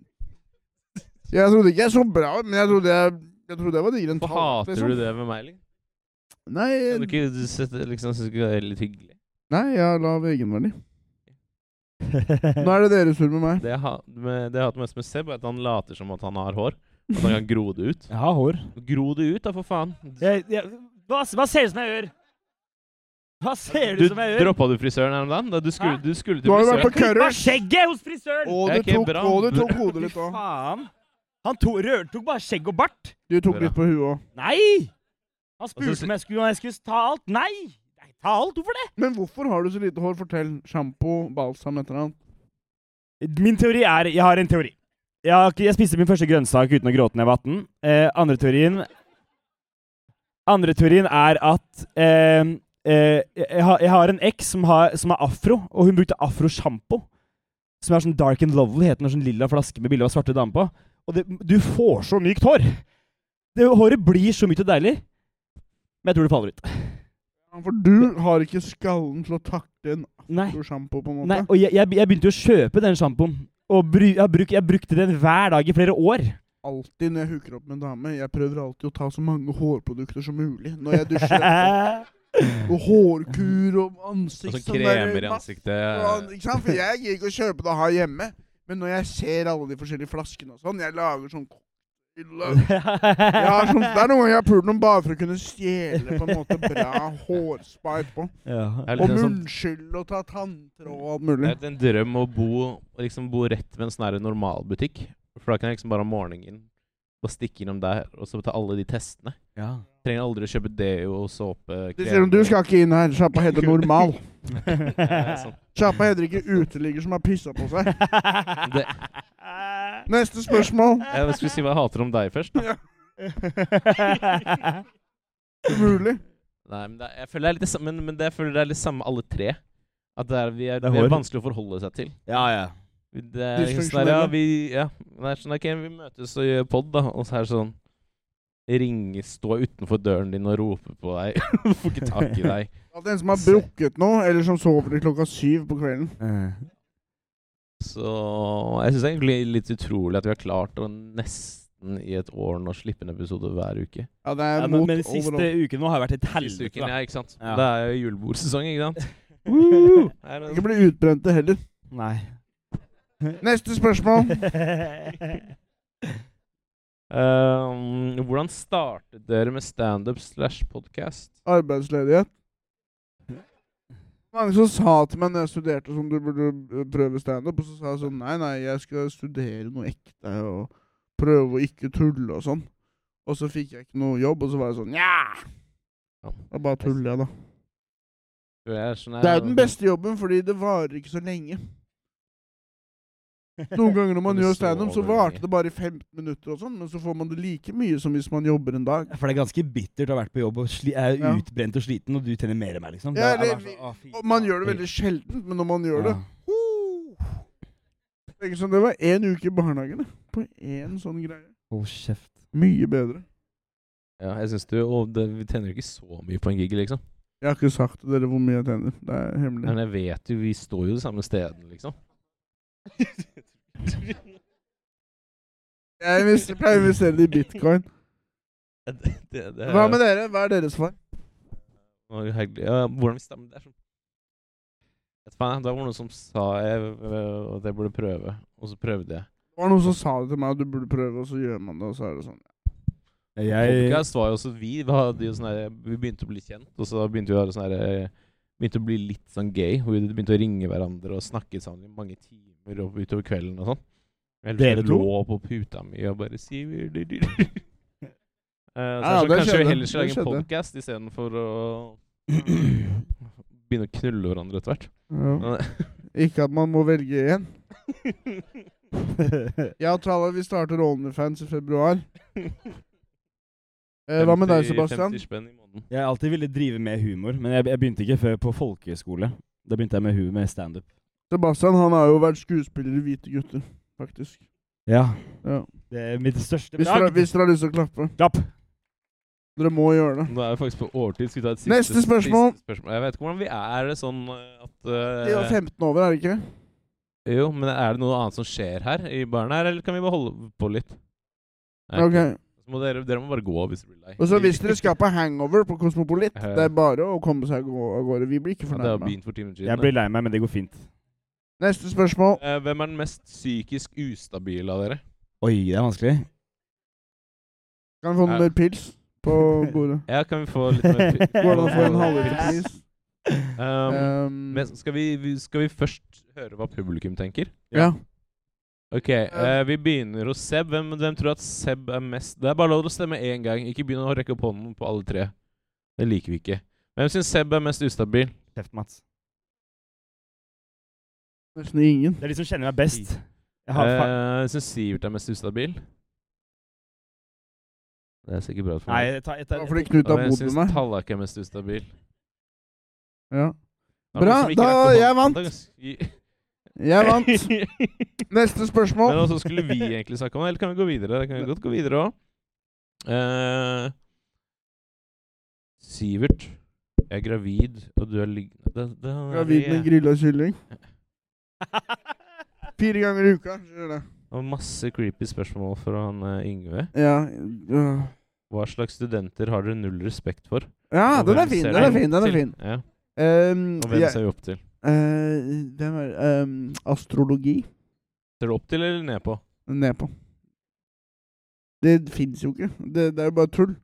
[SPEAKER 3] Jeg trodde ikke jeg så bra ut, men jeg trodde jeg, jeg, trodde jeg var diggere enn
[SPEAKER 1] Hvorfor
[SPEAKER 3] Tallak,
[SPEAKER 1] hater
[SPEAKER 3] liksom.
[SPEAKER 1] du det med meg, liksom?
[SPEAKER 3] Nei,
[SPEAKER 1] Kan du ikke du setter- liksom synes ikke det er litt hyggelig?
[SPEAKER 3] nei, jeg la egenverdi. Nå er det deres tur med meg.
[SPEAKER 1] Det jeg, ha, med, det jeg hater mest med Seb, er at han later som at han har hår. At han kan gro det ut.
[SPEAKER 2] Jeg har hår.
[SPEAKER 1] Gro det ut, da, for faen.
[SPEAKER 2] Jeg, jeg, hva, hva ser du som jeg gjør? Hva ser du,
[SPEAKER 1] Du
[SPEAKER 2] som jeg gjør?
[SPEAKER 1] droppa du frisøren her om dagen? Da du skulle,
[SPEAKER 2] Hæ?
[SPEAKER 1] du skulle
[SPEAKER 3] Du
[SPEAKER 1] til
[SPEAKER 3] har jo vært
[SPEAKER 1] frisøren.
[SPEAKER 3] på
[SPEAKER 2] Klippa
[SPEAKER 3] Currers,
[SPEAKER 2] skjegget hos frisøren!
[SPEAKER 3] og
[SPEAKER 1] Det er
[SPEAKER 3] du
[SPEAKER 1] ikke
[SPEAKER 3] tok,
[SPEAKER 1] bra.
[SPEAKER 3] og du tok hodet
[SPEAKER 2] Fy
[SPEAKER 3] litt òg.
[SPEAKER 2] faen! Han to, rørtok bare skjegg og bart.
[SPEAKER 3] Du tok litt på huet òg.
[SPEAKER 2] Nei!
[SPEAKER 1] Og
[SPEAKER 2] Han
[SPEAKER 1] så-
[SPEAKER 2] spurte om jeg skulle, om jeg skulle ta alt. Nei! Nei, ta alt? Hvorfor det?
[SPEAKER 3] Men hvorfor har du så lite hår? Fortell. Sjampo, balsam, et eller annet.
[SPEAKER 2] Min teori er Jeg har en teori. Jeg, har, ikke- jeg spiste min første grønnsak uten å gråte da jeg var 18. Eh, andre teorien Andre teorien er at eh, eh, jeg, har, jeg har en eks som, har, som er afro, og hun brukte afrosjampo. Som er sånn dark and lovely, heter den, og sånn lilla flaske med bilde av svarte damer på. Og det, du får så mykt hår! Det, håret blir så mykt og deilig. Men jeg tror det faller ut.
[SPEAKER 3] Ja, For du har ikke skallen til å takle en
[SPEAKER 2] Nei.
[SPEAKER 3] afrosjampo, på en måte.
[SPEAKER 2] Nei, og jeg, jeg, jeg begynte jo å kjøpe den sjampoen. Og bru, jeg, bruk, jeg brukte den hver dag i flere år.
[SPEAKER 3] Alltid når jeg hooker opp med en dame, jeg prøver alltid å ta så mange hårprodukter som mulig når jeg dusjer. og hårkur og ansikt
[SPEAKER 1] Og
[SPEAKER 2] Liksom
[SPEAKER 1] sånn
[SPEAKER 3] der,
[SPEAKER 1] kremer i
[SPEAKER 3] masse- og an-
[SPEAKER 1] ansiktet.
[SPEAKER 3] Ikke sant? For jeg gir ikke å kjøpe det og ha hjemme. Men når jeg ser alle de forskjellige flaskene og sånn, jeg lager sånn jeg har sånn, Det er noen ganger jeg har pult noen bare for å kunne stjele på en måte bra hårspray på.
[SPEAKER 1] Det er
[SPEAKER 3] Og
[SPEAKER 1] litt en sånn
[SPEAKER 3] munnskyld og ta tanntråd og alt mulig.
[SPEAKER 1] Det er en drøm å bo, å liksom bo rett ved en sånn her normalbutikk. For da kan jeg liksom bare om morgenen og stikke innom der og så ta alle de testene. Trenger aldri å kjøpe deo, såpe,
[SPEAKER 3] De sier om du skal ikke inn her. Sjappa heter normal.
[SPEAKER 1] sånn.
[SPEAKER 3] Sjappa heter ikke uteligger som har pissa på seg.
[SPEAKER 1] Det-
[SPEAKER 3] Neste spørsmål.
[SPEAKER 1] Jeg skulle si hva jeg hater om deg først. Da.
[SPEAKER 3] Umulig.
[SPEAKER 1] Nei, men det, er- jeg føler det er litt det samme, men, men det, jeg føler det er litt samme alle tre. At det er, vi er,
[SPEAKER 2] Det er
[SPEAKER 1] vi er
[SPEAKER 2] hår.
[SPEAKER 1] vanskelig å forholde seg til.
[SPEAKER 2] Ja, ja.
[SPEAKER 1] Det er liksom sånn der, ja, vi, ja. Det er sånn, ok, vi møtes og gjør pod, da, og så er det sånn Ringe, stå utenfor døren din og rope på deg. Får ikke tak i deg.
[SPEAKER 3] At en som har brukket noe, eller som sover til klokka syv på kvelden.
[SPEAKER 1] Så jeg syns egentlig litt utrolig at vi har klart å nesten i et år nå slippe en episode hver uke.
[SPEAKER 3] Ja, det er
[SPEAKER 2] men,
[SPEAKER 3] mot
[SPEAKER 2] men siste
[SPEAKER 3] overalt.
[SPEAKER 2] uken nå har vært et
[SPEAKER 1] Siste
[SPEAKER 2] helvete.
[SPEAKER 1] uken, ja, ikke sant?
[SPEAKER 2] Ja.
[SPEAKER 1] Det er jo julebordsesong, ikke sant?
[SPEAKER 2] Woo!
[SPEAKER 1] Er det-
[SPEAKER 3] Ikke bli utbrente heller.
[SPEAKER 2] Nei.
[SPEAKER 3] Neste spørsmål.
[SPEAKER 1] Um, hvordan startet dere med standup slash podkast?
[SPEAKER 3] Arbeidsledighet. Mange som sa til meg når jeg studerte sånn, du burde eh, prøve standup, og så sa jeg sånn nei, nei, jeg skal studere noe ekte og prøve å ikke tulle og sånn. Og så fikk jeg ikke noe jobb, og så var jeg sånn nja. Da bare tuller jeg, da.
[SPEAKER 1] Det
[SPEAKER 3] Det er jo den beste jobben, fordi det varer ikke så lenge. Noen ganger når man
[SPEAKER 1] Men det
[SPEAKER 3] gjør standup, så
[SPEAKER 1] sover
[SPEAKER 3] varte
[SPEAKER 1] lenge.
[SPEAKER 3] det bare i 15 minutter, og sånn, men så får man det like mye som hvis man jobber en dag.
[SPEAKER 2] For det er ganske bittert å ha vært på jobb og sli er
[SPEAKER 3] Ja.
[SPEAKER 2] utbrent og sliten, og du tjener mer enn meg, liksom. Da er
[SPEAKER 3] Ja,
[SPEAKER 2] jeg
[SPEAKER 3] det-
[SPEAKER 2] bare sånn, å, fy
[SPEAKER 3] Og man
[SPEAKER 2] faen.
[SPEAKER 3] gjør det veldig sjeldent, men når man gjør det
[SPEAKER 2] Ja.
[SPEAKER 3] Tenk sånn, Det var én uke i barnehagen det, på én sånn greie.
[SPEAKER 2] Hold kjeft.
[SPEAKER 3] Mye bedre.
[SPEAKER 1] Ja, jeg synes du, og det, Vi tjener jo ikke så mye på en gig, liksom.
[SPEAKER 3] Jeg har ikke sagt til dere hvor mye jeg tjener. Det er hemmelig.
[SPEAKER 1] Men jeg vet jo, vi står jo de samme stedene, liksom.
[SPEAKER 3] Jeg invester- pleier å investere i bitcoin.
[SPEAKER 1] Det, det,
[SPEAKER 3] Hva med dere? Hva er deres svar?
[SPEAKER 1] Å, herregud. Ja, hvordan vi stemmer der, sånn. Vet faen, jeg, Det var noen som sa jeg, øh, at jeg burde prøve, og så prøvde jeg.
[SPEAKER 3] Det var noen som sa det til meg, at du burde prøve, og så gjør man det, og så er det sånn.
[SPEAKER 2] Jeg
[SPEAKER 1] Podcast var jo også vi. Vi, hadde jo sånn her, vi begynte å bli kjent, og så begynte vi å, være sånn her, eh, begynte å bli litt sånn gay. Hvor vi begynte å ringe hverandre og snakke sammen i mange timer og utover kvelden og sånn. Ellers
[SPEAKER 2] Dere
[SPEAKER 1] jeg
[SPEAKER 2] to?
[SPEAKER 1] Lå på puta mi og bare si Eh, så jeg
[SPEAKER 3] Ja, det
[SPEAKER 1] sa, Kanskje
[SPEAKER 3] skjedde.
[SPEAKER 1] vi heller skal lage
[SPEAKER 3] Det
[SPEAKER 1] en
[SPEAKER 3] skjedde.
[SPEAKER 1] podkast istedenfor å begynne å knulle hverandre etter hvert.
[SPEAKER 3] Ja.
[SPEAKER 1] Men-
[SPEAKER 3] Ikke at man må velge én. Jeg og Tralla, vi starter Onlyfans i februar. Eh, hva med deg,
[SPEAKER 1] 50
[SPEAKER 3] Sebastian?
[SPEAKER 1] 50 spenn i måneden.
[SPEAKER 2] Jeg har alltid ville drive med humor, men jeg, jeg begynte ikke før på folkehøyskole. Da begynte jeg med humor med standup.
[SPEAKER 3] Sebastian han har jo vært skuespiller i Hvite gutter, faktisk.
[SPEAKER 2] Ja.
[SPEAKER 3] Ja.
[SPEAKER 2] Det er mitt største
[SPEAKER 3] Hvis dere, hvis dere har lyst til å klappe.
[SPEAKER 2] Klapp!
[SPEAKER 3] Dere må gjøre det.
[SPEAKER 1] Nå er vi faktisk på overtid. Skal vi ta et siste,
[SPEAKER 3] Neste spørsmål.
[SPEAKER 1] siste spørsmål? Jeg vet ikke hvordan vi er. Er det sånn eh, at
[SPEAKER 3] De er
[SPEAKER 1] eh,
[SPEAKER 3] 15 over, er det ikke?
[SPEAKER 1] Jo, men er det noe annet som skjer her i baren her, eller kan vi bare holde på litt? Nei,
[SPEAKER 3] Ok.
[SPEAKER 1] så må dere, dere må bare gå hvis dere blir lei.
[SPEAKER 3] Og så hvis dere skal på hangover på Kosmopolit,
[SPEAKER 1] Ja.
[SPEAKER 3] det er bare å komme seg av gå- av gårde. Vi blir ikke
[SPEAKER 1] ja, Det har
[SPEAKER 3] fornærma.
[SPEAKER 1] begynt for timen siden.
[SPEAKER 2] Jeg blir lei meg, men det går fint.
[SPEAKER 3] Neste spørsmål.
[SPEAKER 1] Eh, Hvem er den mest psykisk ustabile av dere?
[SPEAKER 2] Oi, det er vanskelig.
[SPEAKER 3] Kan vi få
[SPEAKER 1] Ja.
[SPEAKER 3] noe mer pils på bordet?
[SPEAKER 1] Ja, kan vi få litt mer pi-
[SPEAKER 3] Går det an å få en halvliter
[SPEAKER 1] pils?
[SPEAKER 3] pils?
[SPEAKER 1] Um,
[SPEAKER 3] Um,
[SPEAKER 1] men skal, vi- vi, skal vi først høre hva publikum tenker?
[SPEAKER 3] ja.
[SPEAKER 1] Ok, eh, vi begynner hos Seb. Hvem, hvem tror at Seb er mest Det er bare lov til å stemme én gang. Ikke begynn å rekke opp hånden på alle tre. Det liker vi ikke. Hvem syns Seb er mest ustabil?
[SPEAKER 2] Kjeft, Mats.
[SPEAKER 3] Nesten ingen.
[SPEAKER 2] Det er de som kjenner meg best. Jeg har fa
[SPEAKER 1] Eh, Jeg syns Sivert er mest ustabil. Det er sikkert bra Eh, for
[SPEAKER 2] Nei,
[SPEAKER 1] meg.
[SPEAKER 2] jeg tar, jeg
[SPEAKER 3] Det
[SPEAKER 2] tar,
[SPEAKER 3] var fordi Knut har
[SPEAKER 1] Og jeg
[SPEAKER 3] bodd med
[SPEAKER 1] syns
[SPEAKER 3] meg.
[SPEAKER 1] Tallak er mest ustabil.
[SPEAKER 3] Ja.
[SPEAKER 1] Det er
[SPEAKER 3] Bra,
[SPEAKER 1] noen som ikke
[SPEAKER 3] da-
[SPEAKER 1] rakk å
[SPEAKER 3] jeg vant.
[SPEAKER 1] håndta.
[SPEAKER 3] Jeg vant. Neste
[SPEAKER 1] Men
[SPEAKER 3] spørsmål.
[SPEAKER 1] også skulle vi egentlig snakke om det, eller kan vi gå videre? Det kan vi godt gå videre òg. Sivert, jeg er gravid, og du er liggende Det- det-
[SPEAKER 3] Gravid med grilla kylling. Fire ganger i uka. skjer det.
[SPEAKER 1] Og masse creepy spørsmål fra han eh, Yngve.
[SPEAKER 3] Ja. øh.
[SPEAKER 1] Hva slags studenter har dere null respekt for?
[SPEAKER 3] ja,
[SPEAKER 1] Og
[SPEAKER 3] Ah, den
[SPEAKER 1] hvem
[SPEAKER 3] er fin.
[SPEAKER 1] ser
[SPEAKER 3] Den er
[SPEAKER 1] dere
[SPEAKER 3] fin. den
[SPEAKER 1] opp
[SPEAKER 3] er
[SPEAKER 1] til?
[SPEAKER 3] fin.
[SPEAKER 1] Ja.
[SPEAKER 3] Ehm,
[SPEAKER 1] Og hvem
[SPEAKER 3] jeg-
[SPEAKER 1] ser vi opp til?
[SPEAKER 3] eh, Hvem er det? Ehm, Astrologi.
[SPEAKER 1] Ser du opp til eller ned på?
[SPEAKER 3] Ned på. Det fins jo ikke. Det, det er jo bare tull.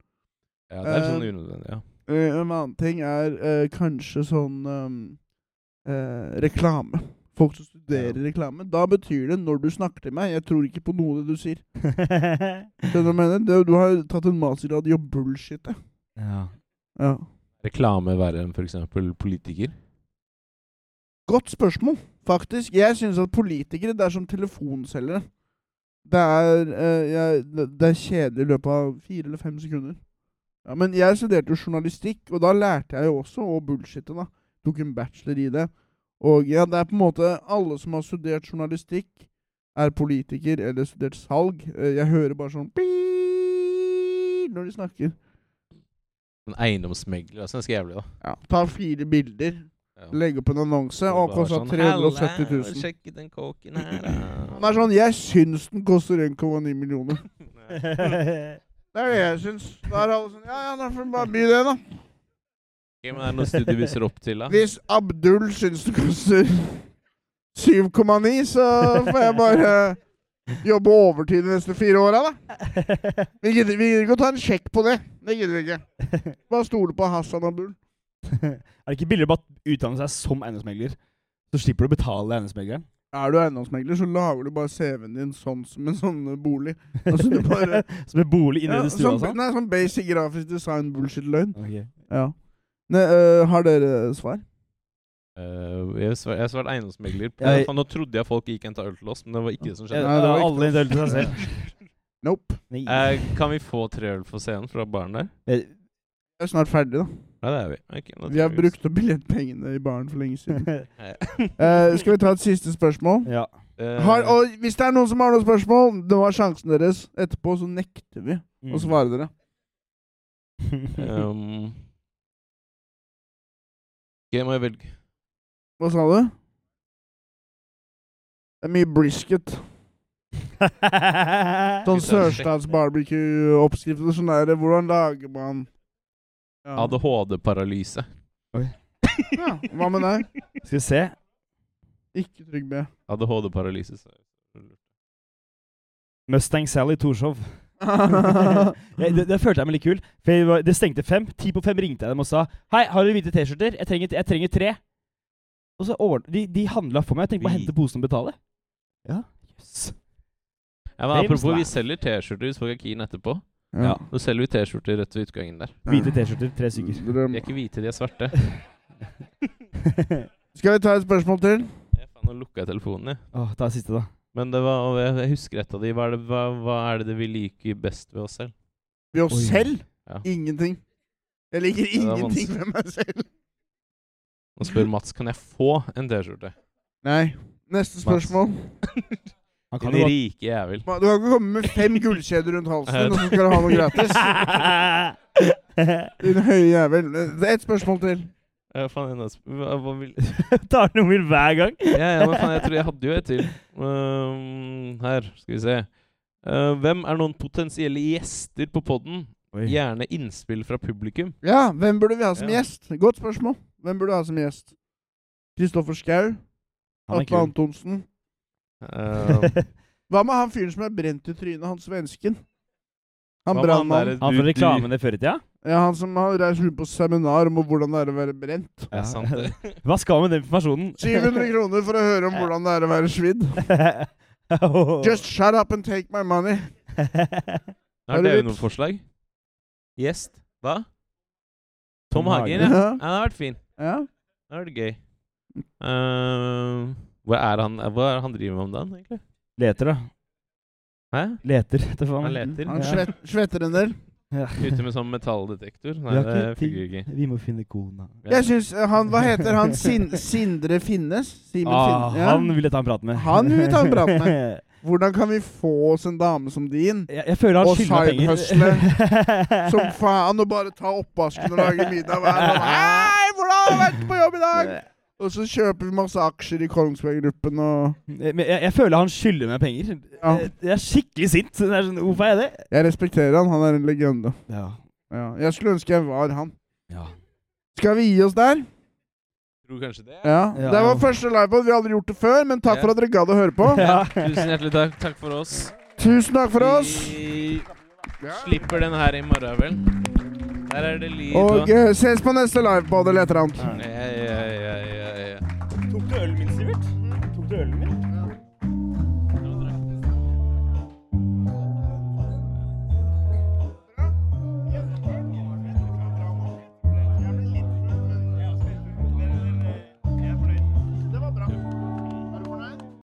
[SPEAKER 1] Ja, det er sånn
[SPEAKER 3] Eh,
[SPEAKER 1] unødvendig, ja.
[SPEAKER 3] Eh, en annen ting er eh, kanskje sånn eh, eh, reklame. Folk som studerer reklame. Da betyr det 'når du snakker til meg', jeg tror ikke på noe av det du sier. Skjønner du hva jeg mener? Det, du har jo tatt en mastergrad i å bullshitte.
[SPEAKER 2] ja.
[SPEAKER 3] Ja.
[SPEAKER 1] Reklame verre enn f.eks. politiker?
[SPEAKER 3] Godt spørsmål, faktisk. Jeg synes at politikere, det er som telefonselgere. Det er, eh, jeg, det- det er kjedelig i løpet av fire eller fem sekunder. Ja, men jeg studerte jo journalistikk, og da lærte jeg jo også å bullshitte, da. Tok en bachelor i det. Og ja, det er på en måte alle som har studert journalistikk, er politiker eller studert salg. Eh, Jeg hører bare sånn «pii» når de snakker.
[SPEAKER 1] En eiendomsmegler, altså. Ganske jævlig, da.
[SPEAKER 3] Ja. Ta fire bilder,
[SPEAKER 1] Ja.
[SPEAKER 3] legge opp en annonse, og
[SPEAKER 1] Bare
[SPEAKER 3] kosta
[SPEAKER 1] sånn,
[SPEAKER 3] 370
[SPEAKER 1] «Halla,
[SPEAKER 3] 000.
[SPEAKER 1] Sjekk den kåken her, da.
[SPEAKER 3] Han er sånn Jeg syns den koster 1,9 millioner. Det er det jeg syns. Da er alle sånn Ja, ja, da får vi bare by det, da.
[SPEAKER 1] Ok, men er det noen studier vi ser opp til, da? Eh,
[SPEAKER 3] Hvis Abdul syns den koster 7,9, så får jeg bare jobbe overtid de neste fire åra, da. Vi gidder, vi gidder ikke å ta en sjekk på det. Det gidder vi ikke. Bare stole på Hassan Abdul.
[SPEAKER 2] Er det ikke billigere å bare utdanne seg som eiendomsmegler? Så slipper du å betale eiendomsmegleren.
[SPEAKER 3] Er du eiendomsmegler, så lager du bare CV-en din sånn som en sånn eh, bolig. Altså, du bare-
[SPEAKER 2] som en bolig inni
[SPEAKER 3] Ja,
[SPEAKER 2] i stua
[SPEAKER 3] sånn,
[SPEAKER 2] og sånn?
[SPEAKER 3] nei, sånn basic grafisk design bullshit-løgn.
[SPEAKER 2] Ok.
[SPEAKER 3] Ja. Nei, øh, har dere svar?
[SPEAKER 1] Eh, jeg svar- jeg har svart eiendomsmegler. på-
[SPEAKER 4] Jeg-
[SPEAKER 1] Faen, nå trodde jeg folk gikk en ta øl til oss, men det var ikke det som skjedde.
[SPEAKER 3] Nei, det var ikke
[SPEAKER 2] Eh, alle indølte seg selv.
[SPEAKER 3] Nope.
[SPEAKER 2] Nei. Eh,
[SPEAKER 1] Eh, kan vi få tre øl på scenen fra baren der?
[SPEAKER 3] Jeg er snart ferdig, da.
[SPEAKER 1] Ja, det er vi. Ok, da
[SPEAKER 3] Vi har
[SPEAKER 1] tar oss.
[SPEAKER 3] brukt opp billettpengene i baren for lenge siden.
[SPEAKER 1] Eh,
[SPEAKER 3] Eh, skal vi ta et siste spørsmål?
[SPEAKER 2] ja.
[SPEAKER 1] eh,
[SPEAKER 3] Har, og hvis det er noen som har noen spørsmål, det var sjansen deres. Etterpå så nekter vi å
[SPEAKER 2] Mm.
[SPEAKER 3] svare dere.
[SPEAKER 1] ehm, ok, må jeg velge.
[SPEAKER 3] Hva sa du? Det er mye brisket. Sånn sørstatsbarbecue-oppskrifter. Sånn der, hvordan lager man ja.
[SPEAKER 1] ADHD-paralyse.
[SPEAKER 3] ja, Hva med deg?
[SPEAKER 2] Skal vi se.
[SPEAKER 3] Ikke Trygve.
[SPEAKER 1] ADHD-paralyse. så-
[SPEAKER 2] Mustang Sally Torshov.
[SPEAKER 3] Hva
[SPEAKER 2] Jeg, det, det følte jeg meg litt kul. For jeg var, Det stengte fem. Ti på fem ringte jeg dem og sa Hei, har dere hvite T-skjorter? Jeg, trenger- jeg trenger tre. Og så ordn- De, de handla for meg. Jeg tenkte bare
[SPEAKER 1] Vi-
[SPEAKER 2] hente posen og betale. Ja. Yes.
[SPEAKER 1] Ja, men
[SPEAKER 2] James
[SPEAKER 1] apropos, vi
[SPEAKER 2] Laff.
[SPEAKER 1] selger T-skjorter hvis folk er keen etterpå. Nå selger vi T-skjorter rett ved utgangen der.
[SPEAKER 2] Hvite T-skjorter, tre stykker.
[SPEAKER 1] De er
[SPEAKER 3] Drøm.
[SPEAKER 1] ikke hvite, de er svarte.
[SPEAKER 3] Skal vi ta et spørsmål til?
[SPEAKER 1] Jeg faen, nå lukka jeg telefonen, jeg.
[SPEAKER 2] Åh, ta siste, da.
[SPEAKER 1] Men det var, og jeg jeg husker et av de. Hva er, det, hva, hva er det det vi liker best ved oss selv?
[SPEAKER 3] Vi oss
[SPEAKER 2] Oi.
[SPEAKER 3] selv?
[SPEAKER 1] Ja.
[SPEAKER 3] Ingenting. Jeg liker
[SPEAKER 1] det var
[SPEAKER 3] ingenting ved meg selv.
[SPEAKER 1] Nå spør Mats kan jeg få en T-skjorte.
[SPEAKER 3] Nei. Neste spørsmål.
[SPEAKER 2] Han
[SPEAKER 1] Din
[SPEAKER 2] kan jo
[SPEAKER 1] rike jævel.
[SPEAKER 3] Ma- Du kan ikke komme med fem gullkjeder rundt halsen, og så skal du ha noe gratis. Din høye jævel. Det er ett spørgsmål til.
[SPEAKER 1] Ja, faen, enda, et sp- hva, hva vil
[SPEAKER 2] Tar noen min hver gang.
[SPEAKER 1] ja, ja, men faen, jeg tror jeg hadde jo et til. Um, her, skal vi se. Uh, hvem er noen potensielle gjester på poden? Gjerne innspill fra publikum.
[SPEAKER 3] Ja, hvem burde vi ha som
[SPEAKER 1] Ja.
[SPEAKER 3] gjest? Godt spørsmål. Hvem burde du ha som gjest? Kristoffer Schau?
[SPEAKER 2] Han er
[SPEAKER 3] Atle Antonsen?
[SPEAKER 1] Uh,
[SPEAKER 2] kul.
[SPEAKER 3] Hva med han fyren som er brent i trynet? Han svensken? Han
[SPEAKER 1] hva med han
[SPEAKER 3] brannmannen?
[SPEAKER 1] derre
[SPEAKER 2] Han
[SPEAKER 1] du-
[SPEAKER 2] fra
[SPEAKER 1] du-
[SPEAKER 2] reklamen i før i tida?
[SPEAKER 3] Ja, han som har reist rundt på seminar om hvordan det er å være brent.
[SPEAKER 1] Ja, sant det.
[SPEAKER 2] Hva skal man med den informasjonen?
[SPEAKER 3] 700 kroner for å høre om hvordan det er å være svidd. Just shut up and take my money.
[SPEAKER 1] Har
[SPEAKER 3] Er det
[SPEAKER 1] dere
[SPEAKER 3] vips?
[SPEAKER 1] noen forslag? Gjest? Hva?
[SPEAKER 2] Tom
[SPEAKER 1] Tom Hagen,
[SPEAKER 2] Hagen.
[SPEAKER 1] ja. ja.
[SPEAKER 3] Ja.
[SPEAKER 1] Det hadde vært fint.
[SPEAKER 3] Ja.
[SPEAKER 1] Det hadde vært gøy. Uh, Hva er han, hva er det han driver med om dagen, egentlig?
[SPEAKER 2] Leter, da.
[SPEAKER 1] Hæ?
[SPEAKER 2] Leter etter faen.
[SPEAKER 1] Han leter.
[SPEAKER 3] Han
[SPEAKER 2] Ja.
[SPEAKER 3] svet, svetter en del.
[SPEAKER 1] Ute med eh, sånn metalldetektor. Nei,
[SPEAKER 2] Vi
[SPEAKER 1] det
[SPEAKER 2] har ikke
[SPEAKER 1] fungerer ikke.
[SPEAKER 2] tid. Vi må finne kona.
[SPEAKER 3] Jeg syns eh, han Hva heter han? Sin, Sindre Finnes? Simen
[SPEAKER 2] Ah,
[SPEAKER 3] Finnes? Ja.
[SPEAKER 2] Han vil jeg ta en prat med.
[SPEAKER 3] Han vil vi ta en prat med. Hvordan kan vi få oss en dame som din?
[SPEAKER 2] jeg, jeg føler han
[SPEAKER 3] Og
[SPEAKER 2] skylder meg penger.
[SPEAKER 3] Som faen, og bare ta oppvasken og lage middag hver dag. Hei, hvordan har du vært på jobb i dag? Og så kjøper vi masse aksjer i Kongsberg Gruppen og
[SPEAKER 2] Eh, Men jeg, jeg føler han skylder meg penger.
[SPEAKER 3] Ja.
[SPEAKER 2] Jeg, jeg er skikkelig sint. Det er sånn, Hvorfor er jeg det?
[SPEAKER 3] Jeg respekterer han, han er en legende.
[SPEAKER 2] Ja.
[SPEAKER 3] Ja. Jeg skulle ønske jeg var han.
[SPEAKER 2] Ja.
[SPEAKER 3] Skal vi gi oss der?
[SPEAKER 1] Tror kanskje det.
[SPEAKER 3] Ja.
[SPEAKER 2] Ja.
[SPEAKER 3] Det var første livepod. Vi har aldri gjort det før, men takk for at dere gadd å høre på.
[SPEAKER 1] Tusen hjertelig takk. Takk for oss.
[SPEAKER 3] Tusen takk for oss.
[SPEAKER 1] Vi slipper den her i morgen, vel. Der er det lyd
[SPEAKER 3] Og eh, ses på neste livepod eller et eller annet.
[SPEAKER 1] Ja, ja, ja, ja, ja.
[SPEAKER 2] Tok du ølen min, Sivert? Tok du ølen min?